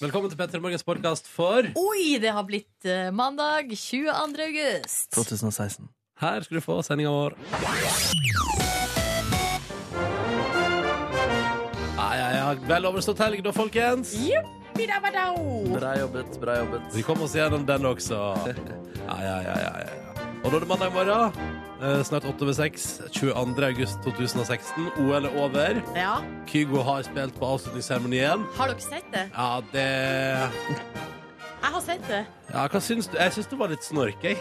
Velkommen til Petter Morgens podkast for Oi, det har blitt eh, mandag 22. august. 2016. Her skal du få sendinga vår. Ja, ja, ja. Vel overstått helg, da, folkens. Yippidabadao. Bra jobbet, bra jobbet. Vi kom oss gjennom den også. Ja, ja, ja, ja, ja, ja. Og da er det mandag morgen. eh, Snart 8 over 6. 22. august 2016. OL er over. Ja, Kygo har spilt på avslutningsseremonien. Har dere sett det? Ja, det Jeg har sett det. Ja, hva syns du? Jeg syns det var litt snork, jeg.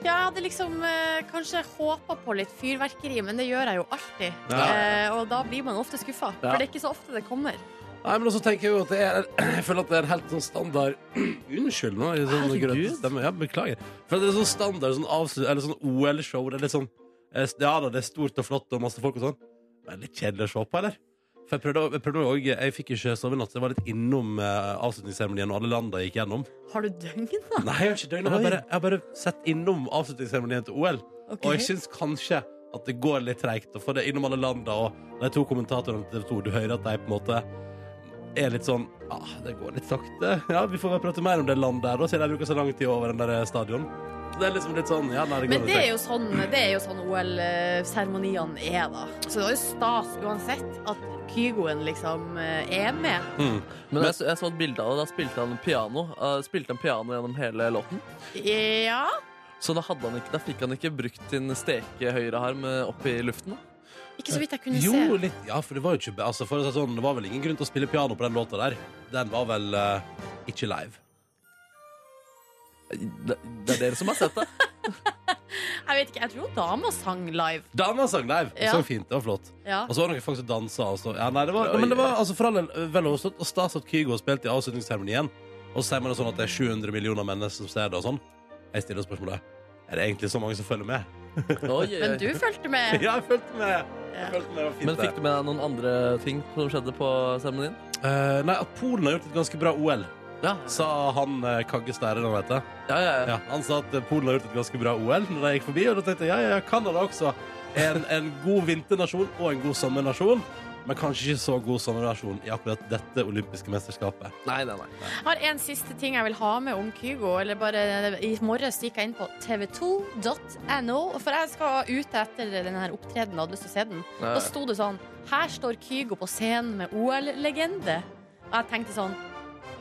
Ja, jeg hadde liksom eh, kanskje håpa på litt fyrverkeri, men det gjør jeg jo alltid. Ja. Eh, og da blir man ofte skuffa, Ja. for det er ikke så ofte det kommer. Nei, men også tenker jeg jo at det er Jeg føler at det er en helt sånn standard Unnskyld nå, i sånn Herregud. grøt stemme. Ja, beklager. For det er sånn standard sånn avslut Eller sånn OL-show. Det er litt sånn eh, Ja da, det er stort og flott og masse folk og sånn. Men litt kjedelig å se på, eller? For jeg prøvde, jeg prøvde også, jeg fikk ikke sove i natt, så jeg var litt innom eh, avslutningsseremonien og alle landa jeg gikk gjennom. Har du døgna? Nei, jeg har ikke døgnet. Jeg har bare, jeg har bare sett innom avslutningsseremonien til OL. Ok. Og jeg syns kanskje at det går litt treigt å få det innom alle landa. Og de to kommentatorene til TV 2, du hører at de på en måte er litt sånn Ja, det går litt sakte. Ja, vi får bare prate mer om det landet der, da, siden de bruker så lang tid over den der eh, stadion. Så det er liksom litt sånn Ja, nei, det går Men det litt er treigt. jo sånn, det er jo sånn OL-seremoniene er, da. Så det var jo stas uansett at Kygoen liksom eh, er med. Mm. Men jeg, så- jeg så et bilde av det. Da spilte han piano Eh, Spilte han piano gjennom hele låten. Ja. Så da, hadde han ikke, da fikk han ikke brukt sin steke høyrearm eh, opp i luften. da. Ikke så vidt jeg kunne Jo, se. litt Ja, for det var jo ikke altså, for å si det sånn, det var vel ingen grunn til å spille piano på den låta der. Den var vel eh, ikke live. Det, det er dere som har sett det. Jeg vet ikke, jeg tror dama sang live. Dama sang live. Hun Ja. sang fint. Det var flott. Ja. Og så var det noen folk som dansa. Og så. Ja, nei, det var, men det var altså, for all del vel overstått. Og stas at Kygo spilte i avslutningsseremonien. Og så sier man det sånn at det er 700 millioner mennesker som ser det. og sånn Jeg stiller spørsmålet Er det egentlig så mange som følger med. Oi, oi, oi. Men du fulgte med. Eh, Ja, jeg fulgte med! Jeg fulgte med, det var fint Men det. fikk du med deg noen andre ting som skjedde på seremonien? Eh, Nei, at Polen har gjort et ganske bra OL, Ja. sa han eh, Kagge Stære. Han, heter. Ja, ja, ja. ja, han sa at eh, Polen har gjort et ganske bra OL når de gikk forbi. Og da tenkte jeg ja, ja, ja, Canada også. En, en god vinternasjon og en god sommernasjon. Men kanskje ikke så god sommernasjon i akkurat dette olympiske mesterskapet. Nei, nei, nei. Jeg har en siste ting jeg vil ha med om Kygo. Eller bare, eh, I morges gikk jeg inn på tv2.no, for jeg skal ut etter denne her opptredenen og hadde lyst til å se den. Ja, Da ja. sto det sånn Her står Kygo på scenen med OL-legende. Og jeg tenkte sånn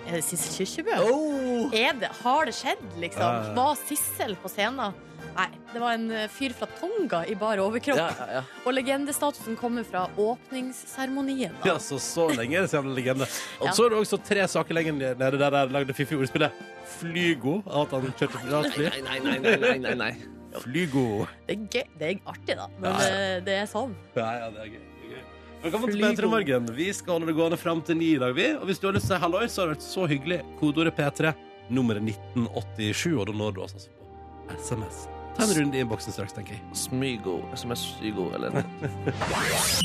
Er det Sissel Kyrkjebø? Oh! Er det, har det skjedd, liksom? Ja, ja, ja. Var Sissel på scenen? Nei, det var en eh, fyr fra Tonga i bar overkropp. Ja, ja, ja. Og legendestatusen kommer fra åpningsseremonien. Ja, da. så, så lenge er det samme legende. Og Ja. så er det også tre saker lenger nede der jeg lagde fiffig ordspillet. Flygo. At han kjørte privatfly. Nei, nei, nei, nei, nei, nei, nei. Flygo. Det, er gøy. det er artig, da, når Ja, ja. eh, det er sånn. Ja, ja, det er gøy. det er gøy. Velkommen til Flygo. Petra Morgen. Vi skal holde det gående fram til ni i dag, vi. Og hvis du har lyst til å si halloi, så har det vært så hyggelig. Kodeordet P3, nummeret 1987, og da når du oss altså på SMS. Ta en runde i innboksen straks, tenker jeg. Smygo. SMS-stygo, eller noe.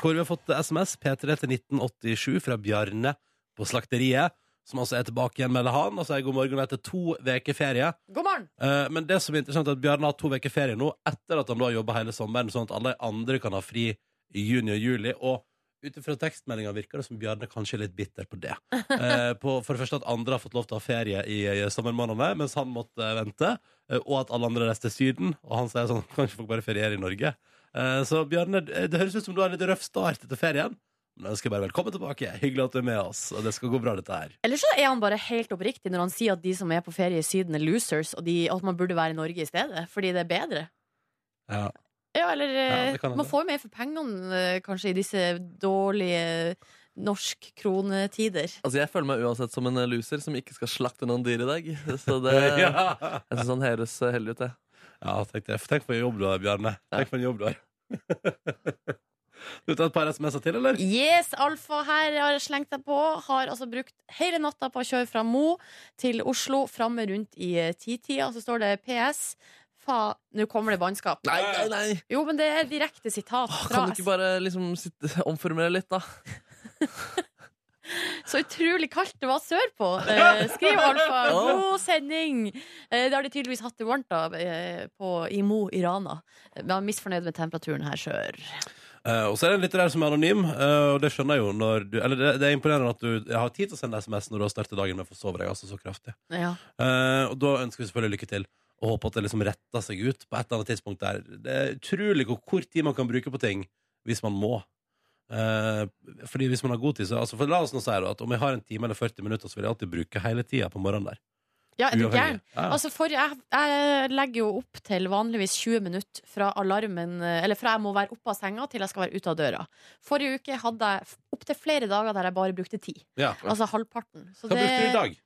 Hvor vi har fått SMS P3 til 1987 fra Bjarne på Slakteriet, som altså er tilbake igjen, melder han. Og sier god morgen etter to uker ferie. God morgen! Eh, Men det som er interessant er at Bjarne har hatt to uker ferie nå etter at han da har jobba hele sommeren, sånn at alle andre kan ha fri i juni og juli. Og ut ifra tekstmeldinga virker det som Bjarne kanskje er litt bitter på det. Eh, på, for det første at andre har fått lov til å ha ferie i, i sommermånedene, mens han måtte eh, vente. eh, Og at alle andre reiste til Syden. Og han sier sånn Kanskje folk bare ferierer i Norge. Eh, Så Bjarne, eh, det høres ut som du har en litt røff start etter ferien. Men jeg ønsker bare velkommen tilbake. Hyggelig at du er med oss. Og det skal gå bra, dette her. Eller så er han bare helt oppriktig når han sier at de som er på ferie i Syden, er losers, og de, at man burde være i Norge i stedet, fordi det er bedre. Ja. Ja, eller eh, Ja, det kan hende. Man får jo mer for pengene, eh, kanskje, i disse dårlige norsk kronetider. Altså, jeg føler meg uansett som en eh, loser som ikke skal slakte noen dyr i dag. Så det, jeg ja. synes han høres eh, heldig ut, jeg. Ja, tenk, det. tenk for en jobb du har, Bjarne. Tenk for en jobb du har. du tar et par SMS-er til, eller? Yes, Alfa her har jeg slengt deg på. Har altså brukt hele natta på å kjøre fra Mo til Oslo, framme rundt i eh, titida. Så står det PS. Faen, nå kommer det bannskap. Nei, nei, nei! Jo, men det er direkte sitat Åh, fra Kan du ikke bare liksom sitte, omformulere litt, da? Så utrolig kaldt det var sørpå. Eh, skriv Alfa. Ja. God sending! Eh, det har de tydeligvis hatt det Eh, varmt da, eh, på, i Mo i Rana. Men jeg er misfornøyd med temperaturen her sør. Eh, og så er det en litterær som er anonym, eh, og det skjønner jeg jo når du Eller det, det er imponerende at du har tid til å sende SMS når du har startet dagen med å forsove deg altså så kraftig. Ja. Eh, og da ønsker vi selvfølgelig lykke til, og håper at det liksom retter seg ut på et eller annet tidspunkt der. Det er utrolig hvor kort tid man kan bruke på ting hvis man må. Eh, fordi hvis man har god tid, så altså, for La oss nå si da, at om jeg har en time eller 40 minutter, så vil jeg alltid bruke hele tida på morgenen der. ja, er du gæren? Ja. Altså for, jeg, jeg legger jo opp til vanligvis 20 minutter fra alarmen eh, Eller fra jeg må være oppe av senga til jeg skal være ute av døra. Forrige uke hadde jeg opptil flere dager der jeg bare brukte ti. ja. Altså halvparten. Så Hva brukte du i dag?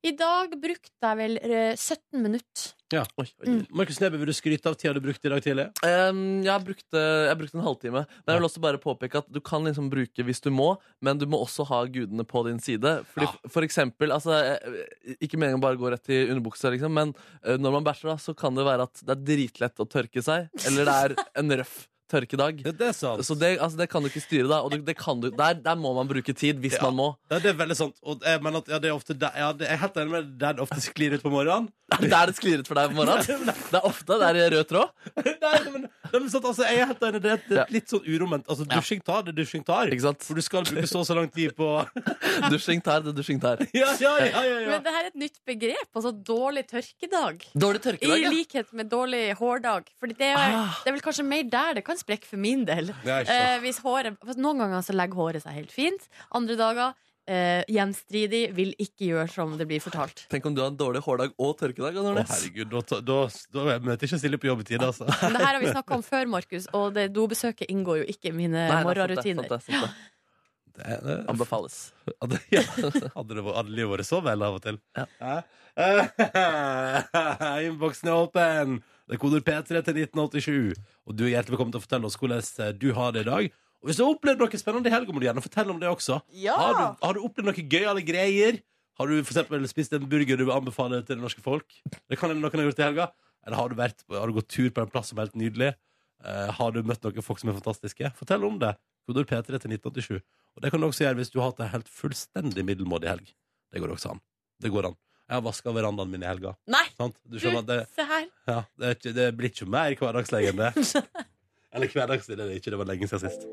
I dag brukte jeg vel eh, 17 minutter. Oi, oi, oi. Mm. Markus Neby, vil du skryte av tida du brukte i dag tidlig? Em, Ehm, jeg, brukte, jeg brukte en halvtime. Men jeg vil også bare påpeke at du kan liksom bruke hvis du må, men du må også ha gudene på din side. Fordi Ja. f- For eksempel, altså, eh, ikke meningen å bare gå rett i underbuksa, liksom, men eh, når man bæsjer, da, så kan det være at det er dritlett å tørke seg, eller det er en røff tørkedag. Ja, det er sant. Så det, altså, det kan du ikke styre, da. Og du, det kan du, der, der må man bruke tid, hvis Ja. man må. Ja, det er veldig sant. Og jeg mener at ja, det er ofte der, ja, det, jeg er helt enig med deg, der det ofte sklir ut på morgenen. Det er der det sklir ut for deg på morgenen. Nei, Det er ofte det er rød tråd. nei, men, nei, men sant, altså, jeg er helt enig, det er et- det er et litt sånn uromment. Altså, Ja. dusjing tar det dusjing tar. Ikke sant? For du skal bruke så og så lang tid på Dusjing tar det dusjing tar. Ja, ja, ja, ja, ja. Men det her er et nytt begrep. Altså dårlig tørkedag. Dårlig I tørkedag, ja. likhet med dårlig hårdag. Fordi det er, Ah. det er vel kanskje mer der det kan sprekke for min del. Nei, ikke sant. Eh, hvis håret, for noen ganger så legger håret seg helt fint. Andre dager eh, gjenstridig, vil ikke gjøre som det blir fortalt. Tenk om du har en dårlig hårdag og tørkedag. Å, Anornes. herregud, da, ta- da, da møter jeg ikke Silje på jobb i tide, altså. Men det her har vi snakka om før, Markus, og det dobesøket inngår jo ikke i mine Nei, nei, sant det, morgenrutiner. sant det, sant det. Det, det, Anbefales. Hadde, ja. hadde, det, vært- hadde livet vært så vel av og til. Ja. Eh, Innboksen er åpen! Det er kodeord P3 til 1987. Og du er hjertelig velkommen til å fortelle oss hvordan eh, du har det i dag. Og hvis du har opplevd noe spennende i helga, må du gjerne fortelle om det også. Ja! Har, du, har du opplevd noe gøyale greier? Har du for eksempel spist en burger du vil anbefale til det norske folk? Det kan hende noen har gjort i helga. Eller har du, vært, på- har du gått tur på en plass som er helt nydelig? Eh, har du møtt noen folk som er fantastiske? Fortell om det. Kodord P3 til 1987. Og det kan du også gjøre hvis du har hatt en helt fullstendig middelmådig helg. Det går også an. Det går an. Jeg har vaska verandaen min i helga. Nei, Sant? Du du, skjønner at det, se her. ja, det, er ikke, det blir ikke mer hverdagslig enn det. Eller hverdagslig det er det ikke. Det var lenge siden sist.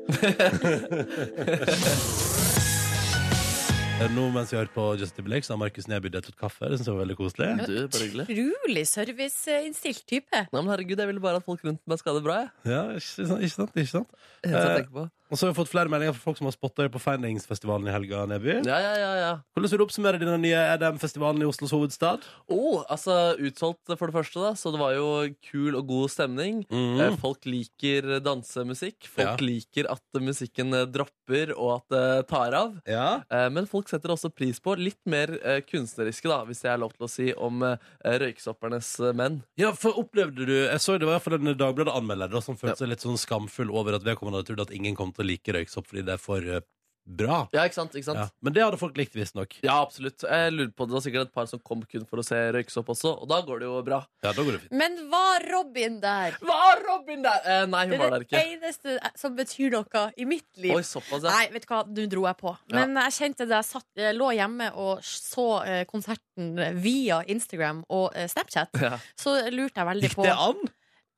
Nå mens vi hørte på Justin Blake, så har Markus Neby delt ut kaffe. Det synes jeg var veldig koselig. Du, bare hyggelig. Utrolig serviceinnstilt type. Nei, men herregud, jeg ville bare at folk rundt meg skal ha det bra. Jeg. Ja, ikke sant? Ikke sant, ikke sant? Det eneste Eh. jeg tenker på. Og så har vi fått flere meldinger fra folk som har spotta deg på Findings-festivalen i helga. Neby. Ja, ja, ja, ja. Hvordan vil du oppsummere denne nye EDM-festivalen i Oslos hovedstad? Oh, altså, utsolgt for det første, da. Så det var jo kul og god stemning. Eh, Folk liker dansemusikk. Ja. Folk liker at musikken eh, dropper, og at det tar av. Ja. Eh, Men folk setter også pris på litt mer eh, kunstneriske, da, hvis det er lov til å si, om eh, røyksoppernes eh, menn. Ja, for opplevde du Jeg så det var i hvert fall en Dagbladet-anmelder da, som følte seg litt sånn skamfull over at vedkommende hadde trodd at ingen kom til å like røyksopp fordi det er for eh, bra. Ja, ikke sant? ikke sant? Ja. Men det hadde folk likt, visstnok. Ja, absolutt. Jeg lurer på, Det var sikkert et par som kom kun for å se røyksopp også, og da går det jo bra. Ja, da går det fint. Men var Robin der? Var Robin der? Eh, nei, hun Det var er der det ikke. eneste som betyr noe i mitt liv. Oi, såpass, ja. Nei, vet du hva, nå dro jeg på. Men jeg kjente det. Jeg satt, jeg lå hjemme og så eh, konserten via Instagram og eh, Snapchat. Ja. Så lurte jeg veldig Gikk på det an?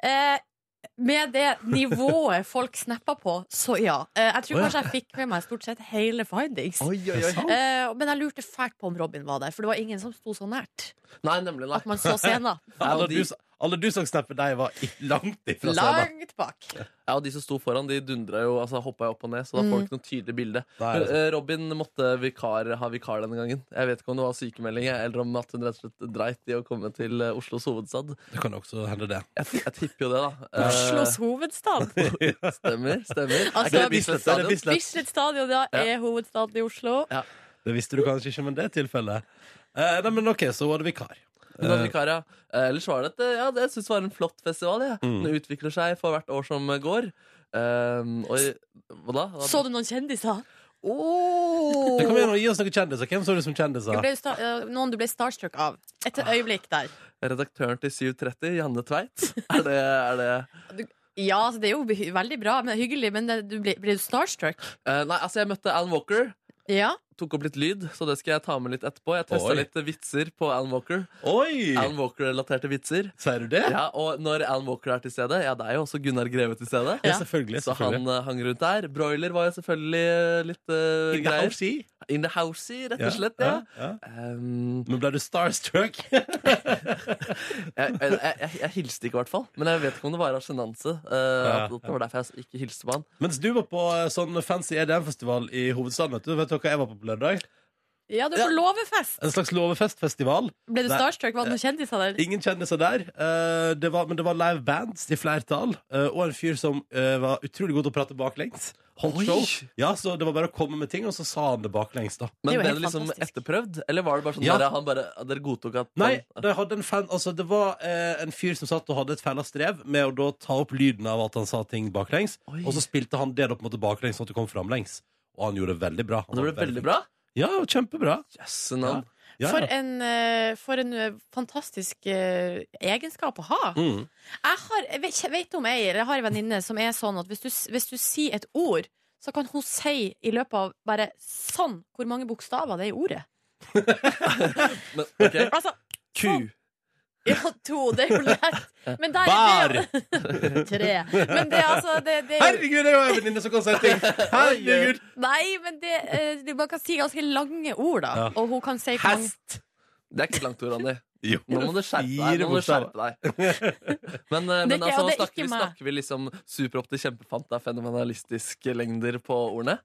Eh, med det nivået folk snappa på, så ja. Eh, jeg tror kanskje jeg fikk med meg stort sett hele findings. Oi, oi, oi. Eh, men jeg lurte fælt på om Robin var der, for det var ingen som sto så nært Nei, nemlig. Nei. at man så scenen. Ja, Alle og, de, du, alle du som snappet deg, var i, langt ifra sånn scenen. Langt bak. ja, og de som sto foran, de dundra jo, altså hoppa jo opp og ned, så da Mm. får du ikke noe tydelig bilde. Nei, det er Eh, Robin måtte vikar, ha vikar denne gangen. Jeg vet ikke om det var sykemelding, jeg, eller om at hun rett og slett dreit i å komme til eh, Oslos hovedstad. Det kan jo også hende, det. Jeg, t- jeg tipper jo det, da. Eh, Oslos hovedstad. Stemmer. stemmer Altså, Er ikke det Bislett er Stadion? Bislett. Bislett Stadion ja, er hovedstaden i Oslo. Det visste du kanskje ikke, men det er tilfellet. Eh, nei, men OK, så var det vikar. Hun hadde vikar, ja. Eh, Ellers var det et, eh, ja, det jeg synes var en flott festival. Ja. Mm. Den utvikler seg for hvert år som eh, går. Um, og, hva da? Hva- Så du noen kjendiser? Oh! Du, Kom igjen og gi oss noen kjendiser. Hvem så du som Du kjendiser? ble sta eh, noen du ble starstruck av. Et øyeblikk der. Redaktøren til 730, Janne Tveit. Er det, er det? Ja, altså, det er jo hy- veldig bra, men hyggelig, men det- du ble, ble du starstruck? Eh, Nei, altså, jeg møtte Alan Walker. Ja. tok opp litt lyd, så det skal jeg ta med litt etterpå. Jeg testa Oi. litt vitser på Alan Walker. Oi! Alan Walker-relaterte vitser. Sier du det? Ja, Og når Alan Walker er til stede, ja, det er jo også Gunnar Greve til stede. Ja, selvfølgelig. Så han selvfølgelig. eh, hang rundt der. Broiler var jo selvfølgelig eh, litt eh, In the greier. house, i. In the housey, rett Ja, og slett. ja. ja, ja. Ehm, Men ble du starstruck? jeg, jeg, jeg, jeg hilste ikke, i hvert fall. Men jeg vet ikke om det var av sjenanse. eh, Ja, at Det var derfor jeg ikke hilste på han. Mens du var på eh, sånn fancy EDM-festival i hovedstaden, vet du Vet dere hva jeg var på på lørdag? Ja, du Ja. får låvefest! En slags låvefestfestival. Ble du Nei. starstruck? Var det noen kjendiser der? Ingen kjendiser der. Eh, det var, men det var live bands i flertall, eh, og en fyr som eh, var utrolig god til å prate baklengs. Holdt Oi! show. Ja, så det var bare å komme med ting, og så sa han det baklengs, da. Men Det er jo ble helt det liksom fantastisk. etterprøvd? Eller var det bare sånn Ja. der, han bare, dere godtok at Nei, han, de hadde en fan, altså, det var eh, en fyr som satt og hadde et fæla strev med å da ta opp lyden av at han sa ting baklengs, Oi. og så spilte han det da på en måte baklengs, sånn at det kom framlengs. Og han gjorde det veldig bra. Han Det ble var veldig bra. Ja, kjempebra. Jøsse navn. Ja, For ja. en, eh, for en eh, fantastisk eh, egenskap å ha. Mm. Jeg har, jeg vet, ikke- vet om ei, eller jeg har en venninne som er sånn at hvis du, s- hvis du sier et ord, så kan hun si i løpet av bare sånn hvor mange bokstaver det er i ordet. Men, ok. Altså, Ku. ja, to, det er jo lett. Men der er det tre. Men det er altså det, det er, Herregud, jeg har en venninne som kan si ting! Herregud! Nei, men det, eh, det- man kan si ganske lange ord, da. Ja. Og hun kan si hvor mange- Hest! Det er ikke så langt ord, Anni. Jo. Nå må du skjerpe deg. Fire Nå må du bokstaver. skjerpe deg. Men, eh, men Det er ikke- altså, det er snakker, ikke vi, meg. snakker vi liksom superopp til kjempefanta fenomenalistiske lengder på ordene?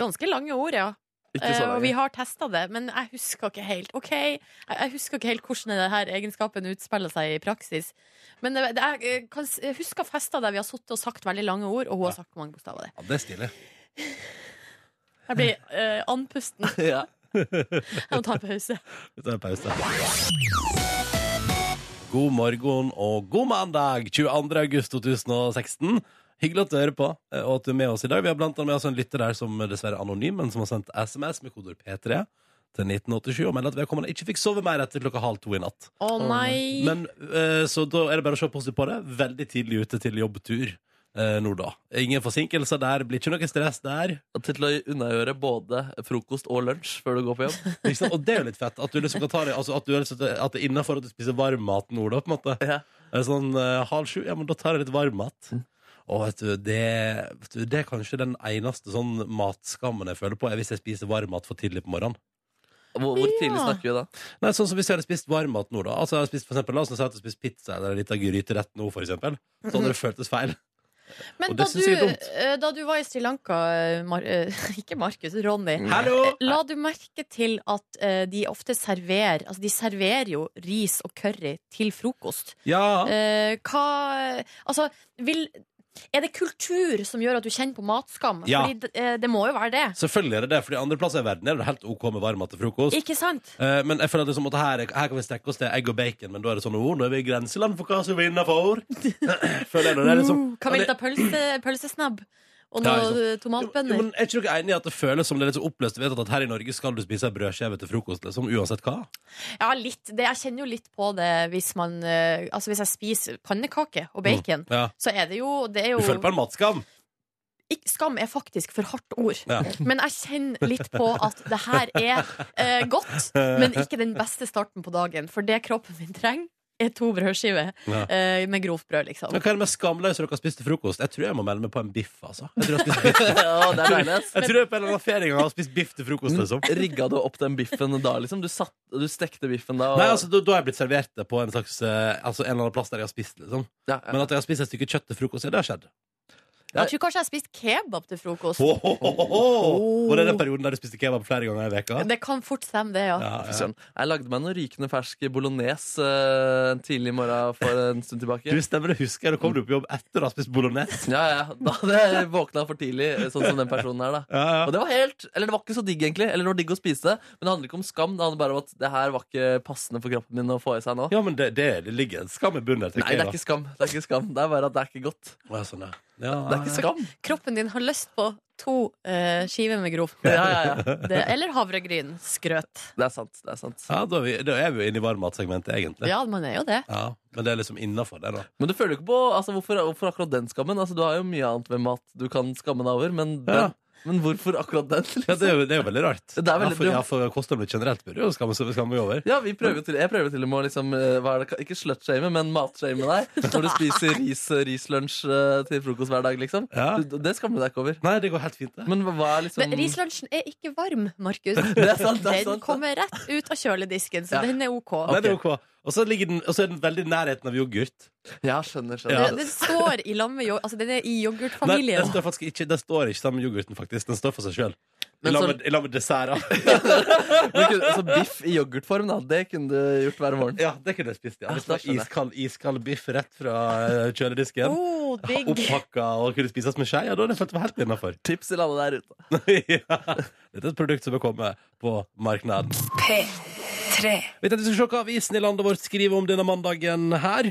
Ganske lange ord, ja. Ikke så Eh, og vi lange. har testa det, men jeg husker ikke helt Ok, jeg, jeg husker ikke helt hvordan denne egenskapen utspiller seg i praksis. Men det, det, jeg, eh, kan, s- jeg husker fester der vi har sittet og sagt veldig lange ord, og hun har sagt hvor mange bokstaver det er. Ja, det er stilig. Jeg blir eh, andpusten. Ja. Jeg må ta en pause. Vi tar en pause. God morgen og god mandag 22. august 2016. Hyggelig at du hører på, eh, og at du er med oss i dag. Vi har blant annet med oss en lytter der som dessverre er anonym, men som har sendt SMS med kodeord P3 til 1987 og melder at vedkommende ikke fikk sove mer etter klokka halv to i natt. Å nei. Men, eh, så da er det bare å se positivt på det. Veldig tidlig ute til jobbtur eh, nå, da. Ingen forsinkelser der, blir ikke noe stress der. Og Til å unnagjøre både frokost og lunsj før du går på jobb. Ikke sant? Og det er jo litt fett. At du liksom kan ta det altså, at, du, er liksom- at det er innafor at du spiser varm mat nå, da, på en måte. Ja. Er det Sånn eh, halv sju, ja, men da tar jeg litt varm mat. Og vet du, det, vet du, det er kanskje den eneste sånn matskammen jeg føler på, er hvis jeg spiser varm mat for tidlig på morgenen. Hvor, hvor tidlig Ja. snakker vi da? Nei, sånn som hvis jeg hadde spist varm mat nå, da. Altså, jeg hadde spist, for eksempel, la oss nå si at jeg hadde spist pizza eller en liten gryterett nå, for eksempel. Så hadde det føltes feil. Men og da det du, synes jeg er dumt. eh, da du var i Sri Lanka, eh, Mar eh, ikke Markus, Ronny eh, Hallo! La du merke til at eh, de ofte serverer Altså, de serverer jo ris og curry til frokost. Ja. Eh, hva Altså, vil Er det kultur som gjør at du kjenner på matskam? Ja. Fordi det, eh, det må jo være det. Selvfølgelig er det det, fordi andre plasser i verden er det helt OK med varm mat til frokost. Ikke sant? Eh, men jeg føler at, liksom at her, her kan vi strekke oss til egg og bacon, men da er det sånn oh, nå er vi i grenseland for hva som er innafor. føler jeg når det er liksom Uh, kan vi Ja, det- ta pølse, pølsesnabb og Ja, noe liksom. eh, Jo, tomatbønner? men Er ikke dere enig i at det føles som det er litt så oppløst Du vet at her i Norge skal du spise ei brødskive til frokost, liksom, uansett hva? Ja, litt. Det, jeg kjenner jo litt på det hvis man eh, Altså, hvis jeg spiser pannekake Mm. og bacon, Ja. så er det jo, det Du er jo føler på en matskam? Ikk- Skam er faktisk for hardt ord. Ja. Men jeg kjenner litt på at det her er eh, godt, men ikke den beste starten på dagen. For det kroppen min trenger, er to brødskiver Ja. eh, med grovt brød, liksom. Men hva er det med skamløse dere har spist til frokost? Jeg tror jeg må melde meg på en biff, altså. Jeg tror jeg, har spist biff. Ja, det er deilig. ass. jeg tror jeg på en eller annen ferie en gang har spist biff til frokost, liksom. Rigga Mm. du opp den biffen da, liksom? Du, satt, du stekte biffen da? Og, Nei, altså, da, da har jeg blitt servert det på en slags eh, Altså en eller annen plass der jeg har spist, liksom. ja, ja. Men at jeg har spist et stykke kjøtt til frokost, ja, det har skjedd. Jeg tror kanskje jeg har spist kebab til frokost. Ho, ho, ho, ho. Var det den perioden der du spiste kebab flere ganger i veka? Det kan fort stemme, det, ja. Ja, ja. Fy søren. Jeg lagde meg noe rykende fersk bolognese eh, en tidlig morgen for en stund tilbake. Du stemmer, det husker jeg. Da kom du på jobb etter å ha spist bolognese. Ja, ja. Da hadde jeg våkna for tidlig, sånn som den personen her, da. Ja, Og ja. det var helt, eller det var ikke så digg, egentlig. Eller det var digg å spise det, men det handler ikke om skam. Det handler bare om at det her var ikke passende for kroppen min å få i seg nå. ja, men det, det, det ligger en skam i bunnen der. Nei, det er ikke skam. Det er ikke skam. Det er bare at det er ikke godt. ja, sånn, ja. Ja, Det er ikke skam. Kroppen din har lyst på to eh, skiver med grovt Ja, brød. ja, ja. Det, eller havregryn. Skrøt. Det er sant. Det er sant. ja da, er vi, da er vi jo inne i varmmatsegmentet, egentlig. Ja, man er jo det. Ja, men det er liksom innafor det, da. Men du føler jo ikke på altså, hvorfor, hvorfor akkurat den skammen? Altså, du har jo mye annet ved mat du kan skamme deg over, men Ja. den, Men hvorfor akkurat den? Ja, Liksom? det, er jo, det er jo veldig rart. Det er veldig ja, for, dumt. ja, for kosthold generelt burde jo skamme seg skamme seg over. Ja, vi prøver jo til, Jeg prøver jo til og med å liksom, eh, hva er det, ikke slutshame, men matshame deg når du spiser ris, rislunsj eh, til frokost hver dag. liksom Ja. Du- Det skammer du deg ikke over. Nei, det går helt fint, det. Men hva- hva er liksom Men rislunsjen er ikke varm, Markus. Det er sant, det er Den sant. kommer rett ut av kjøledisken, så Ja. den er OK. Nei, det er ok. Og så ligger den- og så er den veldig i nærheten av yoghurt. Ja, Ja. skjønner, skjønner. Den, den står i lam med yoghurt. Altså, den er i Nei, den yoghurtfamilien. står faktisk ikke, den står ikke sammen med yoghurten, faktisk. Den står for seg sjøl. I Men lag så- med- i lag med desserter. Men kunne, så biff i yoghurtform, da. Det kunne du gjort hver morgen. Ja, det kunne jeg spist. Ja. Ja, Hvis det var da skjønner jeg. iskald, iskald biff rett fra eh, kjøledisken. Oh, digg. Opphakka og kunne spises med skje. Ja, da hadde jeg følt meg helt innafor. Tips til alle der ute. ja. Dette er et produkt som er kommet på markedet. Vi tenkte vi skulle se hva avisen i landet vårt skriver om denne mandagen her.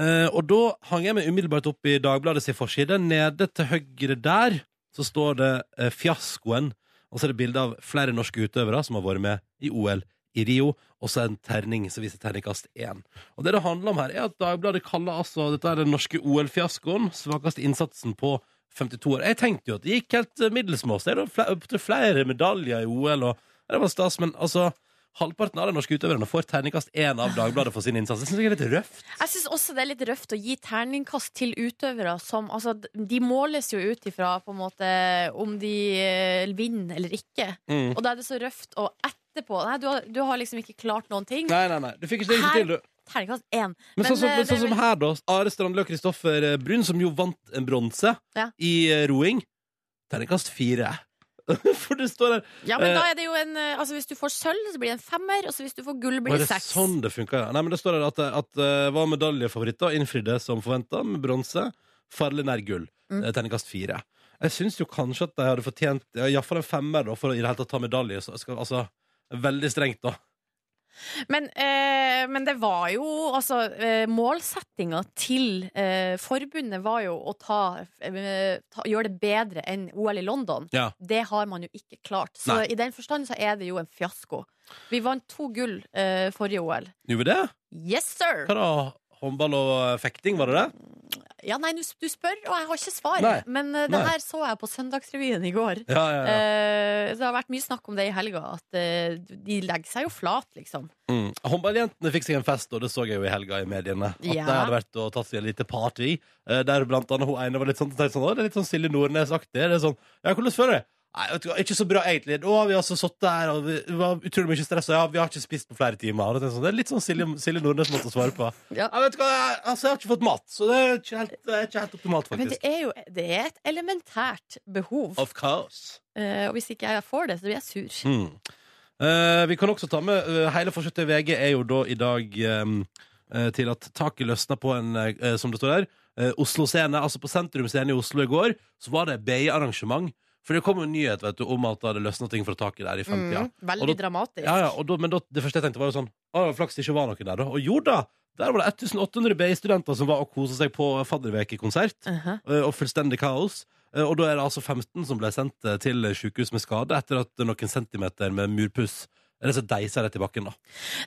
Eh, og da hang jeg meg umiddelbart opp i Dagbladets forside. Nede til høyre der så står det eh, 'Fiaskoen'. Og så er det bilde av flere norske utøvere som har vært med i OL i Rio. Og så en terning som viser terningkast én. Og det det handler om her, er at Dagbladet kaller altså dette er den norske OL-fiaskoen svakeste innsatsen på 52 år. Jeg tenkte jo at det gikk helt eh, middels med oss. Det er da fle- opp til flere medaljer i OL, og det var stas, men altså Halvparten av de norske utøverne får terningkast én av Dagbladet for sin innsats. Det synes jeg er litt røft. Jeg syns også det er litt røft å gi terningkast til utøvere som altså, De måles jo ut ifra på en måte om de eh, vinner eller ikke. Mm. Og da er det så røft å etterpå Nei, du har, du har liksom ikke klart noen ting. Nei, nei, nei. Du fikk ikke det ikke Her- til, du. Terningkast én. Men, sånn, som, eh, men det er sånn som vel- her, da. Are Strandli og Kristoffer eh, Brun, som jo vant en bronse Ja. i eh, roing. Terningkast fire. For det står her Ja, men eh, da er det jo en eh, Altså, hvis du får sølv, så blir det en femmer, og så hvis du får gull, blir Var det det seks. sånn det funka, ja? Nei, men det står her at, at eh, var medaljefavoritter og innfridde som forventa, med bronse. Farlig nær gull. Mm. Eh, Terningkast fire. Jeg syns jo kanskje at de hadde fortjent ja, iallfall en femmer, da, for å i det hele tatt ta medalje. Så, skal, altså, veldig strengt, da. Men, eh, men det var jo Altså, eh, målsettinga til eh, forbundet var jo å ta, eh, ta Gjøre det bedre enn OL i London. Ja. Det har man jo ikke klart. Så Nei. i den forstand så er det jo en fiasko. Vi vant to gull eh, forrige OL. Gjorde vi det? Yes, sir! Hva da? Håndball og eh, fekting, var det det? Ja, nei, du, du spør, og jeg har ikke svaret. Nei. Men eh, det Nei. her så jeg på Søndagsrevyen i går. Ja, ja, ja. Eh, det har vært mye snakk om det i helga, at eh, de legger seg jo flat, liksom. Mm. Håndballjentene fikk seg en fest, og det så jeg jo i helga i mediene. At Ja. de hadde vært og tatt seg en lite party. eh, Der blant annet hun ene var litt sånn, tenkte sånn «Å, det er litt sånn Silje Nordnes-aktig. Det er sånn, ja, hvordan føler du deg? Nei, vet du hva, ikke så bra egentlig. Å, vi har så satt der, og vi det var utrolig mye stress, og ja, vi har ikke spist på flere timer. Og det, er sånn, det er litt sånn Silje, Silje Nordnes måtte svare på. Ja. Nei, vet du hva, jeg, altså, jeg har ikke fått mat, så det er ikke helt, det er ikke helt optimalt, Men det faktisk. er jo det er et elementært behov. Of course. Eh, og hvis ikke jeg får det, så blir jeg sur. Mm. Eh, vi kan også ta med eh, Hele forsettet i VG er jo da i dag eh, eh, til at taket løsna på en, eh, som det står her, eh, Oslo Scene. Altså på Sentrum Scene i Oslo i går så var det BI-arrangement. For det kom jo en nyhet vet du, om at det hadde løsna ting fra taket der i femtida. Mm, veldig Og da- dramatisk. Ja, ja, og da, men da, det første jeg tenkte, var jo sånn Å, flaks det ikke var noen der, da. Og jo da! Der var det 1800 BI-studenter som var og kosa seg på faddervekekonsert Uh-huh. eh, og fullstendig kaos. Eh, Og da er det altså 15 som ble sendt eh, til sykehus med skade etter at noen centimeter med murpuss eller så deisa rett i bakken, da.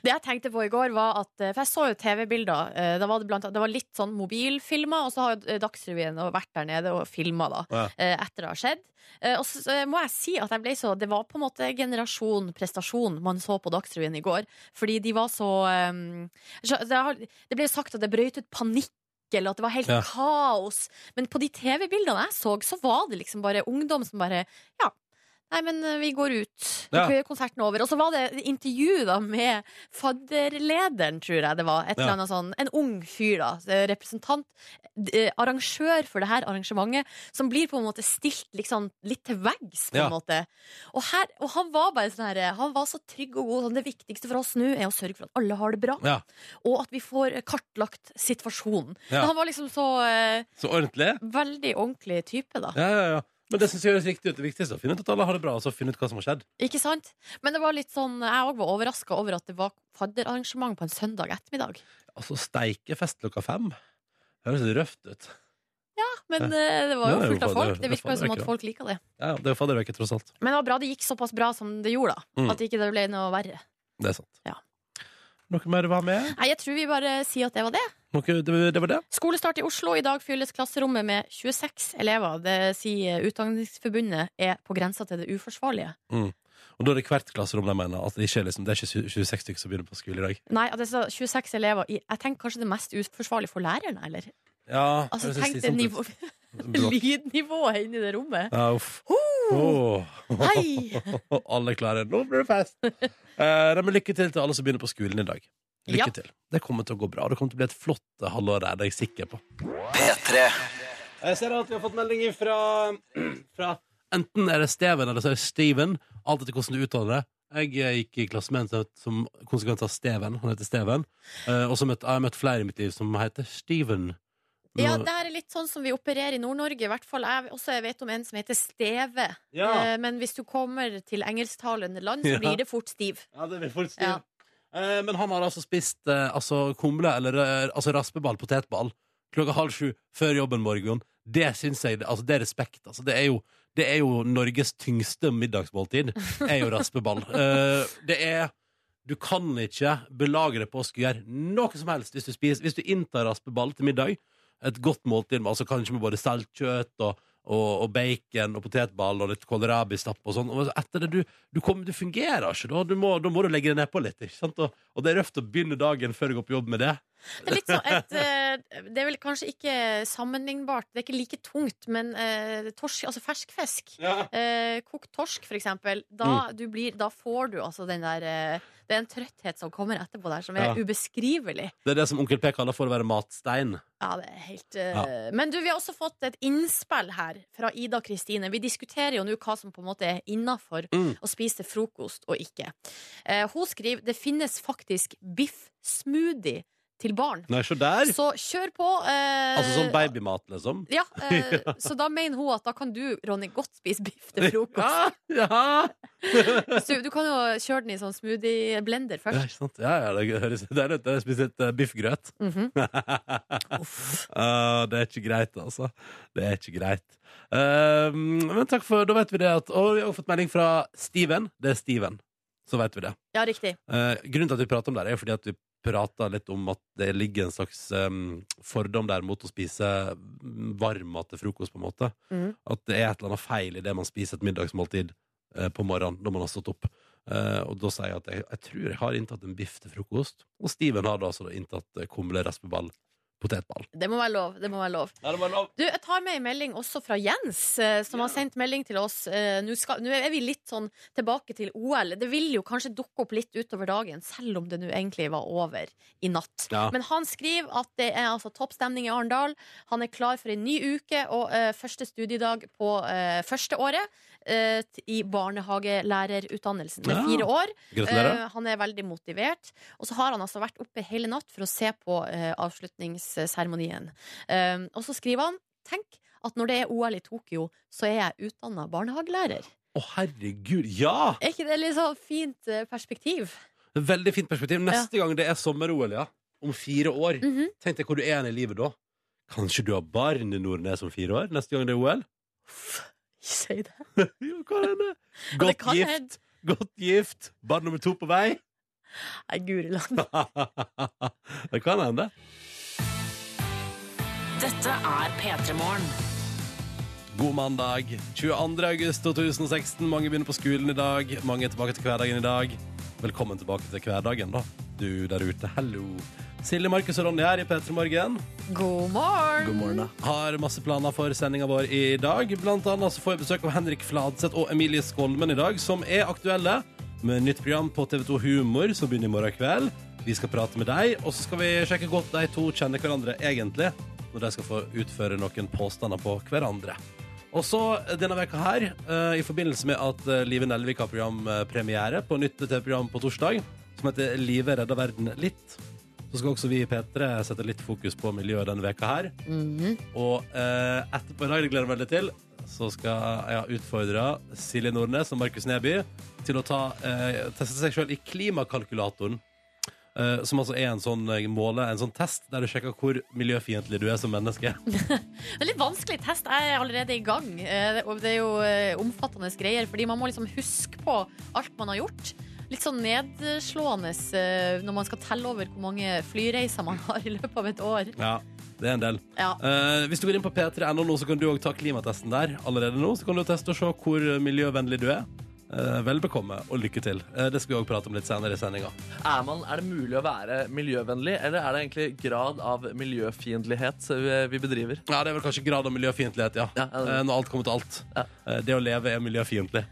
Det jeg tenkte på i går var at eh, For jeg så jo TV-bilder. eh, Da var det, blant, annet- det var litt sånn mobilfilmer, og så har jo eh, Dagsrevyen og vært der nede og filma da, Ja. eh, etter det har skjedd. Eh, Og så så må jeg si at jeg ble så Det var på en måte generasjon prestasjon man så på Dagsrevyen i går. Fordi de var så eh, så Det har- det ble jo sagt at det brøt ut panikk. Eller at det var helt Ja. kaos. Men på de TV-bildene jeg så, så var det liksom bare ungdom som bare Ja, nei, men eh, vi går ut. Nå Ja. er konserten over. Og så var det intervju da med fadderlederen, tror jeg det var. Et Ja. eller annet sånn, en ung fyr, da. eh, Representant. eh, Arrangør for det her arrangementet. Som blir på en måte stilt liksom, litt til veggs, på Ja. en måte. Og, her, og han var bare sånn her Han var så trygg og god. Sånn, det viktigste for oss nå er å sørge for at alle har det bra, Ja. og at vi får eh, kartlagt situasjonen. Ja. Men han var liksom så eh, Så ordentlig. veldig ordentlig type, da. Ja, ja, ja. Men det syns jeg høres riktig ut. Det viktigste er å finne ut at alle har det bra, og så finne ut hva som har skjedd. Ikke sant? Men det var litt sånn, jeg òg var overraska over at det var fadderarrangement på en søndag ettermiddag. Altså, steike fest klokka fem. Høres røft ut. Men eh, det var Nei, jo det er fullt jo fader- av folk. det Det er virka jo som fader at folk liker det. Ja, ja, det er jo fadderveke, tross alt. Men det var bra det gikk såpass bra som det gjorde, da. Mm. At ikke det ble noe verre. Det er sant. Ja. Noe mer du vil ha med? Nei, jeg tror vi bare sier at det var det. Noe, det, det var det. Skolestart i Oslo. I dag fylles klasserommet med 26 elever. Det sier Utdanningsforbundet er på grensa til det uforsvarlige. Og da er det hvert klasserom de mener. Altså, det, er ikke, liksom, det er ikke 26 stykker som begynner på skole i dag. Nei, at det er så 26 elever i Jeg tenker kanskje det mest uforsvarlige for læreren, eller? Ja, Altså, det høres tenk litt det slitsomt nivå, ut. lydnivået inni det rommet. Ja, uff. Ho! Åh. Hei! Alle klarer det. Nå blir det fest! Eh, nei, men lykke til til alle som begynner på skolen i dag. Lykke Ja. til. Det kommer til å gå bra. og Det kommer til å bli et flott eh, halvår der, det er jeg sikker på. P3 Jeg ser at vi har fått melding fra, fra Enten er det Steven eller så er det Steven. Alt etter hvordan du uttaler det. Jeg eh, gikk i klasse med en som het- som konsekvens av Steven. Han heter Steven. Eh, og så møtte, jeg har møtt flere i mitt liv som heter Steven. Nå- Ja, det her er litt sånn som vi opererer i Nord-Norge. I hvert fall jeg også jeg vet om en som heter Steve. ja. Eh, Men hvis du kommer til engelsktalende land, så Ja. blir det fort stiv. Ja, det blir fort stiv. Ja. Eh, men han har altså spist eh, altså kumle, eller eh, altså raspeball, potetball, klokka halv sju før jobben morgen. Det syns jeg altså, Det er respekt. Altså, det, er jo, det er jo Norges tyngste middagsmåltid. Er jo raspeball. Eh, det er Du kan ikke belage deg på å skulle gjøre noe som helst hvis du spiser Hvis du inntar raspeball til middag. Et godt måltid, med, altså kanskje med både saltkjøtt og, og, og bacon og potetball og litt kålrabistapp og sånn. Og etter det du du, kommer, du fungerer ikke da. Du må, da må du legge deg nedpå litt. Ikke sant? Og, og det er røft å begynne dagen før du går på jobb med det. Det er litt sånn et eh, Det er vel kanskje ikke sammenlignbart, det er ikke like tungt, men eh, torsk, altså fersk fisk eh, Kokt torsk, for eksempel. Da, du blir, da får du altså den der eh, Det er en trøtthet som kommer etterpå der, som er Ja. ubeskrivelig. Det er det som onkel P kaller for å være matstein. Ja, det er helt eh, Men du, vi har også fått et innspill her fra Ida Kristine. Vi diskuterer jo nå hva som på en måte er innafor Mm. å spise til frokost og ikke. Eh, hun skriver det finnes faktisk biff-smoothie til barn. Nei, se der! Så kjør på. eh, Altså sånn babymat, liksom. Ja, eh, så da mener hun at da kan du, Ronny, godt spise biff til frokost. Ja, ja. Så du kan jo kjøre den i sånn smoothie-blender ja, først. ikke sant? Ja, ja, det høres Det er nødt til å spise litt eh, biffgrøt. Mhm. Ah, det er ikke greit, altså. Det er ikke greit. Ehm, men takk for Da vet vi det at Og vi har også fått melding fra Steven. Det er Steven. Så vet vi det. Ja, riktig. Eh, grunnen til at vi prater om det, her er jo fordi at vi prater litt om at det ligger en slags em, fordom der mot å spise varm mat til frokost, på en måte. Mhm. At det er et eller annet feil i det man spiser et middagsmåltid eh, på morgenen når man har stått opp. Eh, og da sier jeg at jeg, jeg tror jeg har inntatt en biff til frokost. Og Steven har da altså da inntatt eh, kumle, raspeball, potetball. Det må være lov. Det må være lov. Du, jeg tar med en melding også fra Jens, eh, som har sendt melding til oss. Eh, Nå skal- nå er vi litt sånn tilbake til OL. Det vil jo kanskje dukke opp litt utover dagen, selv om det nå egentlig var over i natt. Ja. Men han skriver at det er altså toppstemning i Arendal. Han er klar for en ny uke og eh, første studiedag på eh, første året eh, t- i barnehagelærerutdannelsen. Det er Ja. fire år. Gratulerer. Eh, han er veldig motivert. Og så har han altså vært oppe hele natt for å se på eh, avslutningsseremonien. Eh, og så skriver han Tenk at når det er OL i Tokyo, så er jeg utdanna barnehagelærer. Å, herregud, ja! Er ikke det litt sånn fint eh, perspektiv? Veldig fint perspektiv. Neste gang det er sommer-OL, ja, om fire år, Mhm. Tenk deg hvor du er hen i livet da. Kanskje du har barn i Nordnes om fire år? Neste gang det er OL? Si det. Jo, hva er det? Ja, det Godt kan gift. Godt gift. Barn nummer to på vei. Nei, guri land. det kan hende. Dette er P3 Morgen. God mandag. 22. august 2016. Mange begynner på skolen i dag. Mange er tilbake til hverdagen i dag. Velkommen tilbake til hverdagen, da. Du der ute, hallo. Silje, Markus og Ronny her i P3 Morgen. God morgen! God morgen, da. har masse planer for sendinga vår i dag. Blant annet så får jeg besøk av Henrik Fladseth og Emilie Skolmen i dag, som er aktuelle med nytt program på TV2 Humor som begynner i morgen kveld. Vi skal prate med deg, og så skal vi sjekke godt de to kjenner hverandre egentlig, når de skal få utføre noen påstander på hverandre. Og så denne veka her, eh, i forbindelse med at eh, Live Nelvik har programpremiere på nytt TV-program på torsdag, som heter Live redder verden litt, så skal også vi i P3 sette litt fokus på miljøet denne veka her. Og eh, etterpå i dag, det gleder jeg meg veldig til, så skal jeg utfordre Silje Nordnes og Markus Neby til å ta, eh, teste seg selv i klimakalkulatoren. eh, som altså er en sånn eh, måle, en sånn test der du sjekker hvor miljøfiendtlig du er som menneske. Det er litt vanskelig test. Jeg er allerede i gang. Eh, og det er jo eh, omfattende greier, fordi man må liksom huske på alt man har gjort. litt sånn nedslående eh, når man skal telle over hvor mange flyreiser man har i løpet av et år. Ja, det er en del. Ja. Eh, hvis du går inn på p3.no nå, så kan du òg ta klimatesten der allerede nå. Så kan du teste og se hvor miljøvennlig du er. Eh, vel bekomme og lykke til. Eh, det skal vi òg prate om litt senere i sendinga. Er, man, er det mulig å være miljøvennlig, eller er det egentlig grad av miljøfiendtlighet vi, vi bedriver? Ja, det er vel kanskje grad av miljøfiendtlighet, ja. Ja, ja, det er det. Eh, Når alt kommer til alt. Ja. Eh, Det å leve er miljøfiendtlig.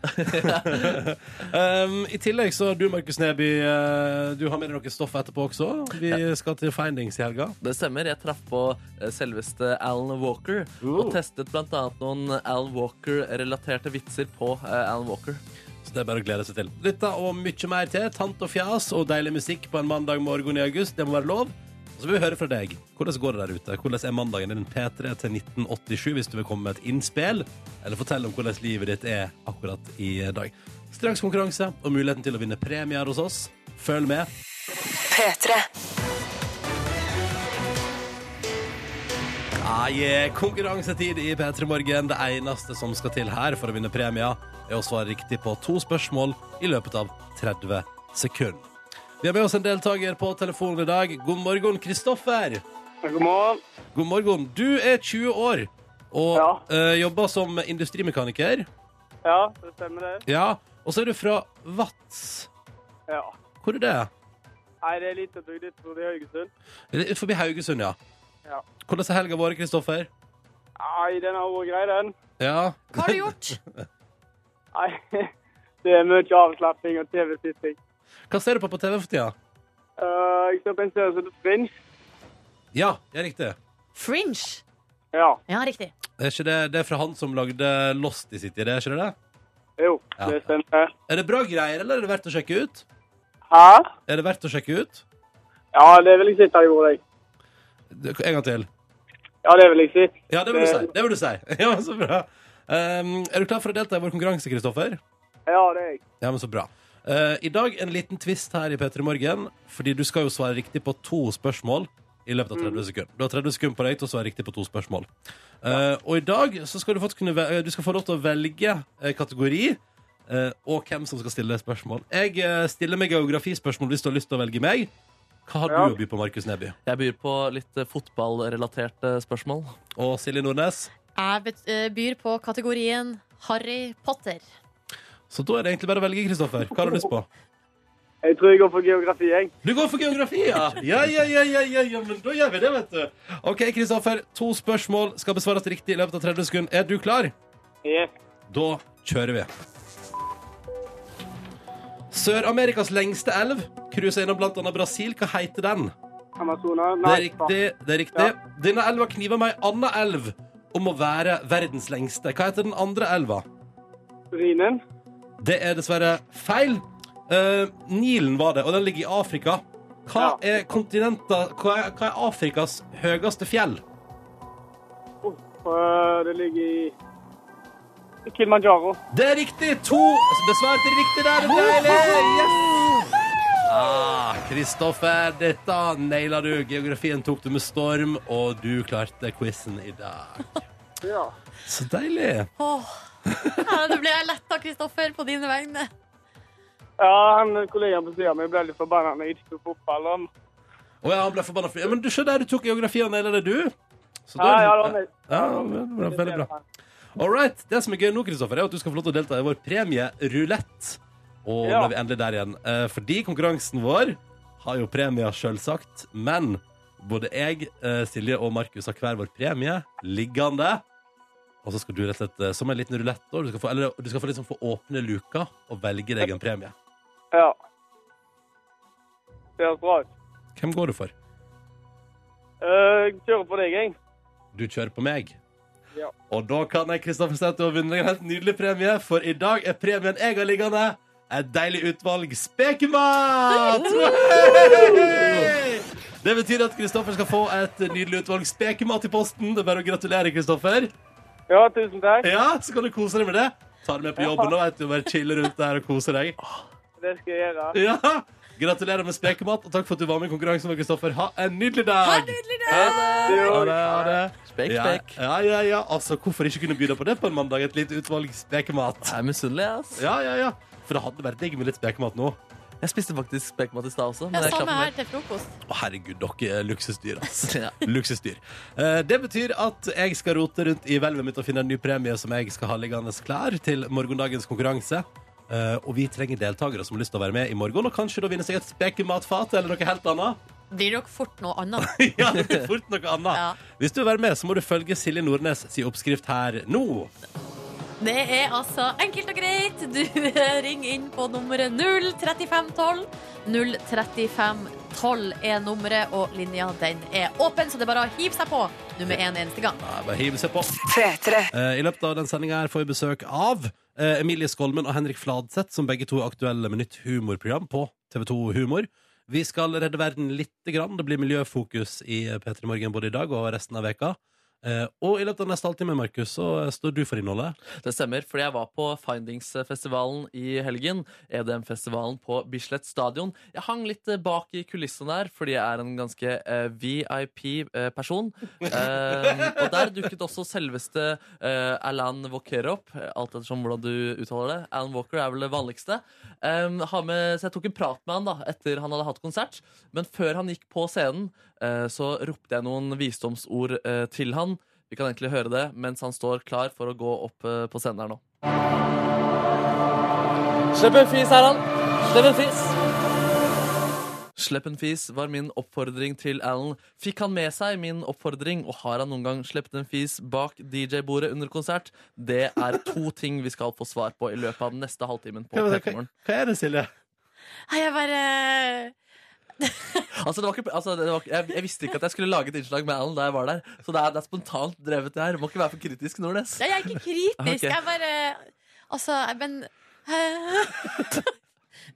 um, I tillegg så du, Markus Neby, eh, du har med deg noe stoff etterpå også. Vi skal til Findings i helga. Det stemmer. Jeg traff på eh, selveste Alan Walker og testet bl.a. noen Alan Walker-relaterte vitser på eh, Alan Walker. Så det er bare å glede seg til. Dette og mye mer til. Tant og fjas og deilig musikk på en mandag morgen i august. Det må være lov. Og så vil vi høre fra deg. Hvordan går det der ute? Hvordan er mandagen din P3 til 1987 hvis du vil komme med et innspill? Eller fortelle om hvordan livet ditt er akkurat i dag. Straks konkurranse og muligheten til å vinne premier hos oss. Følg med. Ah, yeah. Konkurransetid i P3 Morgen. Det eneste som skal til her for å vinne premia, er å svare riktig på to spørsmål i løpet av 30 sekunder. Vi har med oss en deltaker på telefonen i dag. God morgen, Kristoffer. God morgen. God morgen. Du er 20 år og Ja. eh, jobber som industrimekaniker. Ja, det stemmer det. Ja. Og så er du fra Vats. Ja. Hvor er det? Nei, det er lite bygd ut i Haugesund. Er det Utenfor Haugesund, ja. Ja. Hvordan har helga vært, Kristoffer? Nei, den har vært grei, den. Ja. Hva har du gjort? Nei, det er mye avslapping og TV-sitting. Hva ser du på på TV for tida? Eh, jeg ser på en serie som heter Fringe. Ja, ja, riktig. Fringe. Ja, Ja, riktig. Er ikke det, det er fra han som lagde Lost i City, det er ikke det? jo, Ja. det stemmer. Er det bra greier, eller er det verdt å sjekke ut? Hæ? Er det verdt å sjekke ut? Ja, det vil jeg si at jeg gjorde, jeg. Det- En gang til. Ja, det vil jeg si. Ja, det vil du si. Det vil du si. Ja, så bra. Um, er du klar for å delta i vår konkurranse, Kristoffer? Ja, det er jeg. Ja, men så bra. Eh, I dag en liten twist her i P3 Morgen, fordi du skal jo svare riktig på to spørsmål i løpet av 30 sekunder. Du har 30 sekunder på deg til å svare riktig på to spørsmål. Eh, og i dag så skal du, fått kunne ve- eh, du skal få lov til å velge eh, kategori eh, og hvem som skal stille spørsmål. Jeg eh, stiller meg geografispørsmål hvis du har lyst til å velge meg. Hva har Ja. du å by på, Markus Neby? Jeg byr på litt eh, fotballrelaterte spørsmål. Og Silje Nordnes? Jeg bet- eh, byr på kategorien Harry Potter. Så da er det egentlig bare å velge, Kristoffer. Hva har du lyst på? Jeg tror jeg går for geografi, jeg. Du går for geografi, ja? Ja, ja, ja, ja, ja, ja men da gjør vi det, vet du. OK, Kristoffer. To spørsmål skal besvares riktig i løpet av 30 sekunder. Er du klar? Yes. Da kjører vi. Sør-Amerikas lengste elv cruiser innom bl.a. Brasil. Hva heter den? Amazonas. Det Nei, er riktig. det er riktig. Denne elva kniver med ei anna elv om å være verdens lengste. Hva heter den andre elva? faen. Rhinen. Det er dessverre feil. Eh, Nilen var det, og den ligger i Afrika. Hva Ja. er kontinenta- hva er, hva er Afrikas høyeste fjell? Uff, eh, det ligger i Kilimanjaro. Det er riktig! To besvarte riktig der. Det er deilig! Yes! Ah, Kristoffer, dette naila du. Geografien tok du med storm, og du klarte quizen i dag. Ja. Så deilig. Åh. Ja, det ble jeg letta, Kristoffer, på dine vegne. Ja, han kollegaen på siden min ble litt forbannet når jeg ikke tok fotball. Han. Å ja, han ble forbanna. for- Ja, men du ser der, du tok geografi og naila det, du. Så Ja, ja, det var meg. Ja, det var veldig bra. All right. Det som er gøy nå, Kristoffer, er at du skal få lov til å delta i vår premierulett. Og nå Ja. er vi endelig der igjen. Eh, fordi konkurransen vår har jo premier, sjølsagt. Men både jeg, eh, Silje og Markus har hver vår premie liggende. Og så skal du rett og slett, eh, som en liten rulett, da, du skal få, eller, du skal få, liksom, få åpne luka og velge deg en premie. Ja. Det høres bra ut. Hvem går du for? Eh, Jeg kjører på deg, jeg. Du kjører på meg. Ja. Og da kan jeg Kristoffer si at du har vunnet en helt nydelig premie, for i dag er premien jeg har liggende, et deilig utvalg spekemat! Hei! Det betyr at Kristoffer skal få et nydelig utvalg spekemat i posten. Det er bare å gratulere, Kristoffer. Ja, tusen takk. Ja, så kan du kose deg med det. Ta det med på jobben og vet du, bare chille rundt der og kose deg. Det skal jeg gjøre. Ja! Gratulerer med spekemat, og takk for at du var med i konkurransen vår, Kristoffer. Ha en nydelig dag! Det er jo- Ha det, ha det. Spek, Ja, spek. ja, ja, ja. Altså, hvorfor ikke kunne by deg på det på en mandag? Et lite utvalg spekemat. Jeg er misunnelig, ass. Ja, ja, ja. For det hadde vært digg med litt spekemat nå. Jeg spiste faktisk spekemat i stad også. Men Ja, jeg klarte samme meg. her til frokost. Å, herregud, dere er luksusdyr, ass. Ja. Luksusdyr. Eh, Det betyr at jeg skal rote rundt i hvelvet mitt og finne en ny premie som jeg skal ha liggende klar til morgendagens konkurranse. Eh, og vi trenger deltakere som har lyst til å være med i morgen, og kanskje da vinne seg et spekematfat eller noe helt annet. Blir nok fort noe annet. ja, det blir fort noe annet. Ja. Hvis du vil være med, så må du følge Silje Nordnes sin oppskrift her nå. Det er altså enkelt og greit. Du ringer inn på nummeret 03512. 03512 er nummeret, og linja den er åpen, så det er bare å hive seg på nå med en eneste gang. Ja, bare hiv seg på. Eh, I løpet av den sendinga her får vi besøk av eh, Emilie Skolmen og Henrik Fladseth, som begge to er aktuelle med nytt humorprogram på TV2 Humor. Vi skal redde verden lite grann. Det blir miljøfokus i P3 Morgen både i dag og resten av veka. Eh, og i løpet av neste halvtime, Markus, så eh, står du for innholdet. Det stemmer, fordi jeg var på Findingsfestivalen i helgen. EDM-festivalen på Bislett stadion. Jeg hang litt eh, bak i kulissene der, fordi jeg er en ganske eh, VIP-person. eh, Ehm, og der dukket også selveste eh, Alan Walker opp. eh, Alt ettersom hvordan du uttaler det. Alan Walker er vel det vanligste. Um, har med, så jeg tok en prat med han da, etter han hadde hatt konsert. Men før han gikk på scenen, eh, så ropte jeg noen visdomsord eh, til han. Vi kan egentlig høre det mens han står klar for å gå opp eh, på scenen her nå. Slipp en fis, Herran. Slipp en fis. Slipp en fis var min oppfordring til Alan. Fikk han med seg min oppfordring, og har han noen gang sluppet en fis bak DJ-bordet under konsert? Det er to ting vi skal få svar på i løpet av den neste halvtimen på Petermorgen. hva er det, Silje? Nei, jeg bare Altså, det var ikke, altså, det var, ikke- jeg, jeg visste ikke at jeg skulle lage et innslag med Alan da jeg var der, så det er, det er spontant drevet det her. Må ikke være for kritisk, Nordnes. Nei, jeg er ikke kritisk. Ok. Jeg bare Altså, men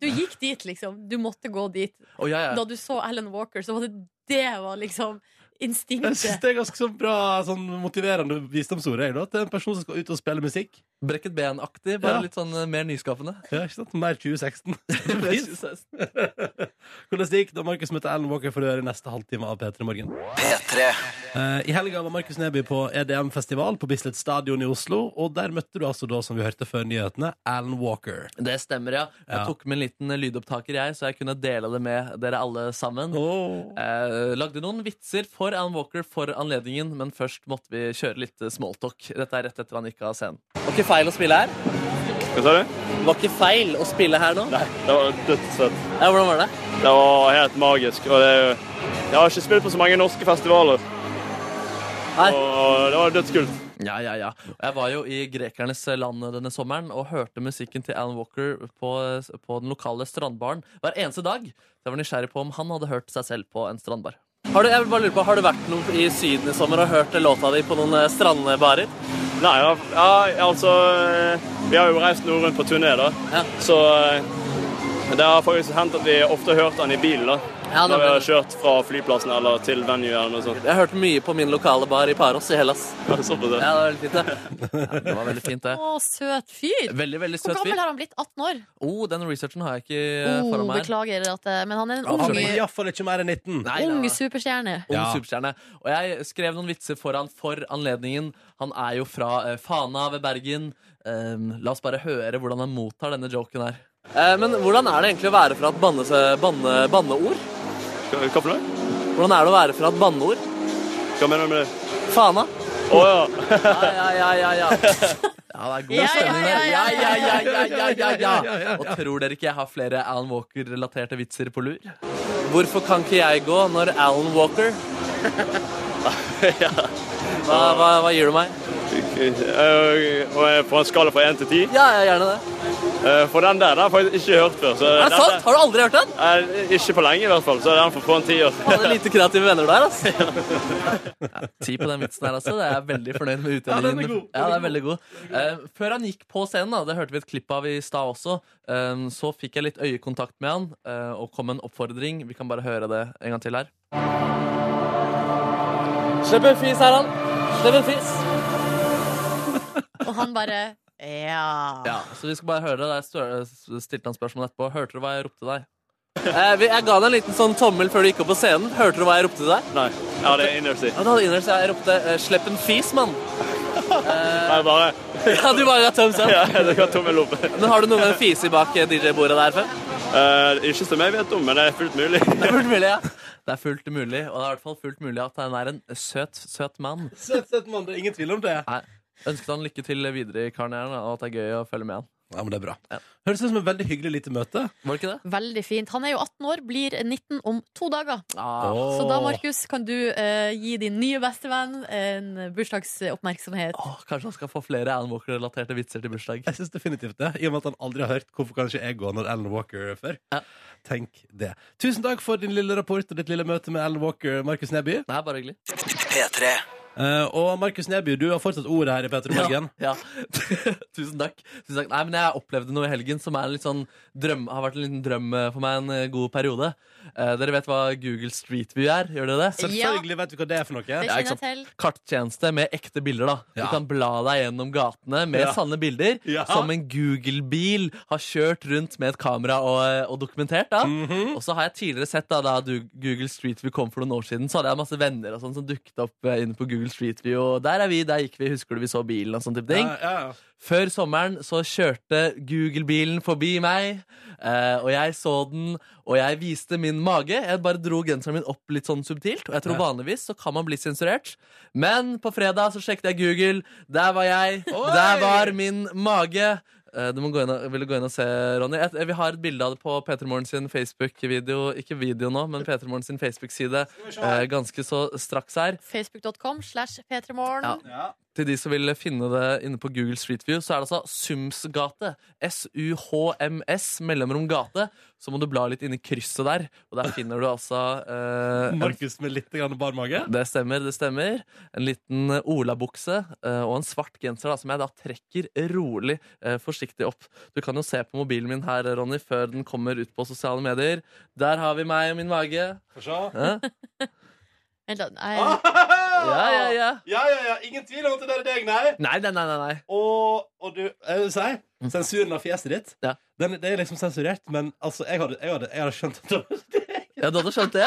Du gikk dit, liksom. Du måtte gå dit. Og jeg, Da du så Alan Walker, så var det det var liksom Jeg synes instinktet. det er ganske sånn bra sånn motiverende visdomsord jeg, da, til en person som skal ut og spille musikk. Brekket ben-aktig, bare Ja. litt sånn eh, mer nyskapende. Ja, ikke sant? Mer 2016. Pris. Hva Hvordan det gikk da Markus møtte Alan Walker for å gjøre neste halvtime av P3 Morgen. Eh, I helga var Markus Neby på EDM-festival på Bislett Stadion i Oslo, og der møtte du altså da, som vi hørte før nyhetene, Alan Walker. Det stemmer, ja. Jeg Ja. tok med en liten lydopptaker, jeg, så jeg kunne dele det med dere alle sammen. Eh, lagde noen vitser for Alan Walker for anledningen, men først måtte vi kjøre litt eh, smalltalk. Dette er rett etter han gikk av scenen. Var ikke feil å spille her? Hva sa du? Var ikke feil å spille her nå? Nei, det var dødsfett. Ja, hvordan var det? Det var helt magisk. Og det, er jo- jeg har ikke spilt på så mange norske festivaler. Nei. Og det var dødskult. Ja, ja, ja. Og Jeg var jo i grekernes land denne sommeren og hørte musikken til Alan Walker på, på den lokale strandbaren hver eneste dag. Så jeg var nysgjerrig på om han hadde hørt seg selv på en strandbar. Har du, jeg vil bare lure på, har du vært noe i Syden i sommer og hørt låta di på noen eh, strandbarer? Nei, ja, ja, altså eh, Vi har jo reist noe rundt på turné, da. Ja. Så eh, det har faktisk hendt at vi ofte har hørt han i bilen, da. Ja, Når vi har men, kjørt fra flyplassen eller til venue eller noe sånt. jeg hørte mye på min lokale bar i Paros i Hellas. Ja, Såpass, Ja, ja. det var veldig fint, det. Ja, det var veldig fint, det. Å, søt fyr. Veldig, veldig Hvor søt gammel fyr. har han blitt? 18 år? Oh, den researchen har jeg ikke eh, Oh, foran meg. beklager at eh, Men han er en Ja, Han ung, blir iallfall ikke mer enn 19. Nei, det ung var- superstjerne. Ung Ja. superstjerne. Og jeg skrev noen vitser for han for anledningen. Han er jo fra eh, Fana ved Bergen. Ehm, la oss bare høre hvordan han mottar denne joken her. Eh, men hvordan er det egentlig å være fra et banneord? Hva hva for noe? Hvordan er det å være fra et banneord? Hva mener du med det? Fana. Å ja. Ja, ja, ja, ja, ja. Ja, det er god Ja, stemning ja, der. Ja, ja, ja, ja, ja, ja, ja, Ja, ja, ja, ja. Og tror dere ikke jeg har flere Alan Walker-relaterte vitser på lur? Hvorfor kan ikke jeg gå når Alan Walker hva, gir du meg? Eh, Og eh, på en skala fra 1 til 10 Ja, ja, gjerne det. eh, For den der den har jeg faktisk ikke hørt før. Så Er det sant? Har du aldri hørt den? Eh, Ikke på lenge i hvert fall, så er den for på en tiår. Hadde lite kreative venner der, altså. Ti på den vitsen her, altså. Det er jeg veldig fornøyd med Ja, den er utdelingen. god. Ja, den er veldig god. Eh, før han gikk på scenen, da, det hørte vi et klipp av i stad også, eh, så fikk jeg litt øyekontakt med han, eh, og kom med en oppfordring. Vi kan bare høre det en gang til her. Slipp en fis, Herran. Slipp en fis. Og han bare Ja. Ja, så vi skal bare høre det. Jeg stør- stilte han spørsmål etterpå. Hørte du hva jeg ropte deg? Eh, Jeg ga deg en liten sånn tommel før du gikk opp på scenen. Hørte du hva jeg ropte deg? Nei. Ja, det er innerst i. Ja, du hadde innerst, jeg ropte eh, 'slipp en fis, mann'. Nei, bare Ja, du bare ga thumbs up. Ja, det var tommel opp. Men har du noen gang fisi bak eh, DJ-bordet der før? Eh, ikke som jeg vet om, men det er fullt mulig. Det er fullt mulig, ja. Det er fullt mulig, og det er i hvert fall fullt mulig at han er en søt, søt mann. Søt, søt mann. Det er ingen tvil om det. Nei, Ønsket han lykke til videre i karrieren, og at det er gøy å følge med han. Ja, men det er bra. Høres ut som et veldig hyggelig lite møte. Var det ikke det? Veldig fint. Han er jo 18 år, blir 19 om to dager. Ah. Så da, Åh. Markus, kan du eh, gi din nye bestevenn en bursdagsoppmerksomhet. Åh, kanskje han skal få flere Alan Walker-relaterte vitser til bursdag. Jeg synes definitivt det, i og med at han aldri har hørt hvorfor kanskje jeg går når Alan Walker er før. Ja. Tenk det. Tusen takk for din lille rapport og ditt lille møte med Alan Walker, Markus Neby. Nei, bare hyggelig. Eh, og Markus Neby, du har fortsatt ordet her i Petter Morgen. Ja. Tusen takk. Tusen takk. Nei, men jeg opplevde noe i helgen som er en litt sånn drøm, har vært en liten drøm eh, for meg en eh, god periode. Eh, dere vet hva Google Street View er? Gjør dere det? Selvfølgelig vet du hva det er for noe. Det Ja, ikke kjenner sant. jeg til. Karttjeneste med ekte bilder. da Du Ja. kan bla deg gjennom gatene med Ja. sanne bilder. Ja. Som en Google-bil har kjørt rundt med et kamera og, og dokumentert. Mm. da Mhm. Og så har jeg tidligere sett da, da du- Google Street View kom for noen år siden, så hadde jeg masse venner og sånn som dukket opp eh, inne på Google Street View. Og der er vi, der gikk vi, husker du vi så bilen og sånn type ting. Ja, ja, ja. Før sommeren så kjørte Google-bilen forbi meg, eh, og jeg så den, og jeg viste min mage. Jeg bare dro genseren min opp litt sånn subtilt, og jeg tror Ja. vanligvis så kan man bli sensurert. Men på fredag så sjekket jeg Google. Der var jeg. Oi! Der var min mage. Eh, Du må gå inn og, vil du gå inn og se, Ronny. Jeg, vi har et bilde av det på P3 Morgen sin Facebook-video. Ikke video nå, men P3 Morgen sin Facebook-side eh, ganske så straks her. Facebook.com slash p3morgen. Til de som vil finne det inne på Google Street View, så er det altså Sumsgate. S-U-H-M-S, mellomrom gate. Så må du bla litt inn i krysset der, og der finner du altså eh, en, Markus med litt grann bar mage. Det stemmer, det stemmer. En liten eh, olabukse eh, og en svart genser da, som jeg da trekker rolig, eh, forsiktig opp. Du kan jo se på mobilen min her, Ronny, før den kommer ut på sosiale medier. Der har vi meg og min mage. Få se. Eh? Vent da, Ah! nei, Ja, ja, ja. Ja, ja, ja. Ingen tvil om at det der er deg, nei. Nei, nei, nei, nei. nei. Og, og du, jeg vil si, sensuren av fjeset ditt, Mm. Ja. den, det er liksom sensurert, men altså, jeg hadde, jeg hadde, jeg hadde skjønt at det var Ja, du hadde skjønt det?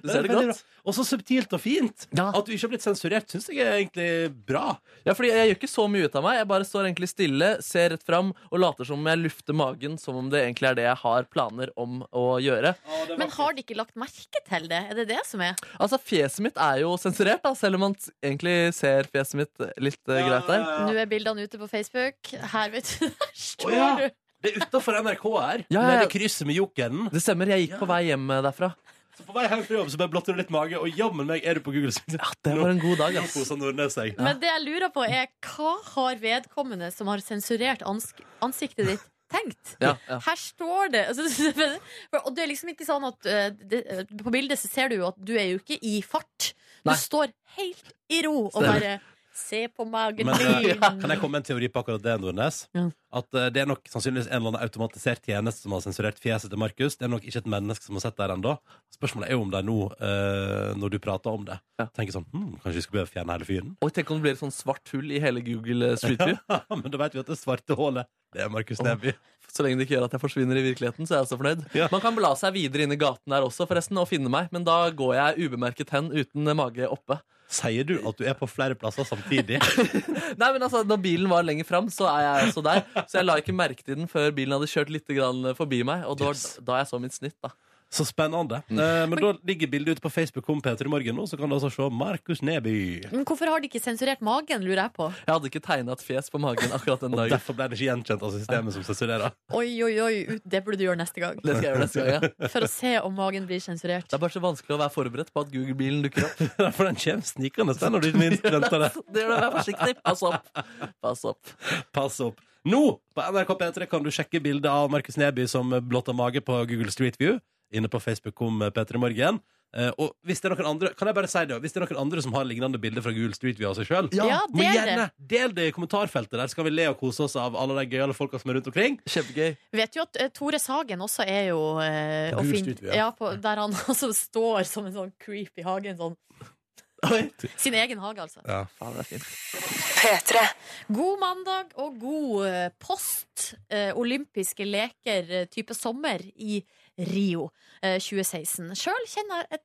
Du ser det veldig godt. bra. Og så subtilt og fint. Ja. At du ikke har blitt sensurert, syns jeg er egentlig bra. Ja, fordi Jeg gjør ikke så mye ut av meg. Jeg bare står egentlig stille, ser rett fram og later som om jeg lufter magen, som om det egentlig er det jeg har planer om å gjøre. men har de ikke lagt merke til det? Er det det som er? Altså, Fjeset mitt er jo sensurert, da, selv om man s- egentlig ser fjeset mitt litt eh, greit der. Nå er bildene ute på Facebook. Her, vet du. Der Å, står ja. du. Det er utafor NRK her, Ja, ja, med ja. det krysset med jokeren. Det stemmer, jeg gikk på vei hjem eh, derfra. Så på vei hjem fra jobb så bare blotter du litt mage, og jammen meg er du på Google. Ja, Det var en god dag. Nå ass. koser Nordnes seg. Men det jeg lurer på, er hva har vedkommende som har sensurert ans ansiktet ditt, tenkt? Ja, ja. Her står det altså, for- Og det er liksom ikke sånn at eh, det, eh, På bildet så ser du jo at du er jo ikke i fart. Du Nei. står helt i ro og Stemmer. bare Se på magen Men, eh, din! Kan jeg komme med en teori på akkurat det, Nordnes? Ja. At eh, det er nok sannsynligvis en eller annen automatisert tjeneste som har sensurert fjeset til Markus. Det er nok ikke et menneske som har sett det her ennå. Spørsmålet er jo om de nå, eh, når du prater om det, Ja. tenker sånn hm, Kanskje vi skal begynne å fjerne hele fyren? Og tenk om det blir et sånn svart hull i hele Google eh, Street View. Men da vet vi at det svarte hålet, det er Markus Neby. Så lenge det ikke gjør at jeg forsvinner i virkeligheten, så er jeg også fornøyd. Ja. Man kan bla seg videre inn i gaten der også, forresten, og finne meg, men da går jeg ubemerket hen uten eh, mage oppe. Sier du at du er på flere plasser samtidig? Nei, men altså, Når bilen var lenger fram, så er jeg også der. Så jeg la ikke merke til den før bilen hadde kjørt litt grann forbi meg. Og det var Yes. da jeg så mitt snitt. da Så spennende. Eh, men da ligger bildet ute på Facebook om Peter i morgen nå, så kan du altså se Markus Neby. Men hvorfor har de ikke sensurert magen, lurer jeg på. Jeg hadde ikke tegna et fjes på magen akkurat den Og dagen. derfor ble det ikke gjenkjent av systemet som sensurerer. Oi, oi, oi, ut- det burde du gjøre neste gang. Det skal jeg gjøre neste gang, ja. For å se om magen blir sensurert. Det er bare så vanskelig å være forberedt på at Google-bilen dukker opp. For den kommer snikende den når du minst venter det. Det gjør det, Vær forsiktig. Pass opp. Pass opp. Pass opp. Nå på NRK P3 kan du sjekke bildet av Markus Neby som blotta mage på Google Street View. Inne på Facebook om P3 Morgen. Eh, og hvis det er noen andre Kan jeg bare si det, hvis det er noen andre som har lignende bilder fra Google Street View av seg sjøl, Ja, må del det. gjerne del det i kommentarfeltet. Der skal vi le og kose oss av alle de gøyale folka som er rundt omkring. Kjempegøy. Vet jo at eh, Tore Sagen også er jo eh, å Gul finne- studio, ja. ja, på, Der han altså står som en sånn creep i hagen. Sånn. Sin egen hage, altså. Faen, det er fint. God mandag og god eh, post eh, olympiske leker eh, type sommer i Rio eh, 2016. Sjøl kjenner jeg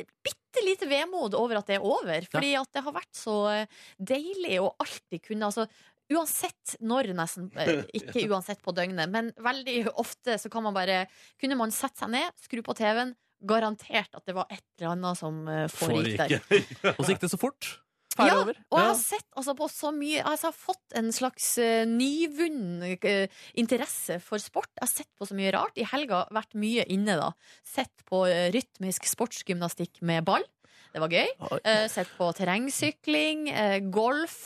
et bitte lite vemod over at det er over, fordi at det har vært så eh, deilig å alltid kunne altså uansett når, nesten. eh, Ikke uansett på døgnet, men veldig ofte så kan man bare Kunne man sette seg ned, skru på TV-en, garantert at det var et eller annet som eh, foregikk der. Og så gikk det så fort. Ferdig Ja, over. Og jeg Ja. har sett altså, på så mye altså, Jeg har fått en slags uh, nyvunnen eh, interesse for sport. Jeg har sett på så mye rart. I helga har jeg vært mye inne, da. Sett på eh, rytmisk sportsgymnastikk med ball. Det var gøy. Oi. Eh, sett på terrengsykling, eh, golf,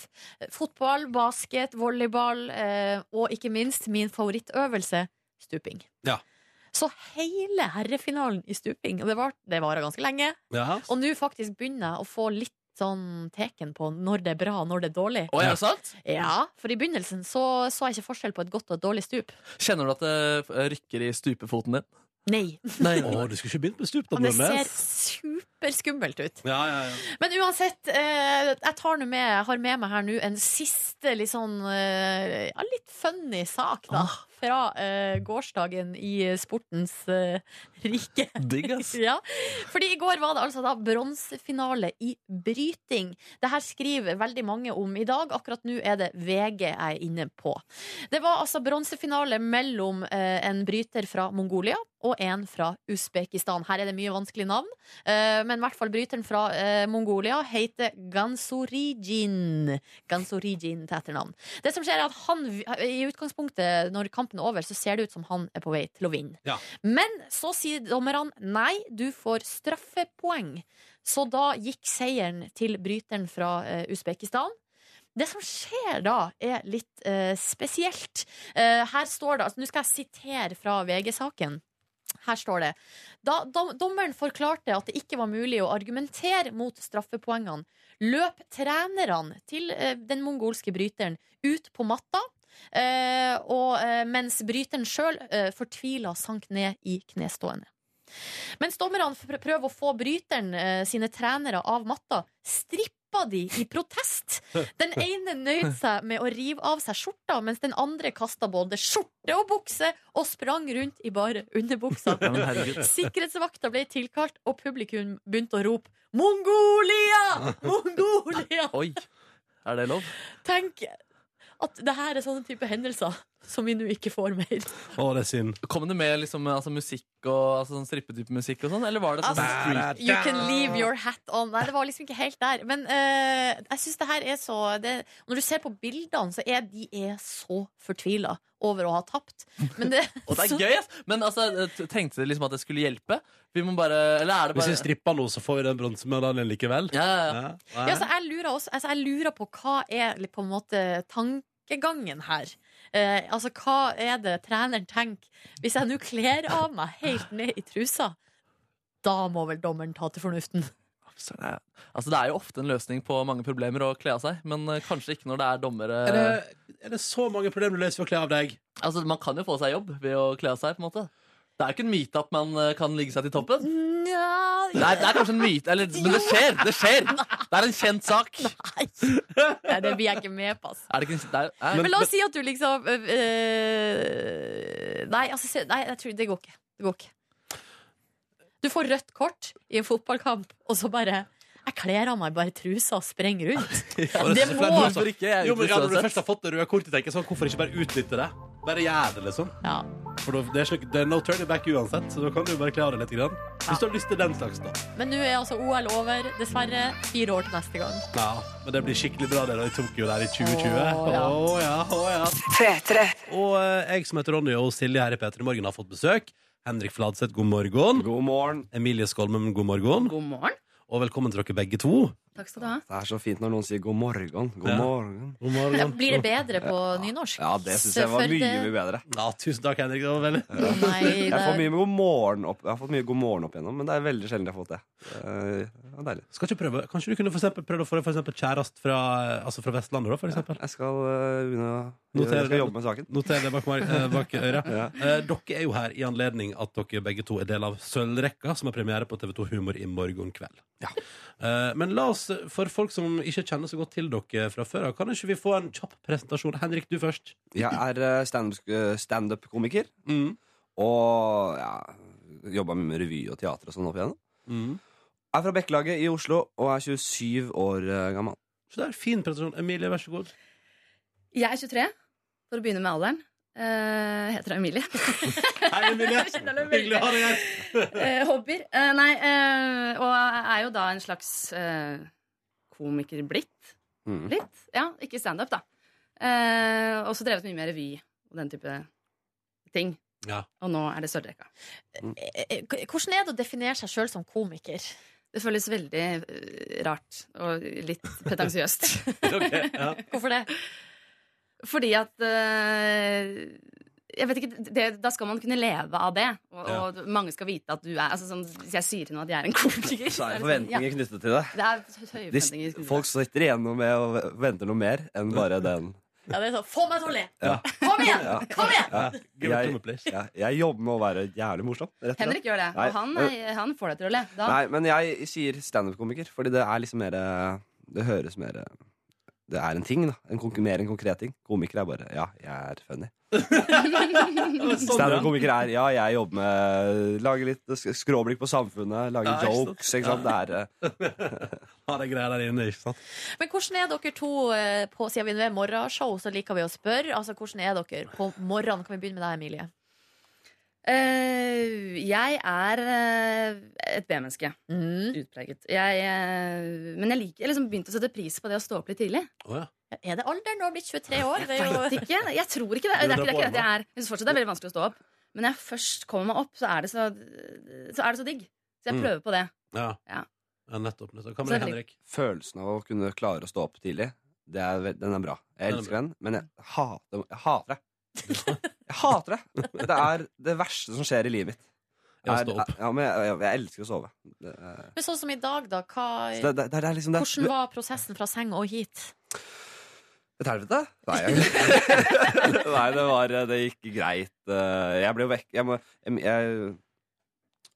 eh, fotball, basket, volleyball eh, og ikke minst min favorittøvelse, stuping. Ja. Så hele herrefinalen i stuping, og det var- det varer ganske lenge. Ja. Og nå faktisk begynner jeg å få litt sånn teken på når det er bra, og når det er dårlig. Oi, er det sant? Ja, for i begynnelsen så, så jeg ikke forskjell på et godt og et dårlig stup. Kjenner du at det rykker i stupefoten din? Nei. Nei, Å, du skulle ikke begynt med stup, da, Og det ser Nordnes. superskummelt ut. Ja, ja, ja. Men uansett, eh, jeg tar nå med, har med meg her nå en siste litt sånn eh, ja, litt funny sak, da. Fra eh, gårsdagen i sportens eh, rike. Digg, ass. Ja, fordi i går var det altså da bronsefinale i bryting. Det her skriver veldig mange om i dag. Akkurat nå er det VG jeg er inne på. Det var altså bronsefinale mellom eh, en bryter fra Mongolia og en fra Usbekistan. Her er det mye vanskelige navn, eh, men i hvert fall bryteren fra eh, Mongolia heter Gansorijin. Gansorijin til etternavn. Det som skjer, er at han i utgangspunktet, når kampen er over, så ser det ut som han er på vei til å vinne. Men så sier dommerne nei, du får straffepoeng. Så da gikk seieren til bryteren fra eh, Usbekistan. Det som skjer da, er litt eh, spesielt. Eh, her står det, altså, Nå skal jeg sitere fra VG-saken. Her står det Da dom, dommeren forklarte at det ikke var mulig å argumentere mot straffepoengene, løp trenerne til eh, den mongolske bryteren ut på matta Eh, og, eh, mens bryteren sjøl eh, fortvila sank ned i knestående. Mens dommerne pr- prøver å få bryteren eh, sine trenere av matta, strippa de i protest. Den ene nøyd seg med å rive av seg skjorta, mens den andre kasta både skjorte og bukse og sprang rundt i bare underbuksa. Ja, men herregud. Sikkerhetsvakta ble tilkalt, og publikum begynte å rope 'Mongolia! Mongolia!' Oi. Er det lov? Tenk at det her er sånne type hendelser som vi nå ikke får mer. Å, det er synd. Kom det med liksom, altså, musikk og altså, sånn strippetype musikk og sånn, eller var det sånn Altså, street? You can leave your hat on. Nei, det var liksom ikke helt der. Men eh, jeg syns det her er så det, Når du ser på bildene, så er de er så fortvila over å ha tapt. Men det, Og det så- er gøy, ass! Men altså, t- tenkte dere liksom at det skulle hjelpe? Vi må bare Eller er det Hvis vi bare stripper nå, så får vi den bronsemedaljen likevel. ja, ja, ja. Ja. Ja, så jeg lurer, også, altså jeg lurer på hva er li- på en måte tankegangen her. Eh, altså, hva er det treneren tenker? Hvis jeg nå kler av meg helt ned i trusa, da må vel dommeren ta til fornuften. Så det er- Altså, det er jo ofte en løsning på mange problemer å kle av seg, men eh, kanskje ikke når det er dommere Er det, Eh, er det så mange problemer du løser ved å kle av deg? Altså, Man kan jo få seg jobb ved å kle av seg, på en måte. Det er jo ikke en meetup man eh, kan ligge seg til toppen. Nja Nei, det er kanskje en myte, eller, men det skjer! Det skjer Det er en kjent sak. Nei, det blir jeg ikke med på. Altså. Er det ikke en, det er, er, Men la oss si at du liksom øh, øh, Nei, altså, se- nei jeg tror, det går ikke. Det går ikke. Du får rødt kort i en fotballkamp, og så bare Jeg kler av meg bare trusa og springer rundt. Det må Hvorfor ikke? Jeg er Jo, men ja, Når du utenfor uansett. først har fått det røde kortet, tenker jeg sånn, hvorfor ikke bare utnytte det? Bare gjør det, liksom. Ja. For da- det er, slik, det er no turning back uansett, så da kan du bare kle av deg litt. Grann. Hvis du har lyst til den slags, da. Men nå er altså OL over. Dessverre. Fire år til neste gang. Ja, men det blir skikkelig bra det da i Tokyo der i 2020. Å, ja. Å, ja, å, ja. Og eh, jeg som heter Ronny og Silje her i P3 Morgen har fått besøk. Henrik Fladseth, god morgen. God morgen. Emilie Skolmen, god morgen. God morgen. Og velkommen til dere begge to. Takk skal du ha. Det er så fint når noen sier god morgen. God Ja. morgen. God Ja, morgen. Blir det bedre på nynorsk? Ja, det syns jeg var mye, mye bedre. Ja, tusen takk, Henrik. Det var veldig Nei, Jeg får det, mye god morgen opp, jeg har fått mye god morgen opp igjennom, men det er veldig sjelden jeg har fått det. Eh, Det er deilig. Skal ikke prøve Kanskje du kunne for eksempel prøvd å få deg for eksempel kjærest fra, altså fra Vestlandet, da, for eksempel? Jeg skal eh, begynne å Noterer jeg det. skal jobbe med saken. Noter det bak, mar- eh, bak øret. Ja. Eh, dere er jo her i anledning at dere begge to er del av Sølvrekka, som har premiere på TV2 Humor i morgen kveld. Eh, men la oss, for folk som ikke kjenner så godt til dere fra før av, kan ikke vi få en kjapp presentasjon? Henrik, du først. Jeg er eh, standup- eh, standup-komiker, Mm. og ja, jobba med revy og teater og sånn opp igjennom. Mm. Jeg er fra Bekkelaget i Oslo og er 27 år eh, gammel. Så det er en fin presentasjon. Emilie, vær så god. Jeg er 23, for å begynne med alderen. Eh, heter Emilie. Hei, Emilie. Jeg kjenner det veldig. Hyggelig å ha deg her. Eh, hobbyer. Eh, nei, eh, og er jo da en slags eh, komiker blitt. Mm. Litt. Ja, ikke standup, da. Eh, og så drevet mye med revy og den type ting. Ja. Og nå er det sølvrekka. Eh, eh, Hvordan er det å definere seg sjøl som komiker? Det føles veldig eh, rart og litt pretensiøst. Ok, ja. Hvorfor det? Fordi at eh, jeg vet ikke, det, Da skal man kunne leve av det. Og, Ja. og mange skal vite at du er altså, sånn, Hvis jeg sier til noen at jeg er en komiker Så er det det sånn, ja, forventninger knyttet til det. det er De, høye forventninger. folk sitter igjen noe med og venter noe mer enn bare den. Ja, det er sånn, Få meg til å le! Ja. Kom igjen! Ja. Kom igjen! Ja, Give it to Jeg- me, please. ja, jeg jobber med å være jævlig morsom. Rett og slett. Henrik gjør det, Nei, og han, øh. er- han får deg til å le. Da, Nei, men jeg sier standup-komiker, fordi det er liksom mer eh, Det høres mer eh, Det er en ting, da. En konk mer en konkret ting. Komiker er bare Ja, jeg er funny. Standup-komiker er Sånn, Ja, jeg jobber med Lager litt sk- skråblikk på samfunnet, lager Ja, ikke sant? jokes, ikke sant. Det er eh, Ha det greia der inne, ikke sant? Men hvordan er dere to eh, på siden vi nå er morgenshow, så liker vi å spørre. Altså, hvordan er dere på morgenen? Kan vi begynne med deg, Emilie? Eh, jeg er eh, et B-menneske. Mm. Utpreget. Jeg, eh, men jeg liker Jeg liksom begynte å sette pris på det å stå opp litt tidlig. Å, ja. Er det alderen nå? Blitt 23 år? Det er Vet jo Ikke, jeg tror ikke det. Det er ikke, det er ikke det at jeg er Jeg synes fortsatt det er veldig vanskelig å stå opp. Men når jeg først kommer meg opp, så er det så, så, er det så digg. Så jeg Mm. prøver på det. Ja. Ja. ja, nettopp. nettopp. Hva med deg, Henrik? følelsen av å kunne klare å stå opp tidlig. Det er, ve- den er bra. Jeg Den er elsker den, men jeg hater, jeg hater det. Jeg hater det! Det er det verste som skjer i livet mitt. Jeg må Er- stå opp. Ja, men jeg, jeg, jeg elsker å sove. Det, er- Men sånn som i dag, da. så Hva, det, det, det er liksom det. Eh, hvordan var prosessen fra seng og hit? Et helvete? Nei, jeg... Nei det, var, det gikk greit. Eh, Jeg ble jo vekk jeg må, jeg, jeg,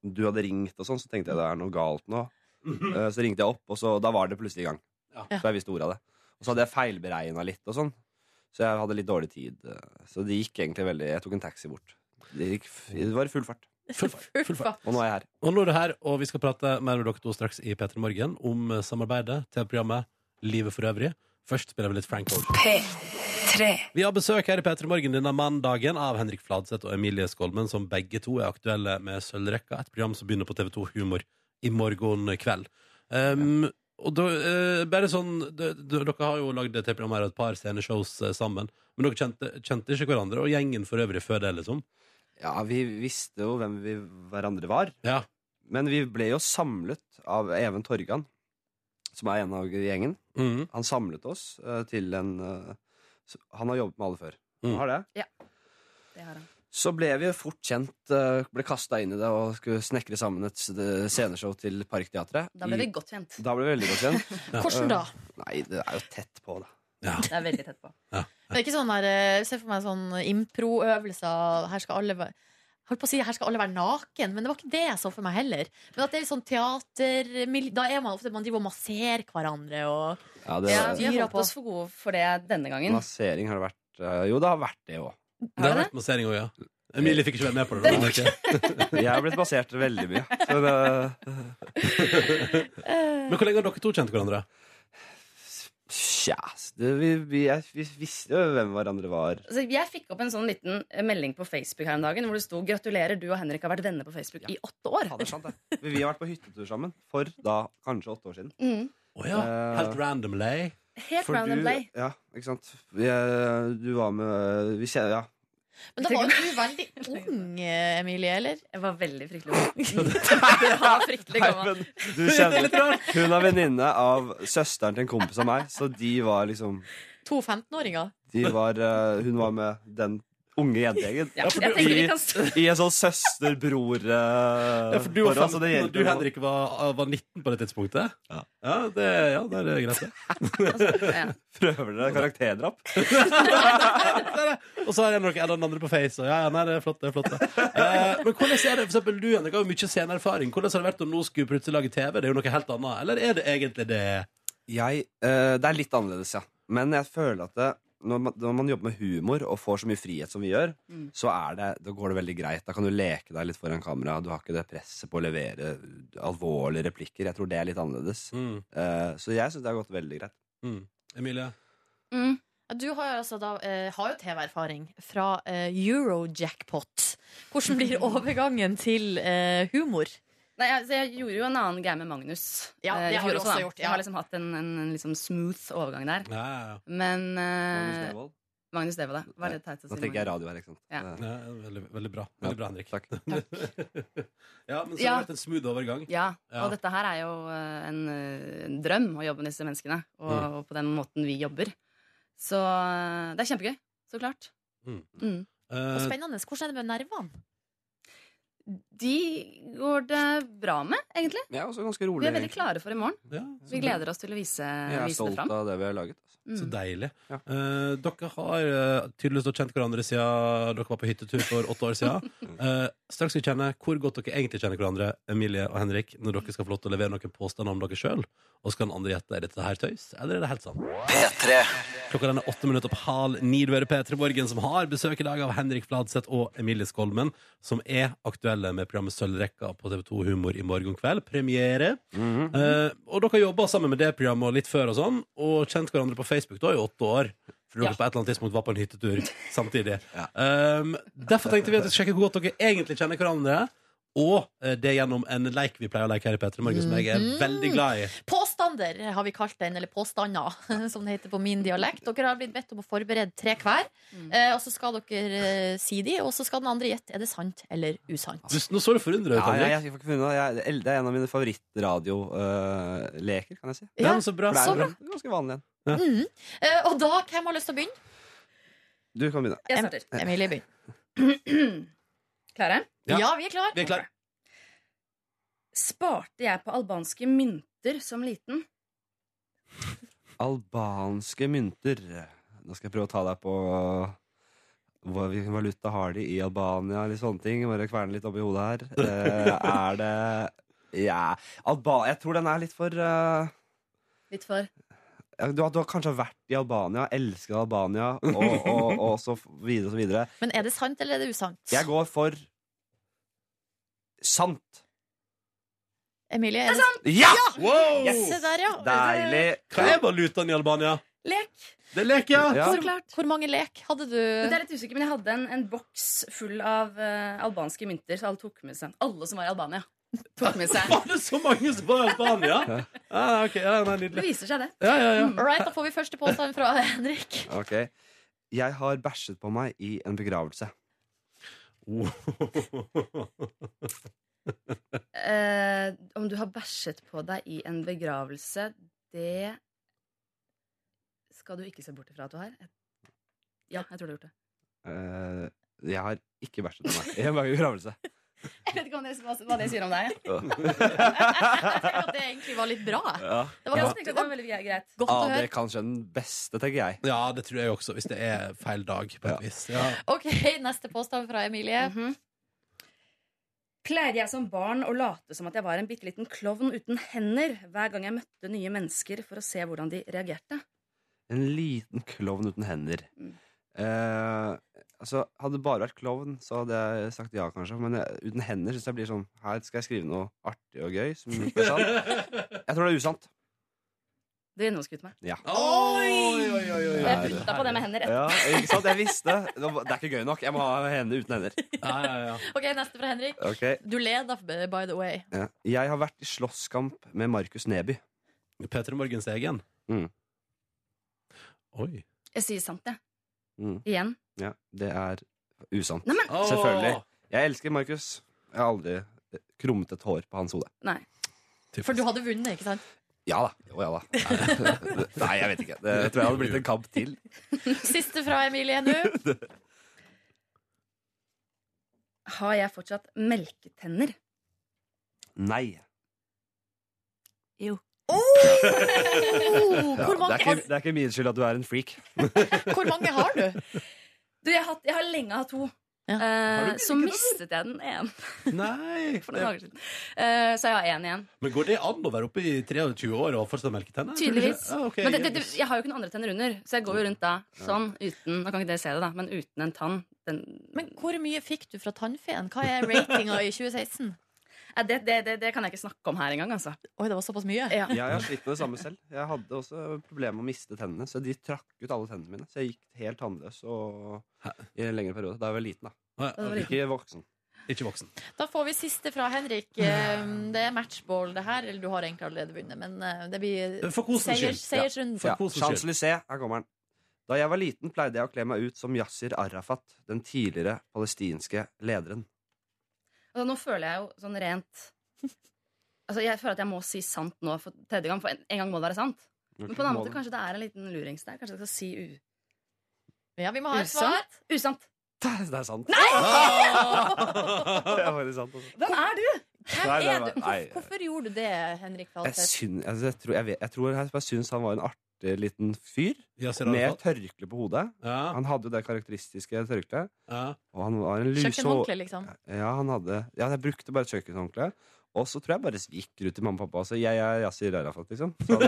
Du hadde ringt og sånn, så tenkte jeg det er noe galt nå. Eh, Så ringte jeg opp, og så, da var det plutselig i gang. Ja. Så jeg visste ordet av det. Og så hadde jeg feilberegna litt, og sånn så jeg hadde litt dårlig tid. eh, Så det gikk egentlig veldig Jeg tok en taxi bort. Det, gikk, f- det var i full fart. Full fart, full fart. Og nå er jeg her. Og nå er det her, og vi skal prate mer med dere to straks i P3 Morgen om eh, samarbeidet til programmet Livet for øvrig. Først spiller vi litt Frank Ocean. Vi har besøk her i P3 Morgen denne mandagen av Henrik Fladseth og Emilie Skolmen, som begge to er aktuelle med Sølvrekka, et program som begynner på TV2 Humor i morgen kveld. Um, Og da, eh, bare sånn, d- d- Dere har jo lagd et program her og et par sceneshows eh, sammen, men dere kjente, kjente ikke hverandre, og gjengen for øvrig før det, liksom? Ja, vi visste jo hvem vi hverandre var. Ja. Men vi ble jo samlet av Even Torgan, som er en av gjengen. Mhm. Han samlet oss eh, til en eh, s- Han har jobbet med alle før. Han Mm. har det. Det har han. Så ble vi fort kjent, eh, ble kasta inn i det og skulle snekre sammen et s- det sceneshow til Parkteatret. Da ble vi I- godt kjent. da ble vi veldig godt kjent. Hvordan da? Nei, det er jo tett på, da. ja. Det er veldig tett på. Men det er ikke sånn der, eh, Se for meg sånn improøvelser. Her skal alle være jeg holdt på å si her skal alle være naken, men det var ikke det jeg så for meg heller. Men at det er litt sånn teater Da er man ofte Man driver og masserer hverandre og Ja, Ja, altså, det, vi har Fyra holdt på. oss for gode for det denne gangen. massering har det vært. eh, jo, det har vært det òg. Det har det? vært massering òg, ja. Emilie fikk ikke være med på det. men ok. Jeg har blitt massert veldig mye. Så det, Men hvor lenge har dere to kjent hverandre? tja, det, vi, vi, jeg, vi visste jo hvem hverandre var. Altså, jeg fikk opp en sånn liten eh, melding på Facebook her om dagen hvor det sto 'Gratulerer, du og Henrik har vært venner på Facebook i åtte år'. Ja, det er sant, det. Vi har vært på hyttetur sammen for da kanskje åtte år siden. Mm. Å ja. Eh, Helt randomly. Helt For random du- day. Ja, ikke sant. Jeg, du var med vi kje- ja. Men da var jo du veldig ung, eh, Emilie, eller? Jeg var veldig fryktelig ung. Jeg var fryktelig gammel. Du kjenner Hun er venninne av søsteren til en kompis av meg, så de var liksom To 15-åringer? de var, eh, Hun var med den unge jentegjengen. Ja, jeg tenker vi kan stå I en sånn søster-bror-forhold. Ja, for du, var så det 15, og du hjelper. Henrik, var, var 19 på det tidspunktet. Ja. det, ja det er greit, det. altså. ja. Prøver dere karakterdrap? Og så er det noen eller den andre på face. Og ja, ja, nei, det er flott, det er flott. Det. Eh, men hvordan er det, for eksempel, du Henrik har jo mye sceneerfaring. Hvordan har det vært om nå skulle plutselig lage TV? Det er jo noe helt annet. Eller er det egentlig det? Jeg, eh, det er litt annerledes, ja. Men jeg føler at det, når, man, når man jobber med humor og får så mye frihet som vi gjør, Mm. så er det, da går det veldig greit. Da kan du leke deg litt foran kamera. Du har ikke det presset på å levere alvorlige replikker. Jeg tror det er litt annerledes. Mm, Eh, så jeg syns det har gått veldig greit. mm. Emilie? Mm. Ja, Du har jo, altså da, eh, har jo TV-erfaring fra eh, Eurojackpot. Hvordan blir overgangen til eh, humor? Nei, jeg, så jeg gjorde jo en annen greie med Magnus. Ja, eh, det i har fjor du også da. gjort, ja. Jeg har liksom hatt en, en, en liksom smooth overgang der. Ja, ja, ja. Men Magnus eh, Devold. Magnus Devold, da. Hva er det teit å Nå si? tenker jeg Magnus? radio her, ikke sant. Ja. Eh, Ja, veldig, veldig bra. Veldig bra, Henrik. Takk. ja, men så har Ja. det vært en smooth overgang. Ja, Ja. og dette her er jo eh, en, eh, en drøm å jobbe med disse menneskene, og, Mm. og på den måten vi jobber. Så eh, det er kjempegøy, så klart. Mm. Mm. Og Eh, spennende, Hvordan er det med nervene? De går det bra med, egentlig. Vi er også ganske rolig. Vi er veldig egentlig. klare for i morgen. Eh, ja, Vi gleder oss til å vise, Jeg er vise det stolt fram. av det vi har laget. Altså. så Mm. deilig. Ja. Eh, dere har eh, tydeligvis da kjent hverandre siden dere var på hyttetur for åtte år siden. Eh, straks skal vi kjenne hvor godt dere egentlig kjenner hverandre, Emilie og Henrik, når dere skal få lov til å levere noen påstander om dere sjøl. Og så kan andre gjette er dette her tøys, eller er det helt sant? Klokka den er åtte minutter på halv ni. Du hører P3 Borgen, som har besøk i dag av Henrik Fladseth og Emilie Skolmen, som er aktuelle med programmet Sølvrekka på TV2 Humor i morgen kveld. Premiere. Eh, og dere jobba sammen med det programmet og litt før og sånn, og kjent hverandre på Facebook da i åtte år. For dere Ja. på et eller annet tidspunkt var på en hyttetur samtidig. Ja. Um, derfor tenkte vi at vi skulle sjekke hvor godt dere egentlig kjenner hverandre. Og eh, det gjennom en leik vi pleier å leke her i P3 Morgen, som jeg er Mhm. veldig glad i. Påstander har vi kalt den, eller påstander, som det heter på min dialekt. Dere har blitt bedt om å forberede tre hver, Mm. eh, og så skal dere eh, si de, og så skal den andre gjette er det sant eller usant. Du, nå så du forundret ut, Ja, jeg, Henrik. jeg får ikke finne det. Jeg, det er en av mine favorittradioleker, kan jeg si. Ja, men så bra. For det Så er bra. jo ganske vanlig en. Mhm. Eh, og da, hvem har lyst til å begynne? Du kan begynne. Jeg starter. Emilie, begynn. Klare? Ja. Ja. vi er klar. Vi er klare. Sparte jeg på albanske mynter som liten? Albanske mynter. Nå skal jeg prøve å ta deg på hva, hvilken valuta har de i Albania, eller sånne ting. Bare kverne litt oppi hodet her. Eh, er det Ja. Alba jeg tror den er litt for eh, Litt for du, har, du har kanskje vært i Albania, elsker Albania, og, og, og så videre og så videre. Men er det sant eller er det usant? Jeg går for sant. Emilie, er det sant? Ja! Wow! Yes! Se der, ja. Deilig. Hva er valutaen i Albania? lek. Det er lek, ja! Ja. Så klart. Hvor mange lek hadde du? Men det er litt usikker, men jeg hadde en, en boks full av eh, albanske mynter, så alle tok med seg Alle som var i Albania, tok med seg. Var det så mange som var i Albania? Ja, ok, ja, nei, Det nydelig. viser seg, det. Ja, ja, ja. All right, da får vi første påstand fra Henrik. Ok. Jeg har bæsjet på meg i en begravelse. Eh, om du har bæsjet på deg i en begravelse, det skal du ikke se bort ifra at du har. Jeg- Ja, jeg tror du har gjort det. Eh, jeg har ikke bæsjet på meg i en begravelse. Jeg vet ikke hva det, hva det sier om deg. Jeg tenker at det egentlig var litt bra. Ja. Det var Jeg godt, tenkte det var veldig greit. godt å Ah, det høre. er kanskje den beste, tenker jeg. ja, det tror jeg også, hvis det er feil dag, på et vis. Ja. Ok, Neste påstand fra Emilie. Mhm. Pleide jeg som barn å late som at jeg var en bitte liten klovn uten hender hver gang jeg møtte nye mennesker for å se hvordan de reagerte? En liten klovn uten hender. Mm. Eh, altså, hadde det bare vært klovn, så hadde jeg sagt ja, kanskje. Men jeg, uten hender syns jeg blir sånn Her skal jeg skrive noe artig og gøy. Som ikke er sant. Jeg tror det er usant. Det gjennomskuet meg. Oi, oi, oi, oi. Jeg putta på det med hender. Ja, ikke sant? Jeg visste. Det var- det er ikke gøy nok. Jeg må ha hender uten hender. Ja, ja, ja. Ok, Neste fra Henrik. Ok Du leder, by the way. Ja. Jeg har vært i slåsskamp med Markus Neby. Peter Morgens egen. Mm. Oi. Jeg sier sant, jeg. Mm. Igjen. Ja, det er usant. Nei, men Selvfølgelig. Jeg elsker Markus. Jeg har aldri eh, krummet et hår på hans hode. Nei. For du hadde vunnet, ikke sant? Ja da. Jo, ja da. Nei, Nei, jeg vet ikke. Det jeg tror jeg hadde blitt en kamp til. Siste fra Emilie nå. Har jeg fortsatt melketenner? Nei. Oh, Ja, hvor, det, er mange ikke, har, det er ikke min skyld at du er en freak. hvor mange har du? Du, jeg har, hatt- jeg har lenge hatt to. Ja. Eh, Har du så mistet jeg den ene Nei. for noen dager siden. Eh, så jeg har én igjen. Men går det an å være oppe i 23 år og fortsatt ha melketenner? Tydeligvis. Ja, Ah, ok, Men det, det, det, yes. jeg har jo ikke noen andre tenner under, så jeg går jo rundt da sånn uten Nå kan ikke dere se det, da, men uten en tann. Den, Men hvor mye fikk du fra tannfeen? Hva er ratinga i 2016? Nei, Det, det, det, det kan jeg ikke snakke om her engang, altså. Oi, det var såpass mye. Ja. Jeg har slitt med det samme selv. Jeg hadde også problemer med å miste tennene, så de trakk ut alle tennene mine. Så jeg gikk helt tannløs og, i en lengre periode. Da jeg var liten, da. Nei, var Ikke voksen. Ikke voksen. Da får vi siste fra Henrik. Eh, Det er matchball, det her. Eller du har egentlig allerede vunnet, men eh, det blir For kosens seier- skyld. seiersrunden. For Ja, kosens skyld. Champs-Élysées. Her kommer den. Da jeg var liten, pleide jeg å kle meg ut som Yasir Arafat, den tidligere palestinske lederen. Altså, nå føler jeg jo sånn rent Altså, Jeg føler at jeg må si sant nå for tredje gang, for en, en gang må det være sant. Men på en annen måte, kanskje det er en liten lurings der. Kanskje jeg skal si u Ja, vi må ha et svar. usant? Usant. Det er sant. Nei! det er faktisk sant. Altså. Hvem er du? Hvem Nei, det er var- du? nei. Hvorfor, hvorfor gjorde du det, Henrik Jeg, Fladseth? syn, altså, jeg, tror, jeg, vet, jeg tror jeg bare syns han var en artig liten fyr Ja, ser du med det? tørkle på hodet. Ja, Han hadde jo det karakteristiske tørkleet. ja. Og han var en lus og Kjøkkenhåndkle, liksom. Ja, han hadde Ja, jeg brukte bare et kjøkkenhåndkle. Og så tror jeg bare gikk ut til mamma og pappa og sa jeg er Yasir Arafat, liksom. Så, Og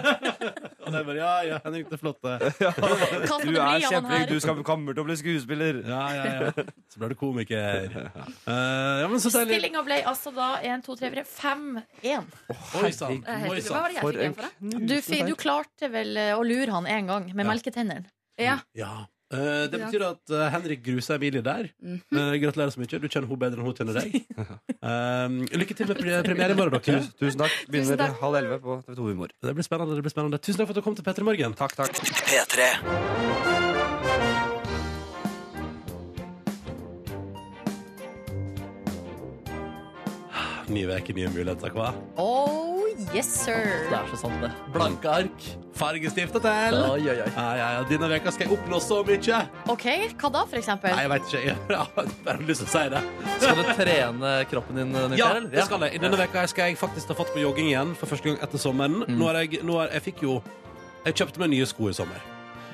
det er bare, ja, ja, Henrik, det er flott, det. Hva skal du det er bli av han kjempeflink, her? du skal, kommer til å bli skuespiller! Ja, ja, ja. Så ble du komiker. Eh, ja, men så deilig. Stillinga ble altså da 1, 2, 3, 4, 5, 1. Oi sann. Det er helt Oi utrolig. Eh, Hva sann. var det jeg fikk igjen for det? Du, fi- du klarte vel eh, å lure han en gang med Ja. melketennene. Ja. Ja. Eh, det betyr at eh, Henrik gruser Emilie der. Mhm. Eh, gratulerer så mye. Du kjenner henne bedre enn hun kjenner deg. Eh, lykke til med pre- premiere i morgen, dere. Tusen, tusen takk. Begynner Tusen takk. halv elleve på TV2 Humor. Det blir spennende. det blir spennende Tusen takk for at du kom til Petter i Morgen. Takk, takk. Ny uke, nye muligheter, hva? Oh yes, Det sir. er så sant, det. Mm. Blanke ark. Fargestifta til! Oi, oi, oi. Ja, ja, ja. Denne veka skal jeg oppnå så mye! OK, hva da, for eksempel? Nei, jeg veit ikke. Jeg har bare lyst til å si det. Skal du trene kroppen din? Nikkel, Ja, eller? det skal jeg. Denne veka skal jeg faktisk ta fatt på jogging igjen for første gang etter sommeren. Mm. Nå har jeg, nå har, jeg fikk jo Jeg kjøpte meg nye sko i sommer.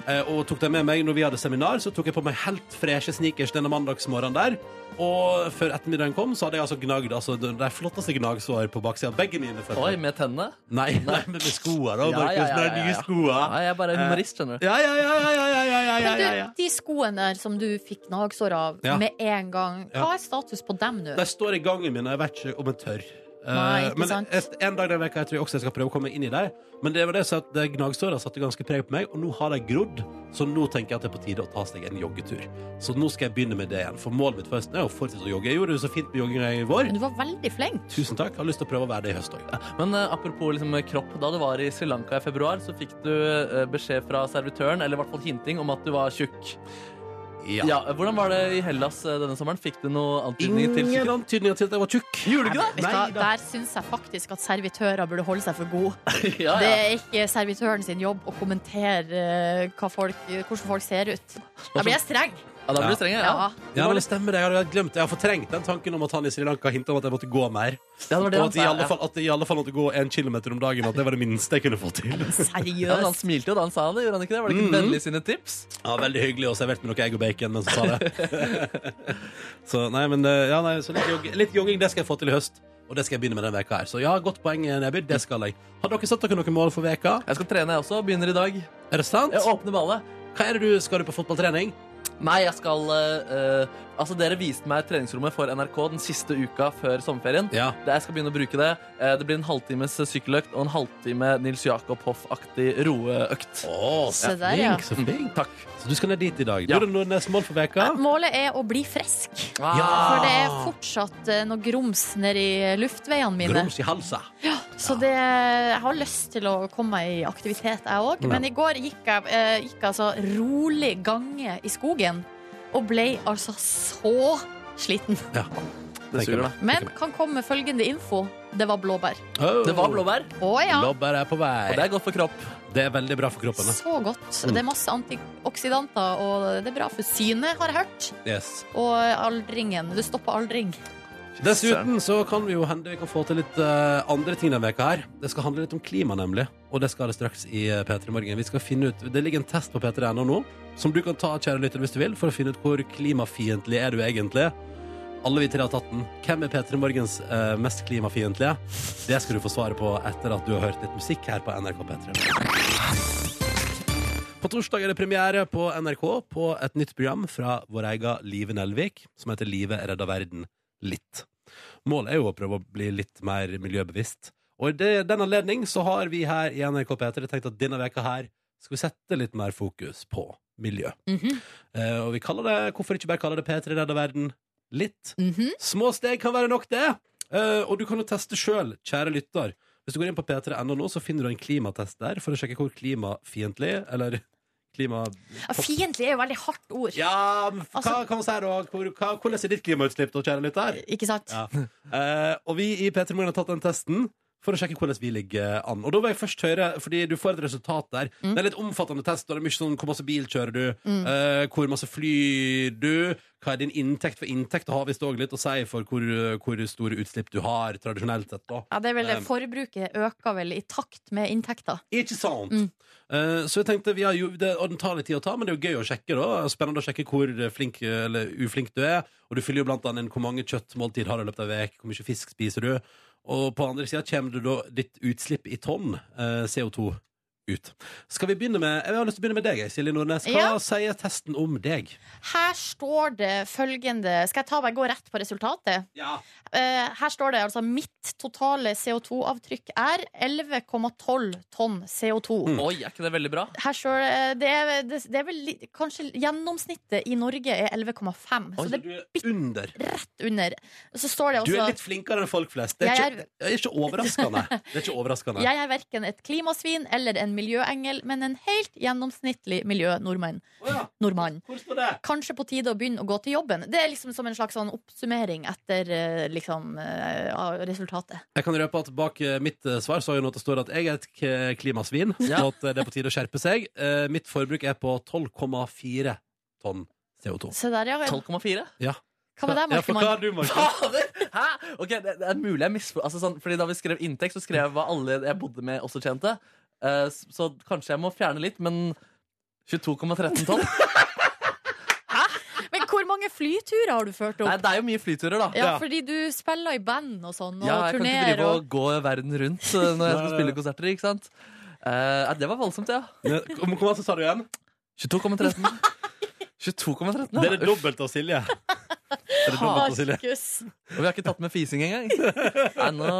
Eh, og tok dem med meg når vi hadde seminar, så tok jeg på meg helt freshe sneakers denne mandagsmorgenen der. Og før ettermiddagen kom, så hadde jeg altså gnagd altså, det det flotteste gnagsår på baksida av begge mine føtter. Oi, med tennene? Nei, nei, men med skoa, da. Ja, Markus, ja, ja, med de ja, nye ja. skoa. Nei, jeg er Eh. bare humorist, skjønner du. Ja, ja, ja, ja, ja, ja, ja, ja, Men ja, du, ja. de skoene der som du fikk gnagsår av Ja. med en gang, Ja. hva er status på dem nå? De står i gangen min, og jeg vet ikke om jeg tør. Eh, Nei, ikke men sant. et, en dag den veka jeg tror jeg også jeg skal prøve å komme inn i det. Men det var det så at det gnagsåra satte ganske preg på meg, og nå har de grodd. Så nå tenker jeg at det er på tide å ta seg en joggetur. Så nå skal jeg begynne med det igjen. For målet mitt først er å fortsette å jogge. Jeg gjorde det så fint med jogginga i vår. Men Du var veldig flink. Tusen takk. Jeg har lyst til å prøve å være det i høst òg. Men eh, apropos liksom, kropp. Da du var i Sri Lanka i februar, så fikk du eh, beskjed fra servitøren, eller i hvert fall hinting, om at du var tjukk. Ja. Ja. Hvordan var det i Hellas eh, denne sommeren? Fikk du noe antydninger til Ingen tjukkhet? antydninger til at jeg var tjukk. Gjorde ikke Vet du hva, der syns jeg faktisk at servitører burde holde seg for gode. Ja, Det ja. er ikke servitøren sin jobb å kommentere eh, hva folk, hvordan folk ser ut. Da blir jeg streng. ja, da blir du streng, ja. Ja. Ja, men det stemmer. det. Jeg har glemt det. Jeg har fortrengt den tanken om at han i Sri Lanka hinta om at jeg måtte gå mer. Ja, det var det og han at jeg, i sa, alle ja. fall, at jeg i alle fall måtte gå en kilometer om dagen. At det var det minste jeg kunne få til. Ja, men han Seriøst. smilte jo da han sa det, gjorde han ikke det? Var det ikke Mm. vennlig sine tips? Ja, veldig hyggelig og servert med noe egg og bacon mens hun sa det. så nei, men eh, ja, nei, så litt, jogg, litt jogging, det skal jeg få til i høst. Og det skal jeg begynne med denne veka her. Så ja, godt poeng, eh, Neby. Det skal jeg. Har dere satt dere noen mål for veka? Jeg skal trene, jeg også. Begynner i dag. Er det sant? Jeg åpner ballet. Hva er det du skal du på fotballtrening? Nei, jeg skal eh, eh, Altså, dere viste meg treningsrommet for NRK den siste uka før sommerferien. Ja. Det- Jeg skal begynne å bruke det. Eh, Det blir en halvtimes sykkeløkt og en halvtime Nils Jakob Hoff-aktig roeøkt. Å, så Se der, flink, ja. så flink. Takk. Så du skal ned dit i dag. Ja. Du er Nordnes mål for veka. Målet er å bli frisk. Ja. Ah, For det er fortsatt eh, noe grums nedi luftveiene mine. Grums i halsa. Så det, jeg har lyst til å komme meg i aktivitet, jeg òg. Men i går gikk jeg, eh, gikk altså rolig gange i skogen og ble altså så sliten. Ja. Det suger, da. Men kan komme med følgende info. Det var blåbær. Oh. Det var blåbær, Å ja, Blåbær er på vei. og det er godt for kropp. Det er veldig bra for kroppen. da. så godt. Det er masse antioksidanter, og det er bra for synet, har jeg hørt. Yes. Og aldringen. Du stopper aldring. Dessuten så kan vi jo hende vi kan få til litt eh, andre ting denne veka her. Det skal handle litt om klima, nemlig. Og det skal det straks i eh, P3 Morgen. Vi skal finne ut, Det ligger en test på p3.no nå, som du kan ta kjære lytter, hvis du vil, for å finne ut hvor klimafiendtlig er du egentlig. Alle vi tre har tatt den. Hvem er P3 Morgens eh, mest klimafiendtlige? Det skal du få svaret på etter at du har hørt litt musikk her på NRK P3. På torsdag er det premiere på NRK på et nytt program fra vår egen Live Nelvik, som heter Livet redder verden litt. Målet er jo å prøve å bli litt mer miljøbevisst. Og i det- den anledning så har vi her i NRK P3 tenkt at denne veka her skal vi sette litt mer fokus på miljø. Mhm. Eh, og vi kaller det, hvorfor ikke bare kalle det P3 Redda Verden? Litt. Mhm. Små steg kan være nok det. Eh, og du kan jo teste sjøl, kjære lytter. Hvis du går inn på p3.no nå, så finner du en klimatest der for å sjekke hvor klimafiendtlig eller klima... Ja, Fiendtlig er jo veldig hardt ord. Ja, men hva Altså- kan vi si da? Hvor, hva, hvordan er ditt klimautslipp da, kjære lytter? Ikke sant? Ja. Eh, og vi i P3 Morgen har tatt den testen for å sjekke hvordan vi ligger an. Og da vil jeg først høre, fordi du får et resultat der. Det er litt omfattende test, og det er mye sånn hvor masse bil kjører du, eh, hvor masse flyr du, hva er din inntekt for inntekt, har visst òg litt å si for hvor, hvor store utslipp du har, tradisjonelt sett. da. Ja, det er vel det. Um, Forbruket øker vel i takt med inntekta. Ikke sant? Mm. Eh, så jeg tenkte, vi har jo, det, og Den tar litt tid å ta, men det er jo gøy å sjekke. da Spennende å sjekke hvor flink eller uflink du er. Og Du fyller jo blant annet inn hvor mange kjøttmåltid har du i løpet av en uke, hvor mye fisk spiser du. Og på andre sida kommer du da ditt utslipp i tonn eh, CO2 ut. Skal vi begynne med, Jeg har lyst til å begynne med deg, Silje Nordnes. Hva Ja. sier testen om deg? Her står det følgende Skal jeg ta meg gå rett på resultatet? Ja. Eh, her står det altså mitt totale CO2-avtrykk er 11,12 tonn CO2. Hmm. Oi, er ikke det veldig bra? Her står det, eh, det, er, det, det er vel litt- kanskje gjennomsnittet i Norge er 11,5. Så Altså, det du er under. er rett under. Så står det altså, Du også er litt flinkere enn folk flest. Det er, Jeg ikke, det er ikke overraskende. Det er ikke overraskende. Jeg er verken et klimasvin eller en miljøengel, men en helt gjennomsnittlig miljønordmann. Å ja, Nordmann. hvor står det? Kanskje på tide å begynne å gå til jobben. Det er liksom som en slags sånn oppsummering etter eh, liksom, eh, av resultatet. Jeg kan røpe at Bak eh, mitt eh, svar så har jeg nå at det står at jeg er et k- klimasvin, Ja. og at eh, det er på tide å skjerpe seg. Eh, Mitt forbruk er på 12,4 tonn CO2. Se der, ja. 12,4? Hva med deg, Ja, for hva Markemann? har du, Markus? Fader! Hæ? Ok, det, det er mulig jeg misfor... Altså, sånn, fordi da vi skrev inntekt, så skrev jeg hva alle jeg bodde med, også tjente. Eh, s- så kanskje jeg må fjerne litt, men 22,13 tonn? Men hvor mange flyturer har du ført Nei, opp? det er jo mye flyturer, da. Ja, fordi du spiller i band og sånn, og Ja, jeg kan ikke turnerer drive og og gå verden rundt eh, når jeg skal spille konserter, ikke sant? Eh, det var voldsomt, ja. Ja, Hvor hvor masse sa du igjen? 22,13. 22,13, ja. Det er det dobbelte av Silje. Det er det dobbelte av Silje. Markus. Og vi har ikke tatt med fising engang. Nei, nå...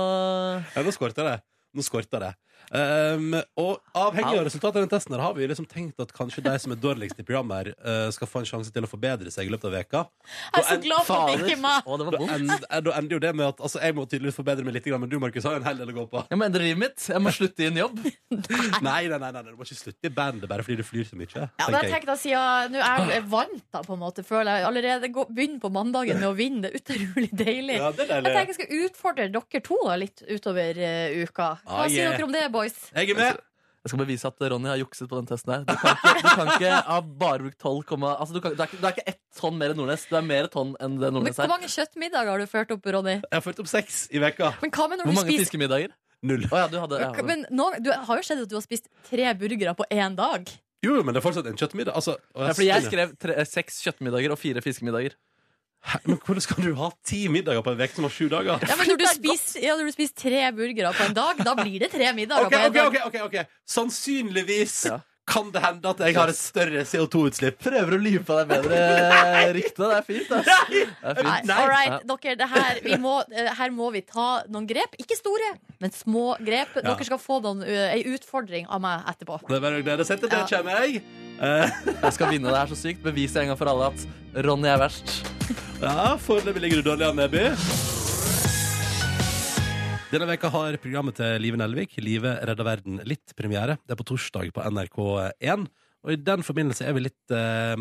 Ja, nå skorter det. Nå skorter det. Um, og avhengig Au. av resultatet av den testen her, har vi liksom tenkt at kanskje de som er dårligst i programmet, her, eh, skal få en sjanse til å forbedre seg i løpet av veka. Jeg er så glad for at det ikke er meg. Å, det var Da, vondt. end, eh, da ender jo det med at altså, jeg må tydeligvis forbedre meg litt, grann, men du Markus, har jo en hel del å gå på. Jeg må endre livet mitt. Jeg må slutte i en jobb. Nei, nei, nei, nei, du må ikke slutte i bandet bare fordi du flyr så mye. Ja, men jeg tenkte å si ja, Nå er jeg vant, da, på en måte. Føler jeg allerede gå- begynner på mandagen med å vinne. Det er utrolig deilig. Ja, det er Jeg deilig. tenker jeg skal utfordre dere to da, litt utover eh, uka. Hva Ah, yeah. sier dere om det, boys? Jeg er med! Jeg skal bevise at Ronny har jukset på den testen her. Du kan ikke, du kan ikke ha bare brukt 12, komma- altså, du, kan, du, er ikke, du er ikke ett tonn mer enn Nordnes. Du er mer tonn enn det Men Nordnes Hvor er. mange kjøttmiddager har du ført opp, Ronny? Jeg har ført opp seks i veka. Men hva med når du Hvor mange spiser fiskemiddager? Null. Å ja, du hadde ja. men noen, Du har jo sett at du har spist tre burgere på én dag. Jo, men det er fortsatt en kjøttmiddag. Altså, og Ja, fordi jeg spinner. skrev tre, seks kjøttmiddager og fire fiskemiddager. Hæ, Men hvordan skal du ha ti middager på en veke som har sju dager? Ja, men når du, spiser, ja, når du spiser tre burgere på en dag, da blir det tre middager Ok, på en ok, dag. ok, ok, ok Sannsynligvis Ja. kan det hende at jeg har et større CO2-utslipp. Prøver å lyve på deg bedre rykte. Det er fint. ass. Det er Nei, fint. all right, dere, det her, vi må, eh, her må vi ta noen grep. Ikke store, men små grep. Ja. Dere skal få noen, eh, ei utfordring av meg etterpå. Det er bare å glede seg til det, Ja. kommer jeg. Eh, Jeg skal vinne det her så sykt. Bevise en gang for alle at Ronny er verst. ja, Foreløpig ligger du dårlig an, Neby. Denne veka har programmet til Live Nelvik, Live redder verden, litt premiere. Det er på torsdag på NRK1. Og i den forbindelse er vi litt eh,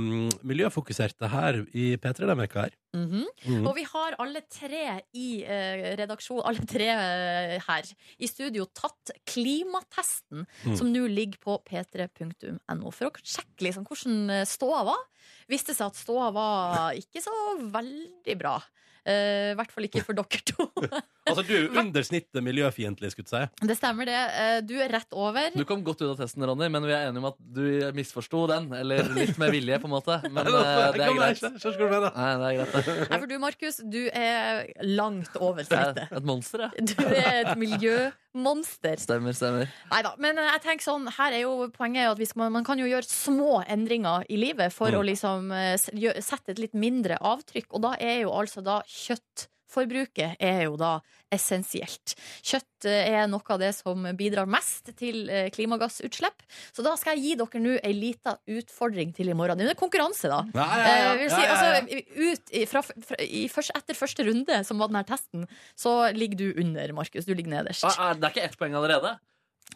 miljøfokuserte her i P3 denne veka her. Mhm. Mm. Mhm. Og vi har alle tre i eh, redaksjon, alle tre eh, her i studio, tatt klimatesten Mm. Mhm. som nå ligger på p3.no, for å sjekke liksom hvordan eh, ståa var. Viste seg at ståa var ikke så veldig bra. Eh, I hvert fall ikke for dere to. Altså, du er jo under snittet miljøfiendtlig, skulle jeg si. Det stemmer, det. Eh, Du er rett over. Du kom godt ut av testen, Ronny, men vi er enige om at du misforsto den. Eller litt med vilje, på en måte. Men eh, det er greit. Eh, Jeg skjønner hva du mener. Nei, det er greit. det. Nei, for du, Markus, du er langt over Jeg er snittet. et monster, jeg. Du er et miljømonster. Stemmer, stemmer. Nei da. Men jeg tenker sånn, her er jo poenget er jo at vi skal, man kan jo gjøre små endringer i livet for Mm. å liksom eh, s- gjø- sette et litt mindre avtrykk. Og da er jo altså da kjøtt kjøttforbruket er jo da essensielt. Kjøtt eh, er noe av det som bidrar mest til eh, klimagassutslipp. Så da skal jeg gi dere nå ei lita utfordring til i morgen. Det er en konkurranse, da. Ja, ja, ja, Eh, vil si, altså, ut i- fra, fra, i først, etter første runde, som var denne testen, så ligger du under, Markus. Du ligger nederst. Ah, er- Det er ikke ett poeng allerede.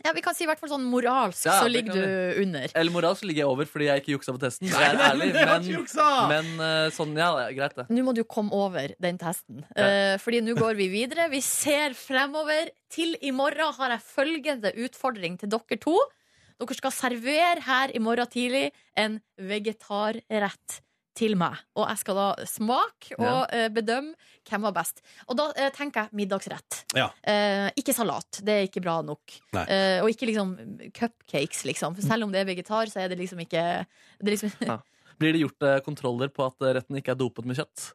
Ja, Vi kan si i hvert fall sånn moralsk, Ja, så det ligger kan du under. Eller moralsk ligger jeg over fordi jeg ikke juksa på testen. Jeg er ærlig, men, men eh, sånn, ja, det er greit, det. Nå må du komme over den testen. Ja. Eh, Fordi nå går vi videre. Vi ser fremover. Til i morgen har jeg følgende utfordring til dere to. Dere skal servere her i morgen tidlig en vegetarrett til meg. Og jeg skal da smake og Ja. eh, bedømme hvem var best. Og da eh, tenker jeg middagsrett. Ja. Eh, ikke salat. Det er ikke bra nok. Nei. Eh, og ikke liksom cupcakes, liksom. For selv om det er vegetar, så er det liksom ikke det er liksom, Blir det gjort eh, kontroller på at eh, retten ikke er dopet med kjøtt?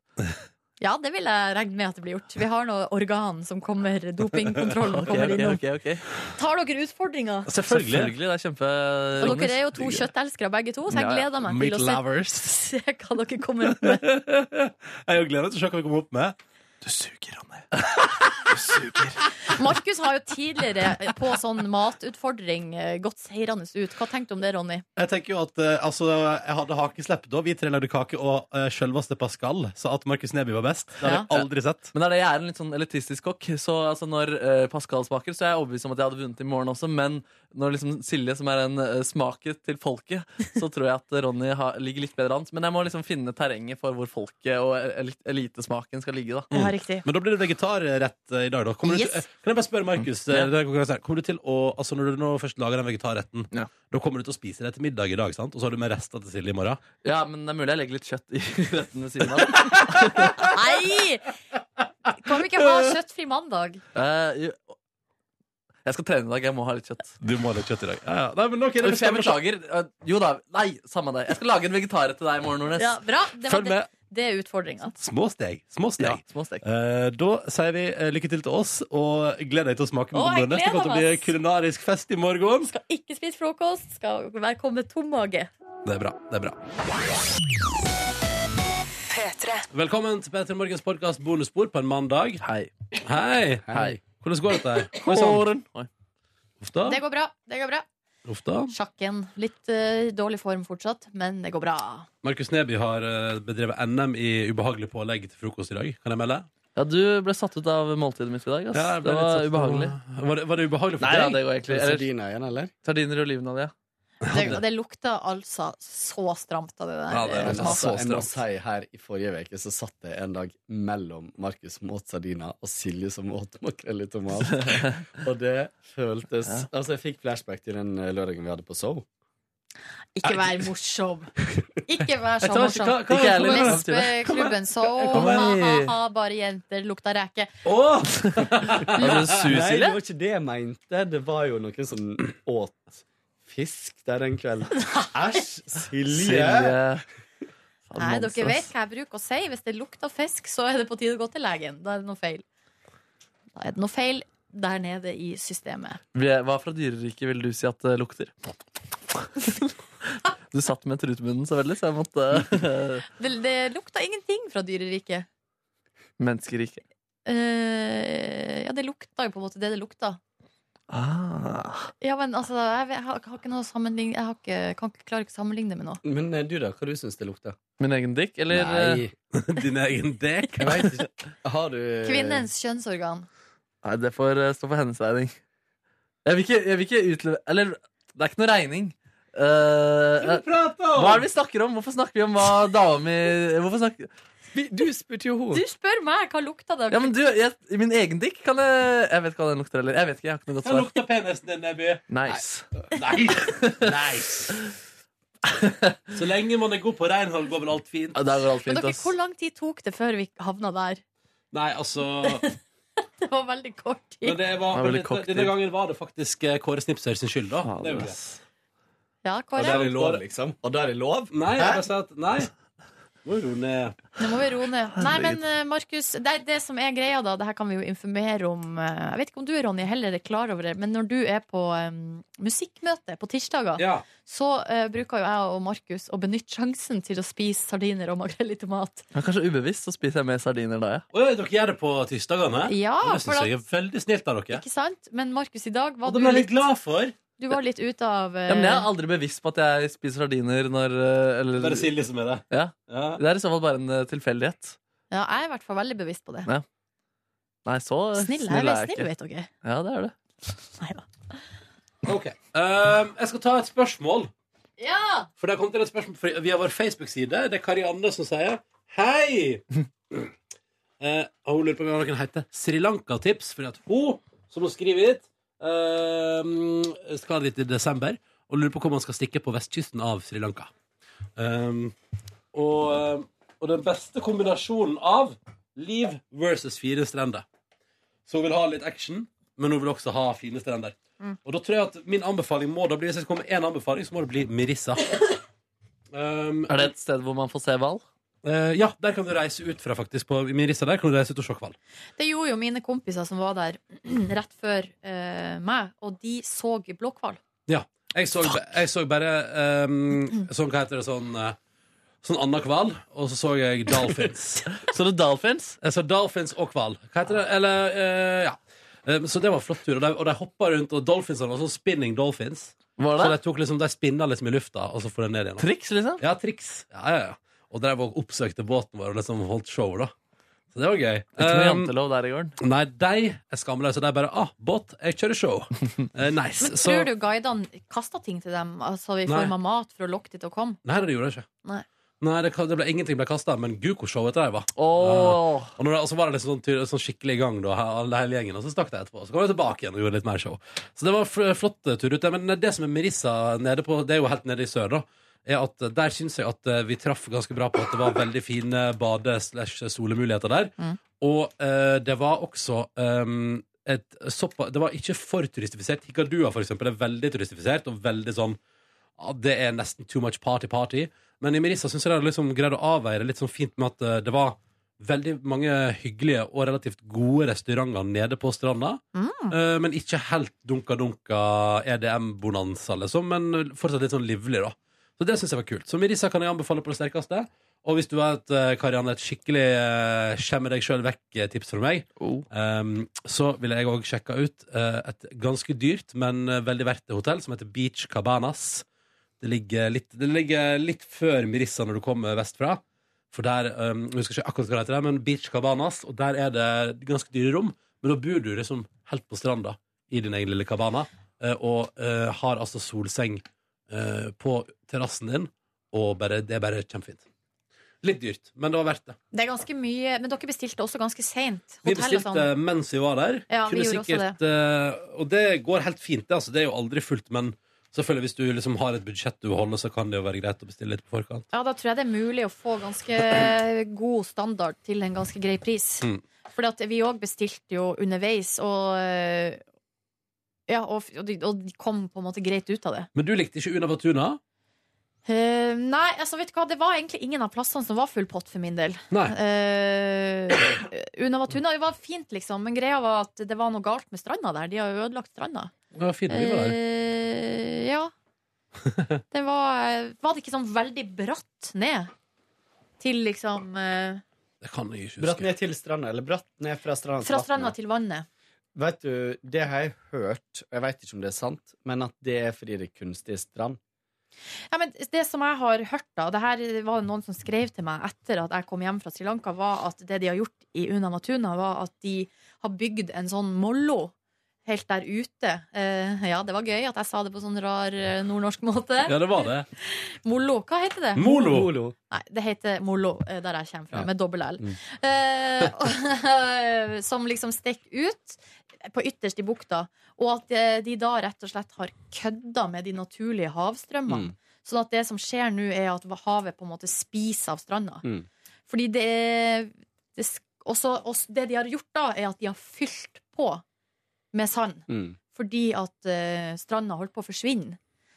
Ja, det vil jeg regne med at det blir gjort. Vi har noe organ som kommer, dopingkontrollen Ok, kommer ok, innom. ok, ok. Tar dere utfordringa? Selvfølgelig. Selvfølgelig, det er kjempe... Og dere er jo to kjøttelskere begge to, så jeg Ja, ja. gleder meg Meat til å lovers. se, se hva dere kommer opp med. Jeg er jo gleder meg til å se hva vi kommer opp med. Du suger, Ronny. Markus har jo tidligere på sånn matutfordring eh, gått seirende ut. Hva tenkte du om det, Ronny? Jeg tenker jo at eh, altså, jeg hadde hakeslepp da. Vi tre lagde kake, og uh, sjølveste Pascal sa at Markus Neby var best. Det har jeg Ja. aldri sett. Men er det, jeg er en litt sånn elitistisk kokk, så altså, når eh, Pascal smaker, så er jeg overbevist om at jeg hadde vunnet i morgen også, men når liksom Silje, som er en eh, smaker til folket, så tror jeg at Ronny har, ligger litt bedre an. Men jeg må liksom finne terrenget for hvor folket og el elitesmaken skal ligge, da. Ja, riktig. Men da blir det vegetarrett eh, i dag, da. Kommer du Yes. til, eh, kan jeg bare spørre, Markus. eh, Ja. det er konkurranse her. Kommer du til å, altså Når du nå først lager den vegetarretten, Ja. da kommer du til å spise det til middag i dag, sant? Og så har du med rester til Silje i morgen. Ja, men det er mulig jeg legger litt kjøtt i retten ved siden av. Nei! Kan vi ikke ha kjøttfri mandag? Eh, jo. jeg skal trene i dag, jeg må ha litt kjøtt. Du må ha litt kjøtt i dag. Ja, ja. Nei, men ok, det Uff, jeg bestemmer seg. beklager. Eh, Jo da, nei, samme det. Jeg skal lage en vegetarrett til deg i morgen, Nordnes. Ja, bra. Det, var Følg det, med. det er utfordringa. Små steg. Små steg. Ja, små stek. Eh, da sier vi eh, lykke til til oss, og gled deg til å smake. Å, jeg med Neste kommer til å bli gleder meg. kulinarisk fest i morgen. Skal ikke spise frokost, skal være kommet tom mage. Det er bra. det er bra Velkommen til P3 Morgens podkast bonusspor på en mandag. Hei. Hei! Hei. Hvordan går dette her? Hva er sånn? Kåren. Oi. Uff da. Det går bra. Det går bra. Uff da. Sjakken. Litt eh, dårlig form fortsatt, men det går bra. Markus Neby har eh, bedrevet NM i ubehagelig pålegg til frokost i dag. Kan jeg melde? Ja, du ble satt ut av måltidet mitt i dag. Ass. Ja, jeg ble det litt var satt på- ubehagelig. Var det, var det ubehagelig for Nei da, deg? det går egentlig eller, Sardiner igjen, eller? Sardiner og olivenolje. Det, det lukta altså så stramt av det der. Ja, det er eh, det. smaken. Altså, jeg må stramt. si her I forrige uke så satt jeg en dag mellom Markus som åt sardiner, og Silje som åt makrell i tomat. og det føltes Altså, jeg fikk flashback til den eh, lørdagen vi hadde på Soul. Ikke vær morsom. Ikke vær så Jeg tar ikke- morsom. hva- hva- Ikke jeg hva- heller. Lesbeklubben så Kom her. ha-ha-ha, bare jenter lukta reke. Åh! Har du sus, Nei, det Silje? var ikke det jeg mente. Det var jo noen som åt fisk der den kvelden. Æsj! Silje! Silje. Faen, Nei, dere nonsens. vet hva jeg bruker å si. Hvis det lukter fisk, så er det på tide å gå til legen. Da er det noe feil. Da er det noe feil der nede i systemet. Vi er- Hva fra dyreriket vil du si at det lukter? Du satt med trutmunnen så veldig, så jeg måtte Det, det lukta ingenting fra dyreriket. Menneskeriket. Eh, ja, det lukta jo på en måte det det lukta. Ah. Ja, men altså, jeg, vet- jeg, har, jeg har ikke noe sammenlign... Jeg har ikke, kan ikke, klarer ikke å sammenligne med noe. Men eh, du, da? Hva du syns det lukter? Min egen dick, eller? Nei, Din egen dek. jeg veit ikke. Har du Eh. Kvinnens kjønnsorgan. Nei, det får eh, stå for hennes regning. Jeg vil ikke, jeg vil ikke utleve... Eller, det er ikke noe regning. Eh, eh, hva er det vi snakker om? Hvorfor snakker vi om hva dama mi Hvorfor snakker Vi- Du spurte jo Du henne. spør meg hva lukta det Ja, men du, jeg, i min egen dick kan jeg Jeg vet ikke hva den lukter, eller? Jeg vet ikke, jeg har ikke noe godt Hva svar. lukter penisen din, Neby? Nice. Nice. Så lenge man er god på renhold, går vel alt fint? Ja, Der går alt Men fint, dere, ass. hvor lang tid tok det før vi havna der? Nei, altså Det var veldig kort men tid. det var, Det var men veldig dette- cocktail. Denne gangen var det faktisk eh, Kåre Snipser sin skyld, da. Det er jo det. Ja, Og Kåre? der er lov, liksom. Og der er lov? Nei, jeg bare sier at Nei. Må roe ned. Nå må vi roe ned. Nei, men eh, Markus, det, er det som er greia, da Det her kan vi jo informere om. eh, Jeg vet ikke om du, Ronny, heller er klar over det, men når du er på em, musikkmøte på tirsdager, Ja. så eh, bruker jo jeg og Markus å benytte sjansen til å spise sardiner og makrell i tomat. Ja, kanskje ubevisst så spiser jeg mer sardiner da, jeg. Oi, dere gjør det på tirsdagene? Ja, det for syns at, jeg er veldig snilt av dere. ikke sant? Men Markus, i dag Og var du det ble jeg litt, litt glad for. du var litt ute av eh, Ja, men jeg er aldri bevisst på at jeg spiser sardiner når eh, eller, Bare Silje som er det. Ja. Ja. Det er i så fall bare en eh, tilfeldighet. ja, jeg er i hvert fall veldig bevisst på det. Nei, så Snill, jeg er snill er veldig jeg snill, ikke. vet dere. Ja, det er det. Ok. Ehm, jeg skal ta et spørsmål. Ja! For det har kommet inn et spørsmål fra- via vår Facebook-side. Det er Karianne som sier Hei! Eh, og hun lurer på om jeg har noen heite Sri Lanka-tips, fordi at hun, som hun skriver hit, ehm, skal dit i desember, og lurer på hvor man skal stikke på vestkysten av Sri Lanka. Ehm, og, eh, og den beste kombinasjonen av liv versus fire strender. Så hun vil ha litt action, men hun vil også ha fine strender. Og da tror jeg at min anbefaling må da bli Hvis jeg skal komme med én anbefaling, så må det bli Mirissa. Um, Er det et sted hvor man får se hval? eh, ja, der kan du reise ut fra, faktisk. På Mirissa der kan du reise ut og se hval. Det gjorde jo mine kompiser som var der rett før eh, meg, og de så blåhval. Jeg, så- jeg så bare um, sånn, Hva heter det sånn eh, Sånn annen hval, og så så jeg dolphins. Så det er dolphins? jeg så dolphins og hval. Hva heter det? Eller eh, ja. Um, så det var en flott tur. Og de, og de hoppa rundt, og dolphinsene var sånn spinning dolphins. Var Så det? de, tok liksom, de spinna liksom i lufta, og så får de ned igjen. Triks, liksom? Ja, triks. Ja, ja, ja. Og drev og oppsøkte båten vår og liksom holdt show, da. Så det var gøy. Ikke noe Um, jantelov der i gården. nei, de er skamløse. De bare ah, 'båt, jeg kjører show'. Eh, nice. Men Så, tror du guidene kasta ting til dem altså i Nei. form av mat for å lokke de til å komme? Nei, det gjorde jeg ikke. Nei. Nei, det, det ble, Ingenting ble kasta, men Guko-showet etter det var. Åh, Og, når det, og så var det liksom sånn, ty- sånn skikkelig i gang, da, he- alle hele gjengen, og så stakk de etterpå. Så kom de tilbake igjen og gjorde litt mer show. Så det var fl- flott eh, tur ut. der. Men det som er Merissa nede på, det er jo helt nede i sør, da. Er at eh, Der syns jeg at eh, vi traff ganske bra på at det var veldig fine bade-slash-solemuligheter der. Mm. Og eh, det var også eh, et såpa, Det var ikke for turistifisert. Hikadua, for eksempel, er veldig turistifisert og veldig sånn ja, Det er nesten too much party-party. Men i Merissa syns jeg de hadde liksom greid å avveie det litt sånn fint med at eh, det var veldig mange hyggelige og relativt gode restauranter nede på stranda. Eh, men ikke helt dunka-dunka EDM-bonanza, liksom. Men fortsatt litt sånn livlig, da. Så det syns jeg var kult. Så Mirissa kan jeg anbefale på det sterkeste. Og hvis du har et, eh, Karianne, et skikkelig eh, skjemme deg sjøl vekk-tips fra meg, Oh. ehm, så ville jeg òg sjekka ut eh, et ganske dyrt, men eh, veldig verdt det hotell som heter Beach Cabanas. Det ligger litt, det ligger litt før Mirissa når du kommer vestfra. For der, um, jeg husker ikke akkurat hva det heter, der, men Beach Cabanas, og der er det ganske dyre rom. Men da bor du liksom helt på stranda i din egen lille cabana, eh, og eh, har altså solseng eh, på terrassen din, og bare, det er bare kjempefint. Litt dyrt, men det var verdt det. Det er ganske mye, Men dere bestilte også ganske sånn- seint. Vi bestilte mens vi var der. Ja, vi Kunne gjorde også sikkert, eh, og det går helt fint, det. Altså, det er jo aldri fullt, men selvfølgelig hvis du liksom har et budsjett du holder, så kan det jo være greit å bestille litt på forkant. Ja, Da tror jeg det er mulig å få ganske god standard til en ganske grei pris. Mm. Fordi at vi òg bestilte jo underveis, og eh, ja, og, og, de, og de kom på en måte greit ut av det. Men du likte ikke Una Batuna? Eh, nei, altså vet du hva, det var egentlig ingen av plassene som var full pott for min del. Nei. Eh, Una Vatuna det var fint, liksom, men greia var at det var noe galt med stranda der. De har jo ødelagt stranda. Det var fint, vi var der. Eh, ja. Det var Var det ikke sånn veldig bratt ned? Til liksom eh, Det kan jeg ikke Bratt huske. ned til stranda, eller bratt ned fra stranda Fra stranda vattnet. til vannet. Vet du, det har jeg hørt, og jeg vet ikke om det er sant, men at det er fordi det er kunstig strand. Ja, men det som jeg har hørt, da, det her var det noen som skrev til meg etter at jeg kom hjem fra Sri Lanka, var at det de har gjort i Una Matuna, var at de har bygd en sånn mollo helt der ute. Eh, ja, det var gøy at jeg sa det på sånn rar eh, nordnorsk måte. Ja, det var det. Mollo, hva heter det? Molo! Polo. Nei, det heter Molo, eh, der jeg kommer fra, Ja. med dobbel L. Mm. Eh, som liksom stikker ut på ytterst i bukta. Og at eh, de da rett og slett har kødda med de naturlige havstrømmene. Mm. Sånn at det som skjer nå, er at havet på en måte spiser av stranda. Mm. Fordi det er det, sk- også, også det de har gjort da, er at de har fylt på med sand Mm. fordi at eh, stranda holdt på å forsvinne.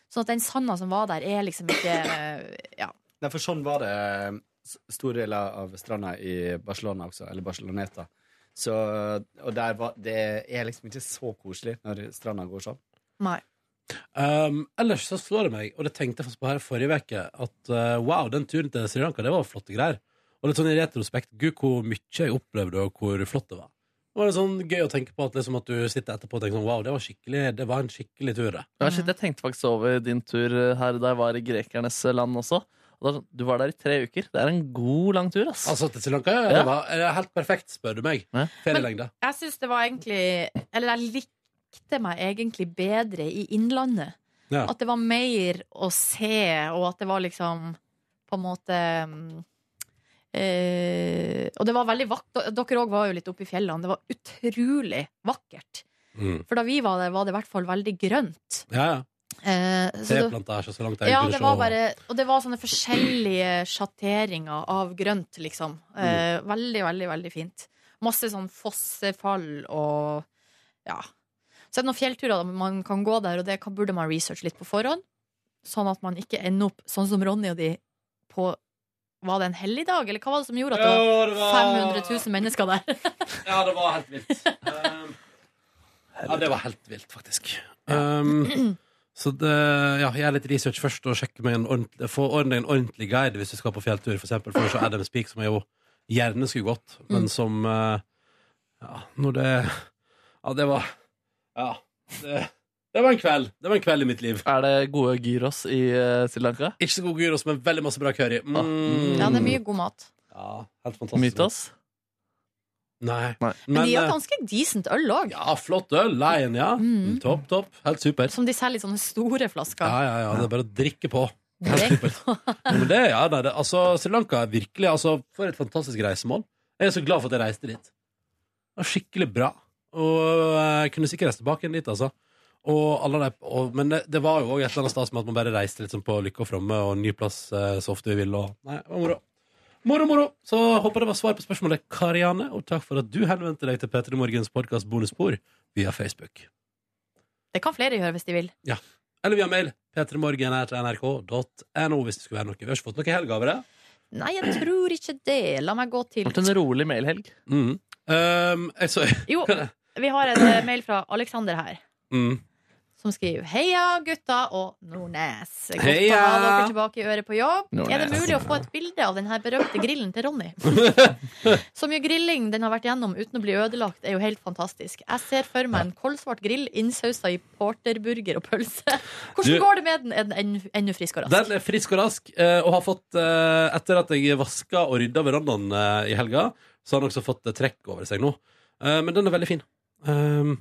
Sånn at den sanda som var der, er liksom ikke eh, ja, Nei, for sånn var det s- store deler av stranda i Barcelona også, eller Barceloneta. Så, og der var, det er liksom ikke så koselig når stranda går sånn. Nei. Um, ellers så slår det meg, og det tenkte jeg faktisk på her forrige uke, at uh, wow, den turen til Sri Lanka, det var flotte greier. Og litt sånn i retrospekt, gud, hvor mye jeg opplevde, og hvor flott det var. Det var litt sånn gøy å tenke på at, liksom, at du sitter etterpå og tenker sånn, wow, det var, skikkelig- det var en skikkelig tur, det. Ja, shit, jeg tenkte faktisk over din tur eh, her da jeg var i grekernes eh, land også. Og da- Du var der i tre uker. Det er en god lang tur, ass. Altså til Sri Lanka, ja, Ja. det var eh, helt perfekt, spør du meg. Ja. Ferielengde. Jeg syns det var egentlig Eller jeg likte meg egentlig bedre i Innlandet. Ja. At det var mer å se, og at det var liksom på en måte mm, eh, Og det var veldig vakkert. Dere òg var jo litt oppe i fjellene. Det var utrolig vakkert. Mm. For da vi var der, var det i hvert fall veldig grønt. Ja, ja. Eh, så det- Treplantasje så langt jeg ja, kunne det se. var bare, og det var sånne forskjellige sjatteringer av grønt, liksom. Mm. Eh, veldig, veldig, veldig fint. Masse sånn fossefall og ja. Så er det noen fjellturer da man kan gå der, og det kan, burde man researche litt på forhånd. Sånn at man ikke ender opp sånn som Ronny og de på Var det en helligdag, eller hva var det som gjorde at det Jo, var 500 000 mennesker der? Ja, det var helt vilt. Um, ja, det var helt vilt, faktisk. Um, så det, ja, gjør litt research først og sjekk meg en ordentlig, få ordne en ordentlig guide hvis du skal på fjelltur, for eksempel. For å se Adams Peak, som jeg jo gjerne skulle gått, men som eh, Ja, når det Ja, det var Ja. Det, det var en kveld. Det var en kveld i mitt liv. Er det gode gyros i eh, Sri Lanka? Ikke så god gyros, men veldig masse bra curry. Mm. mm. Ja, det er mye god mat. Ja, helt fantastisk. Mytos? Nei. Nei. Men, de har eh, ganske decent øl òg, Ja, flott øl. Lion, ja. Mm. Topp, topp. Helt super. som de selger i sånne store flasker. Ja, ja, ja. Det er bare å drikke på. Drikk på. Ja, Men det, ja, nei, det, altså, Sri Lanka er virkelig altså, For et fantastisk reisemål. Jeg er så glad for at jeg reiste dit. Det var skikkelig bra. Og eh, jeg kunne sikkert reist tilbake igjen dit, altså. Og alle de, og, men det, det var jo også et eller annet stas med at man bare reiste litt sånn på lykke og fromme, og ny plass eh, så ofte vi ville, og Nei, det var moro. Moro, moro! Så håper det var svar på spørsmålet, Karianne, og takk for at du henvendte deg til P3 Morgens podkast Bonusspor via Facebook. Det kan flere gjøre hvis de vil. Eller via mail. p3morgen.nrk.no hvis det skulle være noe. Vi har ikke fått noe i helga over det. Nei, jeg tror ikke det. La meg gå til Det ble en rolig mailhelg. Mm. Um, jeg så, Jo, vi har en eh, mail fra Alexander her. mm. Som skriver 'Heia gutta og Nordnes'. Godt å Heia! ha dere tilbake i øret på jobb. Er det Nordnes. mulig å få et bilde av den her berømte grillen til Ronny? Så mye grilling den har vært gjennom uten å bli ødelagt, er jo helt fantastisk. Jeg ser for meg en kolsvart grill innsausa i porterburger og pølse. Hvordan Du- går det med den? Er den enn- ennå frisk og rask? Den er frisk og rask, eh, og har fått, eh, etter at jeg vaska og rydda verandaen eh, i helga, så har den også fått eh, trekk over seg nå. Eh, Men den er veldig fin. Um,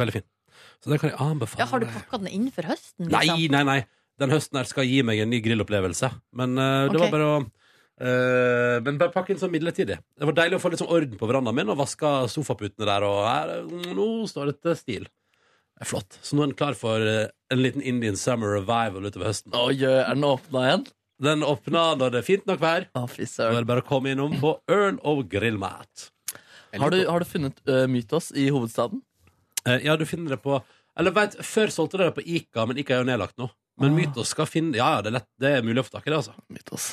Veldig fin. Så den kan jeg anbefale. Ja, har du pakka den inn for høsten? liksom? Nei, nei, nei. Den høsten her skal gi meg en ny grillopplevelse. Men eh, det Ok. var bare å eh, Men bare pakk inn sånn midlertidig. Det var deilig å få litt sånn orden på verandaen min og vaska sofaputene der, og her mm, Nå står det til stil. Det er flott. Så nå er den klar for eh, en liten Indian summer revival utover høsten. Oi, er den åpna igjen? Den åpna når det er fint nok vær. Å, fy Da er søren. det bare å komme innom på Øl og grillmat. Har, du- har du funnet eh, Mytos i hovedstaden? Eh, ja, du finner det på Eller veit, før solgte de det på Ica, men Ica er jo nedlagt nå. Ah. Men Mytos skal finne Ja, ja, det er, lett, det er mulig å få tak i det, altså. Mytos.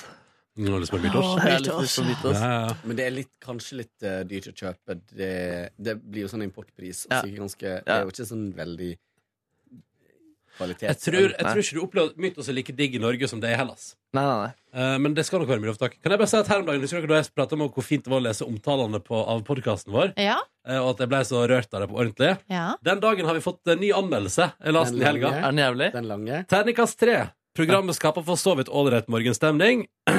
Nå har jeg lyst Ah, på Mytos. Jeg har litt lyst på Mytos. Ja, ja. Men det er litt, kanskje litt eh, dyrt å kjøpe. Det, det blir jo sånn importpris. og Ja. sikkert ganske, Det er jo ikke sånn veldig kvalitet. Jeg tror, jeg tror ikke du opplever mytos er like digg i Norge som det er i Hellas. Nei, nei, nei. Eh, men det skal nok være mulig å få tak i. Kan jeg bare si at her om dagen Husker dere da jeg pratet om hvor fint det var å lese omtalene på, av podkasten vår? Ja? eh, og at jeg ble så rørt av det på ordentlig? ja. Den dagen har vi fått en ny anmeldelse. Jeg leste den i helga. Er den jævlig? Den lange. Terningkast tre. Programmet skaper for så vidt ålreit morgenstemning.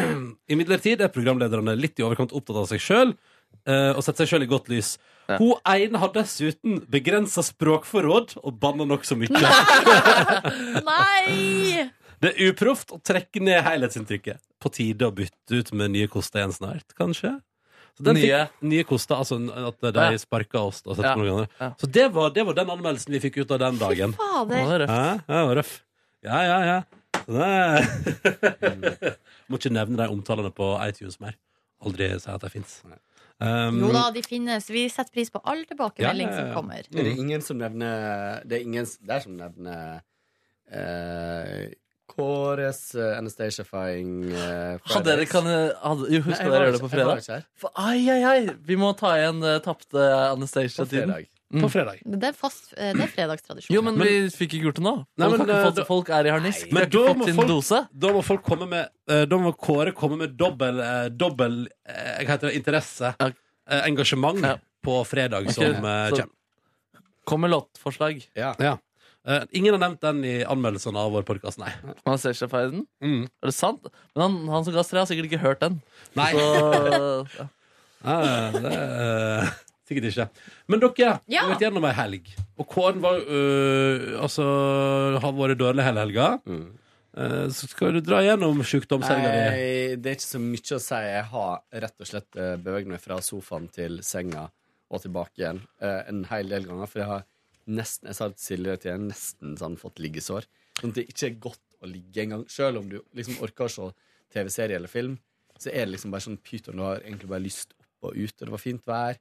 Imidlertid er programlederne litt i overkant opptatt av seg sjøl og setter seg sjøl i godt lys. Ja. Hun ene har dessuten begrensa språkforråd og banner nokså mye. Nei! Det er uproft å trekke ned helhetsinntrykket. På tide å bytte ut med nye koster igjen snart, kanskje? Så den Nye. Fikk, nye koster, altså at de Ja. sparka oss. Da, Ja. ja. Ja. Så det var, det var den anmeldelsen vi fikk ut av den Fy dagen. Å, fader. det er røft. Hæ? Ja, det var røff. Ja, ja, ja. Så det- Må ikke nevne de omtalene på iTunes mer. Aldri si at de fins. Um, Jo da, Mm. de finnes. Vi setter pris på all tilbakemelding Ja, ja, ja. som kommer. Men det er ingen som nevner Det er ingen s- der som nevner eh, Kåres uh, Anastacifying uh, Hadde dere kan, eh, hadde, jo, Husker dere å gjøre det på fredag? Ikke, her. For, ai, ai, ai! Vi må ta igjen uh, tapte På Anastacia-tiden. fredag. På fredag. Det er, fast, eh, det er fredagstradisjon. Jo, men, vi fikk ikke gjort det nå. Folk, Nei, men, har ikke eh, fått, folk er i harnisk. Men Men de har da ikke må fått sin folk- dose. Da må folk komme med eh, Da må Kåre komme med dobbel, eh, dobbel eh, Hva heter det? Interesse. Ja. Eh, engasjement Ja. på fredag Ok, som eh, så- kommer. Kom med låtforslag. Ja. Ja. Eh, ingen har nevnt den i anmeldelsene av vår podkast, nei. Anastacia-feiden. Mm. Er det sant? Men han, han som ga streg, har sikkert ikke hørt den. Nei. Så, ja. Eh, det, eh, sikkert ikke. Men dere vi Ja. har vært gjennom ei helg. Og Kåren var, øh, altså, har vært dårlig hele helga. Mm. Eh, så skal du dra gjennom sjukdomshelga di. Nei, det er ikke så mye å si. Jeg har rett og slett eh, beveget meg fra sofaen til senga og tilbake igjen eh, en hel del ganger. For jeg har nesten jeg sa det til Silje til jeg har nesten sånn, fått liggesår. Sånn at det ikke er godt å ligge engang. Selv om du liksom orker å se TV-serie eller film, så er det liksom bare sånn pyton. Du har egentlig bare lyst opp og ut, og det var fint vær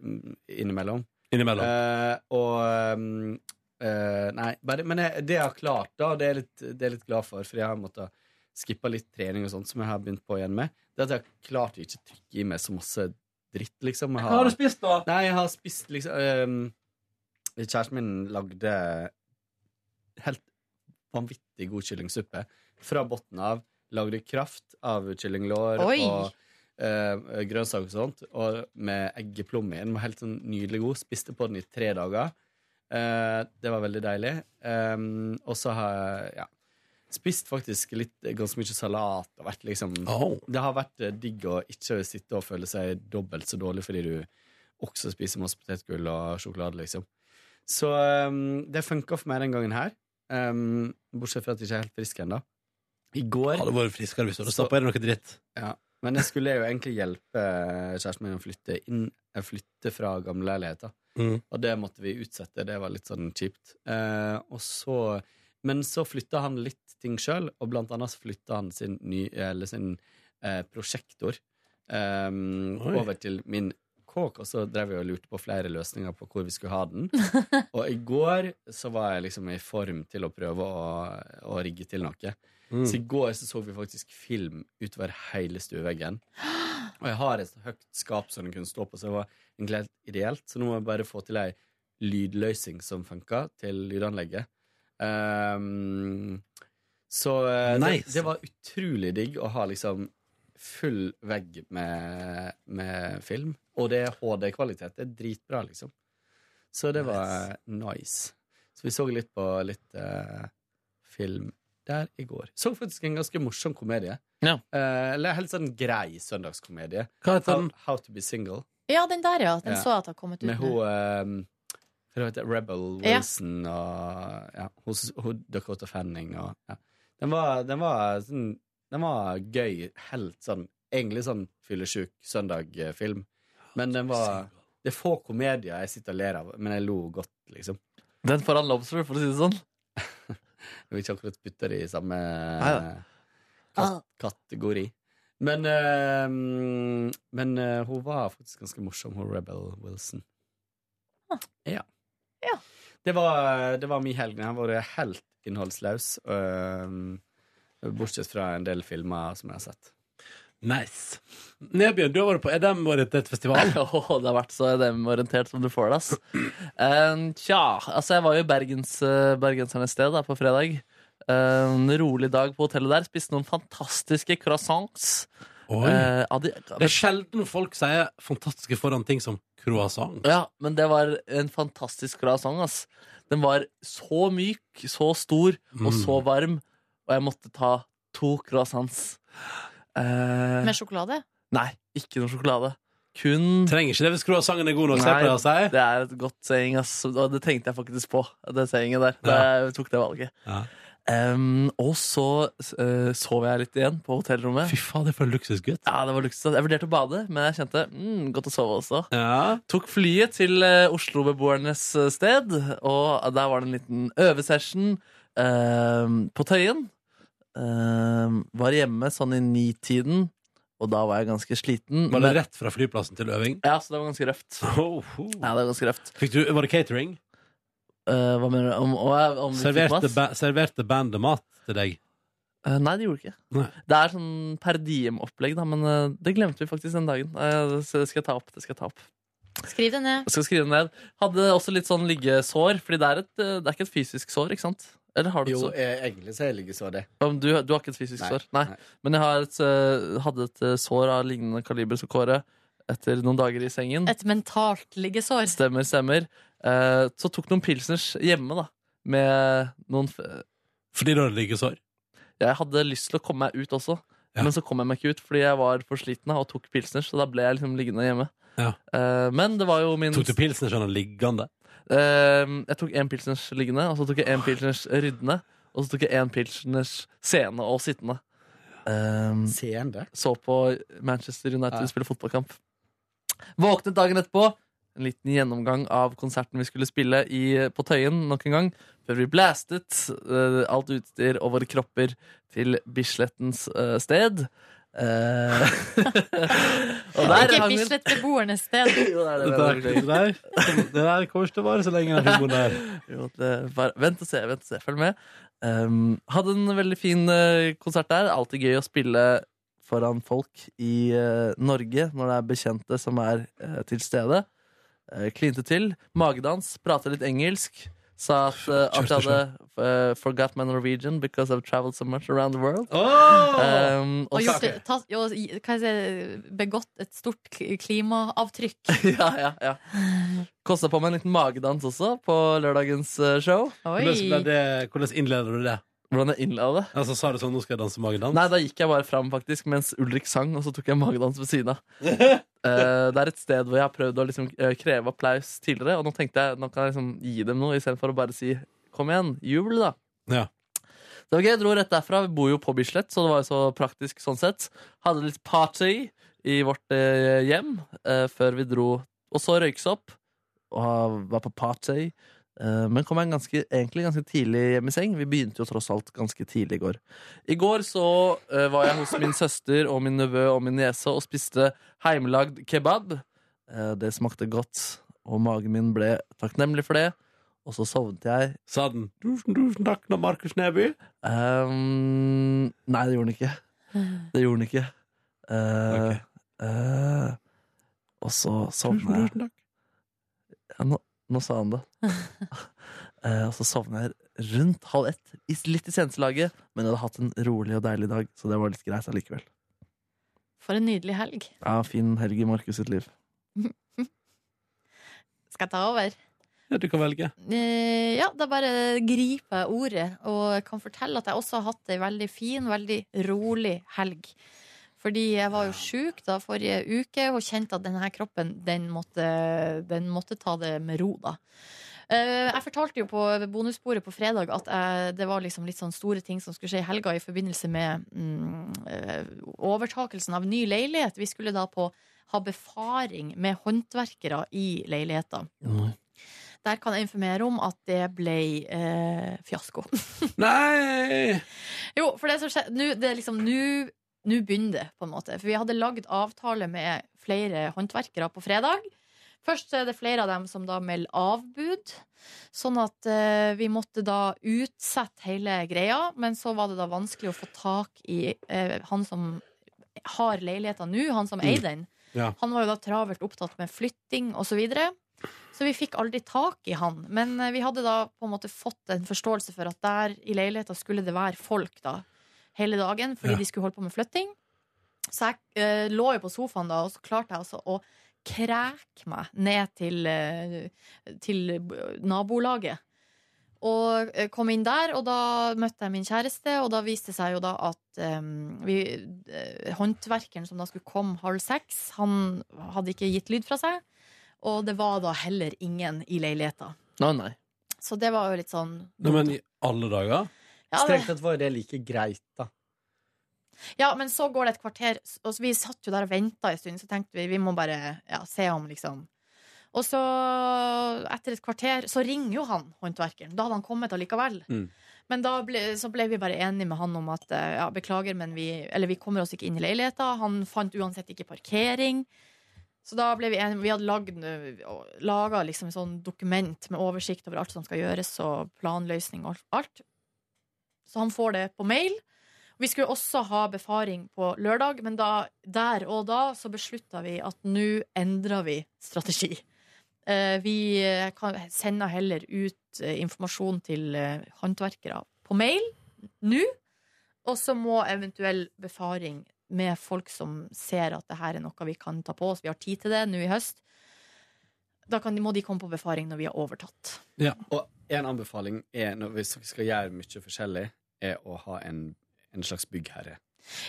mm, innimellom. innimellom. Eh, og um, eh, Nei, bare, men jeg, det jeg har klart, da, det er jeg litt, det er jeg litt glad for, for jeg har måttet skippe litt trening og sånt, som jeg har begynt på igjen med, det er at jeg har klart å ikke trykke i meg så masse dritt, liksom. Jeg Hva har du spist, da? Nei, jeg har spist liksom ehm, Kjæresten min lagde helt vanvittig god kyllingsuppe fra bunnen av. Lagde kraft av kyllinglår Oi. og uh, grønnsaker og sånt, og med eggeplomme i. Den var helt sånn nydelig god. Spiste på den i tre dager. Eh, det var veldig deilig. Ehm, og så har jeg ja, spist faktisk litt, ganske mye salat og vært liksom Au. det har vært eh, digg å ikke sitte og føle seg dobbelt så dårlig fordi du også spiser masse potetgull og sjokolade, liksom. Så um, det funka for meg den gangen her. Um, bortsett fra at jeg ikke er helt frisk ennå. I går Hadde vært friskere hvis du hadde stappa i deg noe dritt. Men jeg skulle jo egentlig hjelpe eh, kjæresten min å flytte inn eh, Flytte fra gamle leiligheter. Mm. Og det måtte vi utsette. Det var litt sånn kjipt. Eh, og så Men så flytta han litt ting sjøl, og blant annet så flytta han sin, ny, eller sin eh, prosjektor eh, Oi. over til min kåk, og så drev jeg og lurte på flere løsninger på hvor vi skulle ha den. og i går så var jeg liksom i form til å prøve å, å rigge til noe. Mm. Så i går så, så vi faktisk film utover hele stueveggen. Og jeg har et høyt skap som den kunne stå på, så det var egentlig helt ideelt. Så nå må jeg bare få til ei lydløsning som funker, til lydanlegget. Ehm, så eh, Nice. det, det var utrolig digg å ha liksom full vegg med, med film. Og det er HD-kvalitet. Det er dritbra, liksom. Så det var nice. Så vi så litt på litt eh, film der i går. Så faktisk en ganske morsom komedie. Ja. Eh, eller helt sånn grei søndagskomedie. Hva heter How, Sånn- den? How to be single. Ja, den der, ja. Den Ja. så jeg at har kommet ut. Med nå. hun eh, Hva heter det? Rebel Ja. Wilson og ja, hun, hun Dakota Fanning og ja. Den var, den var sånn Den var gøy. Helt sånn Egentlig sånn fyllesjuk søndag-film. Men den var Det er få komedier jeg sitter og ler av, men jeg lo godt, liksom. Den foran Lobster, for å si det sånn. Jeg vil ikke akkurat putte det i samme Neida. Ah. kat kategori. Men, eh, men eh, hun var faktisk ganske morsom, hun Rebel Wilson. Ja. Ah. Ja. Det var, det var min helg. Den har vært helt innholdsløs. eh, bortsett fra en del filmer som jeg har sett. Nice. Nedbjørn, du har vært på EDM-orientert festival. Åh, det har vært så EDM-orientert som du får det, ass. Eh, tja, altså jeg var jo i Bergens, eh, bergensernes sted da, på fredag. Eh, en rolig dag på hotellet der. Spiste noen fantastiske croissants. Oi. Eh, av de, Det er sjelden folk sier fantastiske foran ting som croissant. ja, men det var en fantastisk croissant, ass. Den var så myk, så stor og Mm. så varm, og jeg måtte ta to croissants. Eh, Med sjokolade? nei, ikke noe sjokolade. Kun Trenger ikke det hvis croissanten er god nok, som jeg Nei. pleier å si. Det er et godt saying, ass. Og det tenkte jeg faktisk på. Det sayinget der. Da jeg tok det valget. Ja. Em, og så eh, sov jeg litt igjen på hotellrommet. Fy fader, for en luksusgutt. Ja, det var luksus. Jeg vurderte å bade, men jeg kjente mm, godt å sove også. Ja. Tok flyet til eh, Oslo-beboernes eh, sted, og der var det en liten øvesession em, på Tøyen. Em, var hjemme sånn i nitiden, og da var jeg ganske sliten. Var det men- rett fra flyplassen til øving? Ja, så det var ganske røft. Oh, oh. Ja, det var ganske røft. Fikk du, var det catering? Eh, hva mener du? Om, om, om vi fikk Serverte, mat? ba serverte bandet mat til deg? Eh, nei, det gjorde det ikke. Nei. Det er sånn per diem-opplegg, da, men eh, det glemte vi faktisk den dagen. Eh, så det skal jeg ta opp. det skal jeg ta opp. Skriv det ned. Jeg skal skrive det ned. Hadde også litt sånn liggesår, fordi det er, et, eh, det er ikke et fysisk sår, ikke sant? Eller har du Jo, et sår? eh, egentlig så er jeg liggesår, det. Ja, men Du, du har ikke et fysisk Nei, sår? Nei. nei. Men jeg har et, eh, hadde et eh, sår av lignende kaliber som Kåre etter noen dager i sengen. Et mentalt liggesår. Stemmer, stemmer. Eh, så tok noen pilsners hjemme, da. Med noen f- Fordi når det ligger sår. Jeg hadde lyst til å komme meg ut også, Ja. men så kom jeg meg ikke ut fordi jeg var for sliten da, og tok pilsners, så da ble jeg liksom liggende hjemme. Ja. Eh, men det var jo min Tok du pilsen sånn liggende? Eh, Jeg tok én pilsners liggende, og så tok jeg Ah. én pilsners ryddende, og så tok jeg én pilsners seende og sittende. Eh, Seende. så på Manchester United Ja. spille fotballkamp. Våknet dagen etterpå. En liten gjennomgang av konserten vi skulle spille i, på Tøyen nok en gang. Før vi blastet eh, alt utstyr og våre kropper til Bislettens eh, sted. Eh, og der Ikke hang vi- Bislett-beboernes sted. Jo, det er det, Det det der, er det. det der, det der kommer ikke til å vare så lenge, den humoren der. Jo, det var, vent og se, vent og se, følg med. Ehm, hadde en veldig fin eh, konsert der. Alltid gøy å spille foran folk i eh, Norge når det er bekjente som er eh, til stede. Eh, klinte til. Magedans. Prate litt engelsk. Sa at, eh, at jeg hadde eh, forgot my Norwegian because I've traveled so much around the world. Ehm, og Og så- gjort, ta, jo, hva skal jeg si, begått et stort k- klimaavtrykk. ja, ja, ja. Kosta på meg en liten magedans også på lørdagens eh, show. Oi. Hvordan, ble det, hvordan innleder du det? Hvordan jeg innla det. Altså, sa du sånn 'nå skal jeg danse magedans'? Nei, da gikk jeg bare fram faktisk mens Ulrik sang, og så tok jeg magedans ved siden av. Eh, det er et sted hvor jeg har prøvd å liksom, eh, kreve applaus tidligere, og nå tenkte jeg nå kan jeg liksom gi dem noe istedenfor å bare si 'kom igjen, jubel', da. Ja. Det var gøy, jeg dro rett derfra. Vi bor jo på Bislett, så det var jo så praktisk sånn sett. Hadde litt party i vårt eh, hjem eh, før vi dro, og så røykes opp. Og var på party. eh, men kom jeg ganske, egentlig ganske tidlig hjem i seng. Vi begynte jo tross alt ganske tidlig i går. I går så eh, var jeg hos min søster og min nevø og min niese og spiste heimelagd kebab. Eh, det smakte godt, og magen min ble takknemlig for det. Og så sovnet jeg. Sa den 'tusen, tusen takk', nå, Markus Neby? Ehm, Eh, nei, det gjorde den ikke. Det gjorde den ikke. Eh, eh, og så Tusen, sovnet jeg. tusen takk. Ja, nå, nå sa han det. Eh, og så sovna jeg rundt halv ett, i- litt i senslaget, men jeg hadde hatt en rolig og deilig dag, så det var litt greit allikevel. For en nydelig helg. Ja, fin helg i Markus sitt liv. Skal jeg ta over? Ja, du kan velge. Eh, ja, da bare griper jeg ordet og kan fortelle at jeg også har hatt ei veldig fin, veldig rolig helg. Fordi jeg var jo sjuk da forrige uke og kjente at denne her kroppen den måtte, den måtte ta det med ro, da. Eh, Jeg fortalte jo på bonussporet på fredag at jeg, det var liksom litt sånn store ting som skulle skje i helga i forbindelse med mm, eh, overtakelsen av ny leilighet. Vi skulle da på ha befaring med håndverkere i leiligheta. Der kan jeg informere om at det ble eh, fiasko. Nei! Jo, for det som skjedde Nå det er liksom, nå- nå begynner det, på en måte. For vi hadde lagd avtale med flere håndverkere på fredag. Først er det flere av dem som da melder avbud, sånn at eh, vi måtte da utsette hele greia. Men så var det da vanskelig å få tak i eh, han som har leiligheta nå, han som eier den. Ja. Han var jo da travelt opptatt med flytting osv. Så, videre. så vi fikk aldri tak i han. Men eh, vi hadde da på en måte fått en forståelse for at der i leiligheta skulle det være folk da hele dagen fordi Ja. de skulle holde på med flytting. Så jeg eh, lå jo på sofaen da, og så klarte jeg altså å kreke meg ned til, eh, til nabolaget. Og eh, kom inn der, og da møtte jeg min kjæreste, og da viste det seg jo da at eh, vi, eh, håndverkeren som da skulle komme halv seks, han hadde ikke gitt lyd fra seg. Og det var da heller ingen i leiligheta. Å nei. Så det var jo litt sånn Nei, men i alle dager? Ja, det- Strengt tatt var det like greit, da. Ja, men så går det et kvarter, og så vi satt jo der og venta en stund, så tenkte vi vi må bare ja, se om, liksom. Og så, etter et kvarter, så ringer jo han håndverkeren. Da hadde han kommet allikevel. Mm. Men da ble, så ble vi bare enige med han om at eh, ja, beklager, men vi, eller vi kommer oss ikke inn i leiligheta. Han fant uansett ikke parkering. Så da ble vi enige. Vi hadde lagd, laga liksom et sånn dokument med oversikt over alt som skal gjøres, og planløsning og alt. Så han får det på mail. Vi skulle også ha befaring på lørdag, men da, der og da så beslutta vi at nå endrer vi strategi. Eh, vi eh, kan, sender heller ut eh, informasjon til eh, håndverkere på mail nå, og så må eventuell befaring med folk som ser at det her er noe vi kan ta på oss, vi har tid til det nå i høst. Da kan, de- må de komme på befaring når vi har overtatt. Og en anbefaling er, når, hvis dere skal gjøre mye forskjellig, er å ha en, en slags byggherre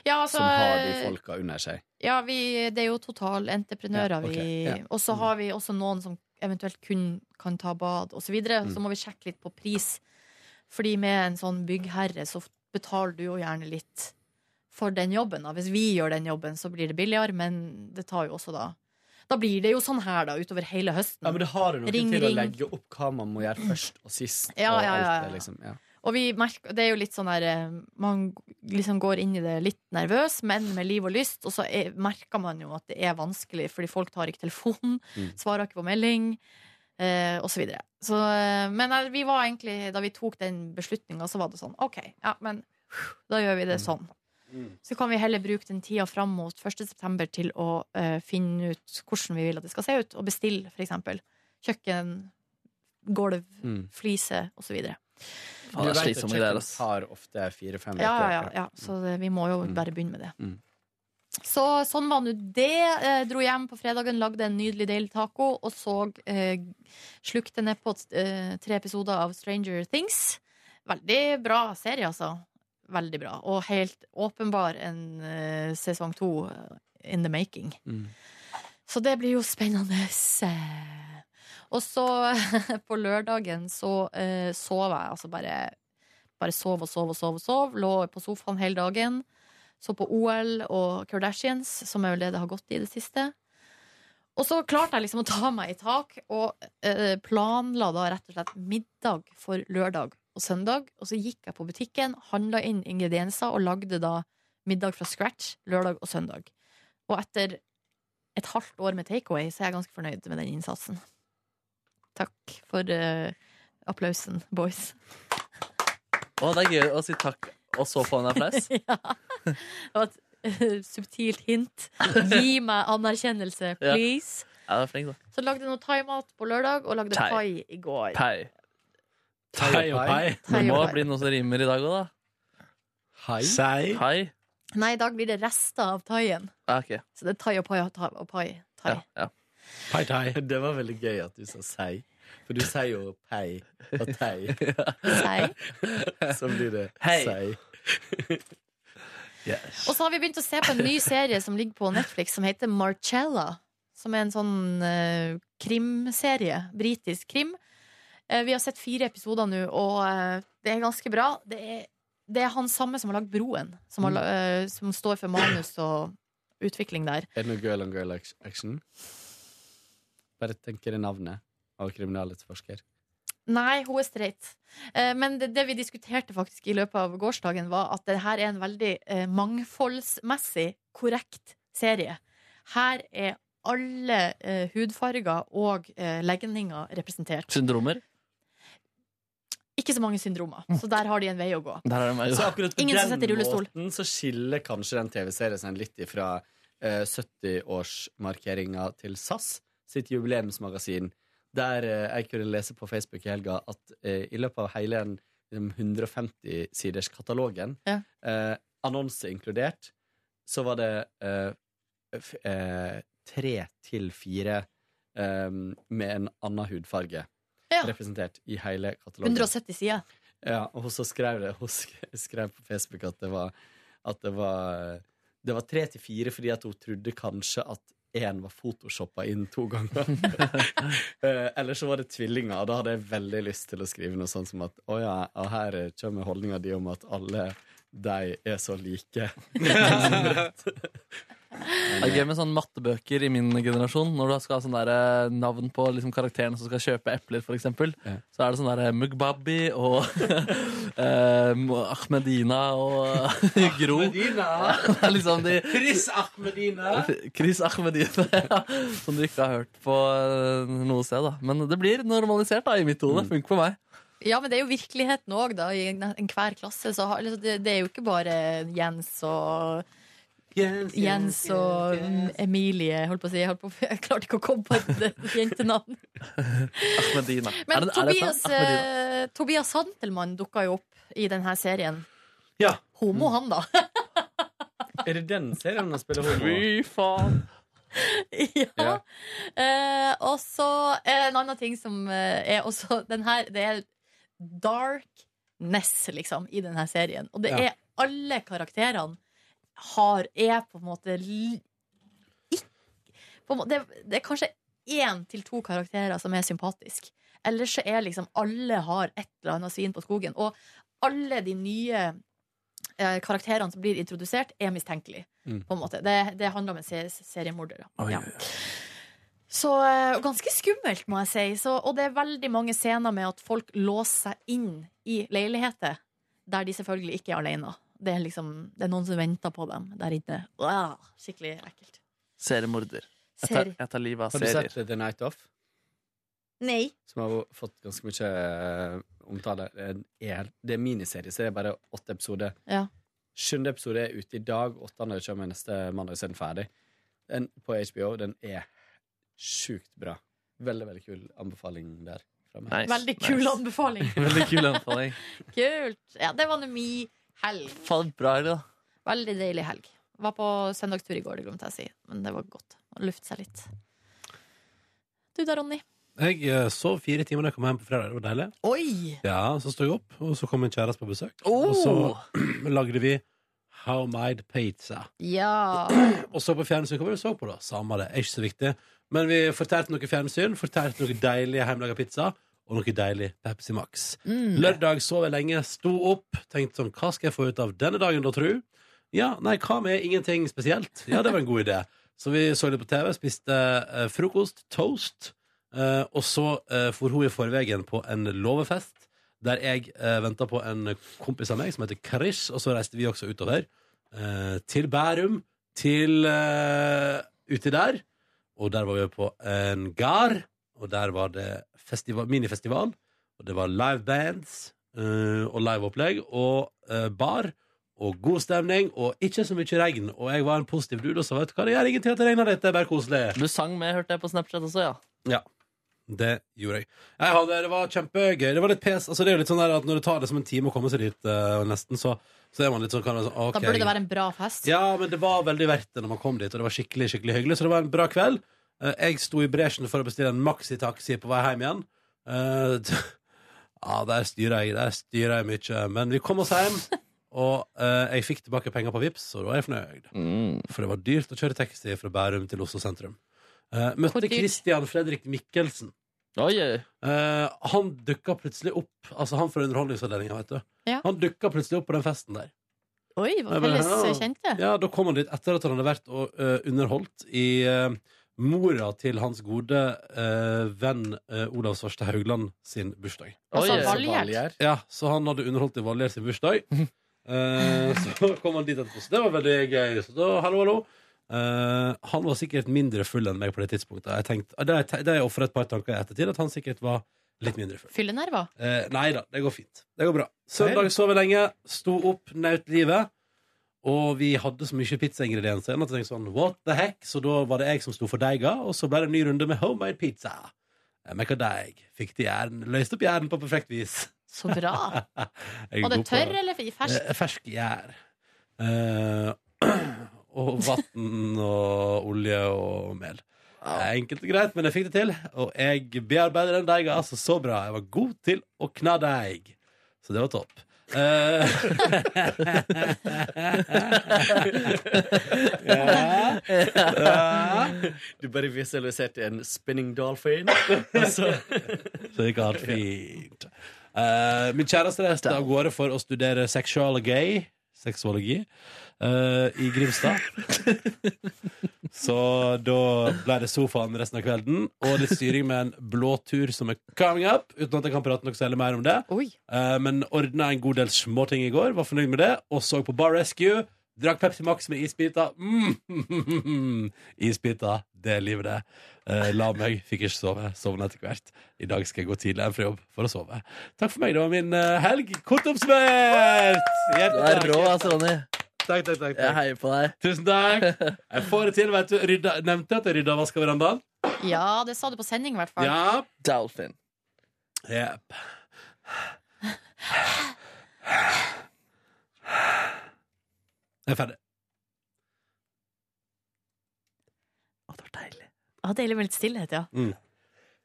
Ja, altså, som har de folka under seg. ja vi, det er jo totalentreprenører Ja, ok, vi ja. Og så har vi også noen som eventuelt kun kan ta bad osv. Så, videre Mm. så må vi sjekke litt på pris. Fordi med en sånn byggherre så betaler du jo gjerne litt for den jobben. Da. Hvis vi gjør den jobben, så blir det billigere, men det tar jo også da Da blir det jo sånn her, da, utover hele høsten. Ja, men det har du noe Ring, til å ring. legge opp hva man må gjøre først og sist. Ja, og ja, ja, alt ja. det, liksom. ja. Og vi merker, det er jo litt sånn der eh, Man liksom går inn i det litt nervøs, men med liv og lyst. Og så er, merker man jo at det er vanskelig, fordi folk tar ikke telefonen, Mm. svarer ikke på melding, eh, og så videre. Så, eh, men eh, vi var egentlig, da vi tok den beslutninga, så var det sånn OK, ja, men da gjør vi Mm. det sånn. Så kan vi heller bruke den tida fram mot 1.9. til å eh, finne ut hvordan vi vil at det skal se ut, og bestille f.eks. kjøkken, gulv, Mm. flise osv. Faen, det Du er vet at slitsomme greier, kjøkken ass. tar ofte fire-fem uker. Ja, ja, ja, ja. Så det, vi må jo Mm. bare begynne med det. Mm. Så sånn var nå det. Eh, dro hjem på fredagen, lagde en nydelig deilig taco, og så eh, slukte ned på eh, tre episoder av Stranger Things. Veldig bra serie, altså. Veldig bra. Og helt åpenbar en eh, sesong to eh, in the making. Mm. Så det blir jo spennende. Og så på lørdagen så eh, sov jeg, altså bare bare sov og sov og sov og sov. Lå på sofaen hele dagen. Så på OL og Kardashians, som er vel det det har gått i det siste. Og så klarte jeg liksom å ta meg i tak, og eh, planla da rett og slett middag for lørdag og søndag. Og så gikk jeg på butikken, handla inn ingredienser og lagde da middag fra scratch lørdag og søndag. Og etter et halvt år med takeaway, så er jeg ganske fornøyd med den innsatsen. Takk for eh, applausen, boys. Å, det er gøy å si takk, og så få en applaus. Ja. Det var et eh, subtilt hint. Gi meg anerkjennelse, please. Ja, det er flink, da. Så lagde jeg noe thaimat på lørdag, og lagde Thai. pai i går. Pei. Tei og pei. Det Thai må og pai. bli noe som rimer i dag òg, da. Hei. Sei. Pai. Nei, i dag blir det rester av thaien. Ja, Ah, ok. Så det er thai og pai og thai. Og pai. Thai. Ja, ja. Pei, tei. Det var veldig gøy at du sa sei. For du sier jo pei og tei. Thai. Så blir det Hei. sei. Og så har vi begynt å se på en ny serie som ligger på Netflix, som heter Marcella. Som er en sånn eh, krimserie. Britisk krim. Eh, vi har sett fire episoder nå, og eh, det er ganske bra. Det er, det er han samme som har lagd Broen, som, har, la- eh, som står for manus og utvikling der. Er det noe girl on girl act- action? Bare tenker i navnet av kriminalitetsforsker. Nei, hun er straight. Eh, Men det, det vi diskuterte faktisk i løpet av gårsdagen, var at det her er en veldig eh, mangfoldsmessig korrekt serie. Her er alle eh, hudfarger og eh, legninger representert. Syndromer. Ikke så mange syndromer, så der har de en vei å gå. Der er det meg. Så akkurat på Ingen som den sitter i rullestol. måten så skiller kanskje den TV-serien seg litt ifra eh, 70-årsmarkeringa til SAS sitt jubileumsmagasin, der eh, jeg kunne lese på Facebook i helga at eh, i løpet av hele den 150-siders katalogen, Ja. eh, annonse inkludert, så var det eh, f eh, tre til fire eh, med en annen hudfarge Ja. representert i hele katalogen. 170 sider. Ja, og så skrev det Hun sk- skrev på Facebook at det var At det var Det var tre til fire fordi at hun trodde kanskje at én var photoshoppa inn to ganger. Eh, Eller så var det tvillinger, og da hadde jeg veldig lyst til å skrive noe sånt som at å ja, og her kommer holdninga di om at alle de er så like. Det er gøy med sånne mattebøker i min generasjon. Når du skal ha sånne der, eh, navn på liksom, karakterene som skal kjøpe epler, for eksempel Ja. så er det sånn derre Mugbabi og eh, Mo- Ahmedina og eh, Gro. Det er liksom de Chris Ahmedina. Chris Ahmedina, ja. Mm. Som du ikke har hørt på eh, noe sted, da. Men det blir normalisert, da, i mitt hode. Funker for meg. Ja, men det er jo virkeligheten òg, da. I en- enhver klasse. Så har, liksom, det, det er jo ikke bare Jens og Jens og mm, Emilie, holdt på å si. Jeg, holdt på, å- jeg klarte ikke å komme på et et jentenavn. Ahmedina. Er Men det- er det et navn? Tobias, Ahmedina. eh, Tobias Santelmann dukka jo opp i denne serien. Ja. Homo, han, da. Er det den serien han spiller homo? Fy faen. ja. Ja. Eh, og så er det en annen ting som eh, er også den her Det er darkness, liksom, i denne serien. Og det Ja. er alle karakterene har Er på en måte li- ikk- på en måte, det, det er kanskje én til to karakterer som er sympatisk. Ellers så er liksom alle har et eller annet svin på skogen. Og alle de nye eh, karakterene som blir introdusert, er mistenkelige. Mm. På en måte. Det, det handler om en se- seriemorder. Da. Oi, Ja. oi, oi. Så eh, og ganske skummelt, må jeg si. Så, og det er veldig mange scener med at folk låser seg inn i leiligheter, der de selvfølgelig ikke er alene. Det er, liksom, det er noen som venter på dem der inne. Wow, skikkelig ekkelt. Seriemorder. Jeg tar, Ser. jeg tar livet av Har du sett serier. The Night Off? Nei. Som har fått ganske mye eh, omtale. Det er- det er miniserie, så det er bare åtte episoder. Ja. Sjuende episode er ute i dag, åttende kommer neste mandag, så er den ferdig. Den på HBO, den er sjukt bra. Veldig, veldig kul anbefaling der. fra meg. Nice, Veldig kul nice. anbefaling. Veldig kul anbefaling. Kult. Ja, det var nå mi helg. Faen, bra helg, da. Veldig deilig helg. Var på søndagstur i går, det glemte jeg å si. Men det var godt å lufte seg litt. Du da, Ronny? Jeg eh, sov fire timer da jeg kom hjem på fredag. Det var deilig. Oi! Ja, Så sto jeg opp, og så kom min kjæreste på besøk. Oh. Og så lagde vi How Made Pizza. Ja. Og så på fjernsyn. Hva var det du så på, da? Samme det, er ikke så viktig. Men vi fortærte noe fjernsyn, fortærte noe deilig hjemmelaga pizza, og noe deilig Pepsi Max. Mm. Lørdag sov jeg lenge, sto opp, tenkte sånn Hva skal jeg få ut av denne dagen, da, tru? Ja, nei, hva med ingenting spesielt? Ja, det var en god idé. Så vi så litt på TV, spiste eh, frokost, toast, eh, og så eh, for hun i forveien på en låvefest, der jeg eh, venta på en kompis av meg som heter Chris, og så reiste vi også utover eh, til Bærum, til eh, uti der, og der var vi på en gard, og der var det festival, minifestival. Og det var live bands eh, og liveopplegg og eh, bar og god stemning og ikke så mye regn. Og jeg var en positiv dude og sa vet du hva, det gjør ingenting at det regner litt, det er bare koselig. Du sang med, hørte jeg på Snapchat også, ja. Det gjorde jeg. jeg hadde, det var kjempegøy. Det var litt pes. Altså, det er jo litt sånn der at når det tar det som en time å komme seg dit, eh, nesten, så, så er man litt sånn, kan man sånn Da burde det være en bra fest. Ja, men det var veldig verdt det når man kom dit, og det var skikkelig skikkelig hyggelig. Så det var en bra kveld. Eh, Jeg sto i bresjen for å bestille en maxitaxi på vei hjem igjen. Eh, Ja, der styrer jeg, der styrer jeg mye. Men vi kom oss hjem, og eh, jeg fikk tilbake penger på Vipps, og da var jeg fornøyd. Mm. For det var dyrt å kjøre taxi fra Bærum til Oslo sentrum. Eh, Hvor Møtte dyrt? Christian Fredrik Mikkelsen. Oi, oi. Eh, han dukka plutselig opp Altså han fra Underholdningsavdelinga, vet du. Ja. Han dukka plutselig opp på den festen der. Oi, Jeg hva bare, felles ja. kjente. Ja, Da kom han dit etter at han hadde vært og, eh, underholdt i eh, mora til hans gode eh, venn eh, Olav Svarstad Haugland sin bursdag. Altså, Oi, oi. Valgjerd. Valgjerd. Ja, Så han hadde underholdt i Valgjerd sin bursdag. Eh, så kom han dit etterpå. Så det var veldig gøy. Så da, hallo, hallo. Eh, han var sikkert mindre full enn meg på det tidspunktet. Jeg tenkte, det har jeg te- det har jeg ofret et par tanker i ettertid, at han sikkert var litt mindre full. Fyllenerver. Eh, nei da, det går fint. Det går bra. Søndag sov jeg lenge, sto opp, nøt livet. Og vi hadde så mye pizzaingredienser igjen at jeg tenkte sånn, what the heck? Så da var det jeg som sto for deiga, og så ble det en ny runde med homemade pizza. Jeg mekka deig, fikk det i jern, løste opp jern på perfekt vis. Så bra. Jeg er Var det god på- tørr eller fersk? Eh, fersk gjær. Eh, og vann og olje og mel. Eh, Enkelt og greit, men jeg fikk det til. Og jeg bearbeider den deigen altså så bra. Jeg var god til å kna deig. Så det var topp. Eh, ja. ja. Du bare visualiserte en spinning dolphin. og så- Så det gikk alt fint. Eh, min kjæreste reiste av gårde for å studere sexuology, sexologi eh, i Grimstad. Så da ble det sofaen resten av kvelden og litt styring med en blåtur som er coming up. Uten at jeg kan prate noe særlig mer om det. Oi. Eh, men ordna en god del småting i går, var fornøyd med det. Og så på Bar Rescue. Drakk Pepsi Max med isbiter. Mm. Isbiter, det er livet, det. Eh, la meg. Fikk ikke sove. Sovna etter hvert. I dag skal jeg gå tidligere enn fra jobb for å sove. Takk for meg. Det var min eh, helg. Kort oppsummert! Du Hjertelig er takk. rå, ass, Ronny. Takk, takk, takk, Jeg takk. heier på deg. Tusen takk. Jeg får det til, vet du. Rydda, nevnte jeg at jeg rydda og vaska verandaen? Ja, det sa du på sending, i hvert fall. Ja. Dolphin. Yep. Jeg er ferdig. Å, det var deilig. Ja, deilig med litt stillhet, ja.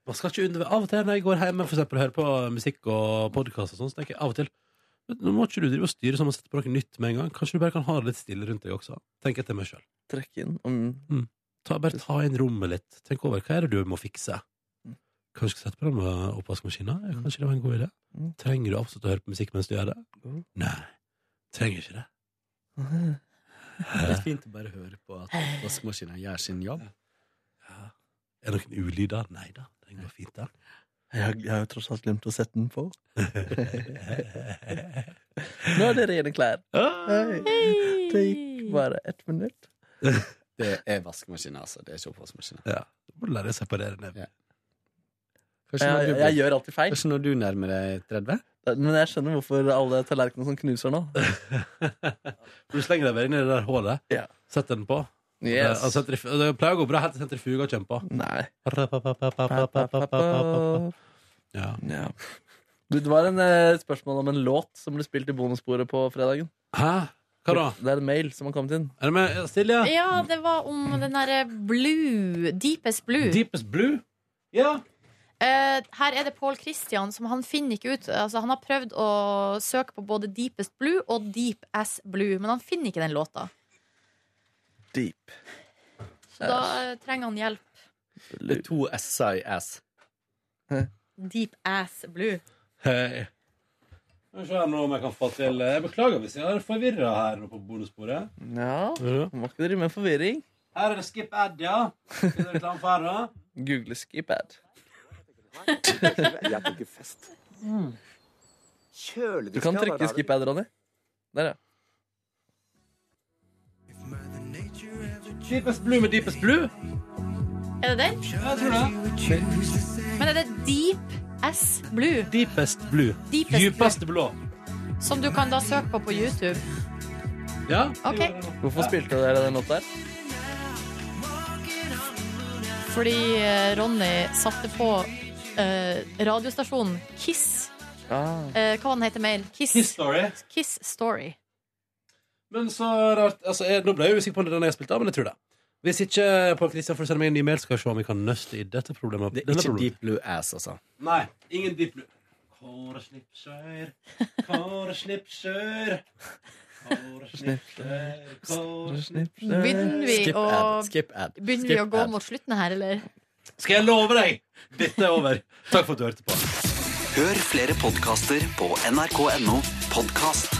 Man skal ikke underve- Av og til når jeg går hjem og for eksempel hører på musikk og podkast, så tenker jeg av og til "Men Nå må ikke du drive og styre sånn og sette på noe nytt med en gang. Kanskje du bare kan ha det litt stille rundt deg også. Tenk etter meg sjøl. Trekk inn. Mm. Ta, bare ta inn rommet litt. Tenk over hva er det du må fikse. Mm. Kanskje du skal sette på den med oppvaskmaskina? Ja, Kanskje det var en god idé? Mm. Trenger du absolutt å høre på musikk mens du gjør det? Mm. Nei. Trenger ikke det. Det er fint å bare høre på at vaskemaskinen gjør sin jobb. Ja. Er det noen ulyder? Nei da. Den går fint, den. Jeg, har- jeg har jo tross alt glemt å sette den på. Nå er det rene klær. Ah! Hei. Det gikk bare ett minutt. Det er vaskemaskinen, altså. Det er ikke oppvaskmaskinen. Ja. Du må lære å separere ned. Kanskje når Jeg, du, jeg, blir- gjør alltid feil. kanskje når du nærmer deg 30? Men jeg skjønner hvorfor alle tallerkenene som knuser nå. Du slenger deg bare inn i det der hålet, Ja. setter den på. Yes. Eh, og sentrif- og det pleier å gå bra helt til sentrifuga kommer på. Nei. Ja. Ja. Du, Det var en eh, spørsmål om en låt som ble spilt i bonussporet på fredagen. Hæ? Hva da? Det er en mail som har kommet inn. Er det med Silje? Ja, det var om den derre blue Deepest blue. Deepest Blue? Ja. Eh, her er det Pål Christian som han finner ikke ut altså, Han har prøvd å søke på både Deepest Blue og Deep As Blue, men han finner ikke den låta. Deep. Så da eh, trenger han hjelp. Det er to s-er i ass. Deep As Blue. Hei. Skal vi se her nå om jeg kan få til eh, Jeg beklager hvis jeg er forvirra her nå på bonussporet. Ja, må ikke drive med forvirring. Her er det Skip Ad, ja. Er det reklame for her, da? Google skip ad. Du kan trykke skip ad, Ronny. Der, ja. Deepest Blue med Deepest Blue? Er det den? Jeg tror det. Men er det Deep As Blue Deepest Blue. Deepest Djupeste blå. som du kan da søke på på YouTube? Ja. Ok. Hvorfor spilte dere den låta her? Fordi eh, Ronny satte på eh, radiostasjonen Kiss. Ah. Eh, hva var den heter mer? Kiss Kiss, Story. Kiss Story. Men så rart altså, jeg, Nå ble jeg usikker på om det er den jeg spilte av, men jeg tror det. Hvis ikke Pål Kristian får sende meg en ny mail, skal vi se om vi kan nøste i dette problemet. Det er Denne ikke problemet. deep blue ass, altså. Nei, ingen deep blue. Kåre Slipsøyr, Kåre Slipsøyr. Kåre Slipsøyr, Kåre Slipsøyr Begynner vi Eh, Skip å ad. Skip ad. Begynner vi Skip å gå ad. mot slutten her, eller? Skal jeg love deg? Dette er over. Takk for at du hørte på. Hør flere podkaster på nrk.no podkast.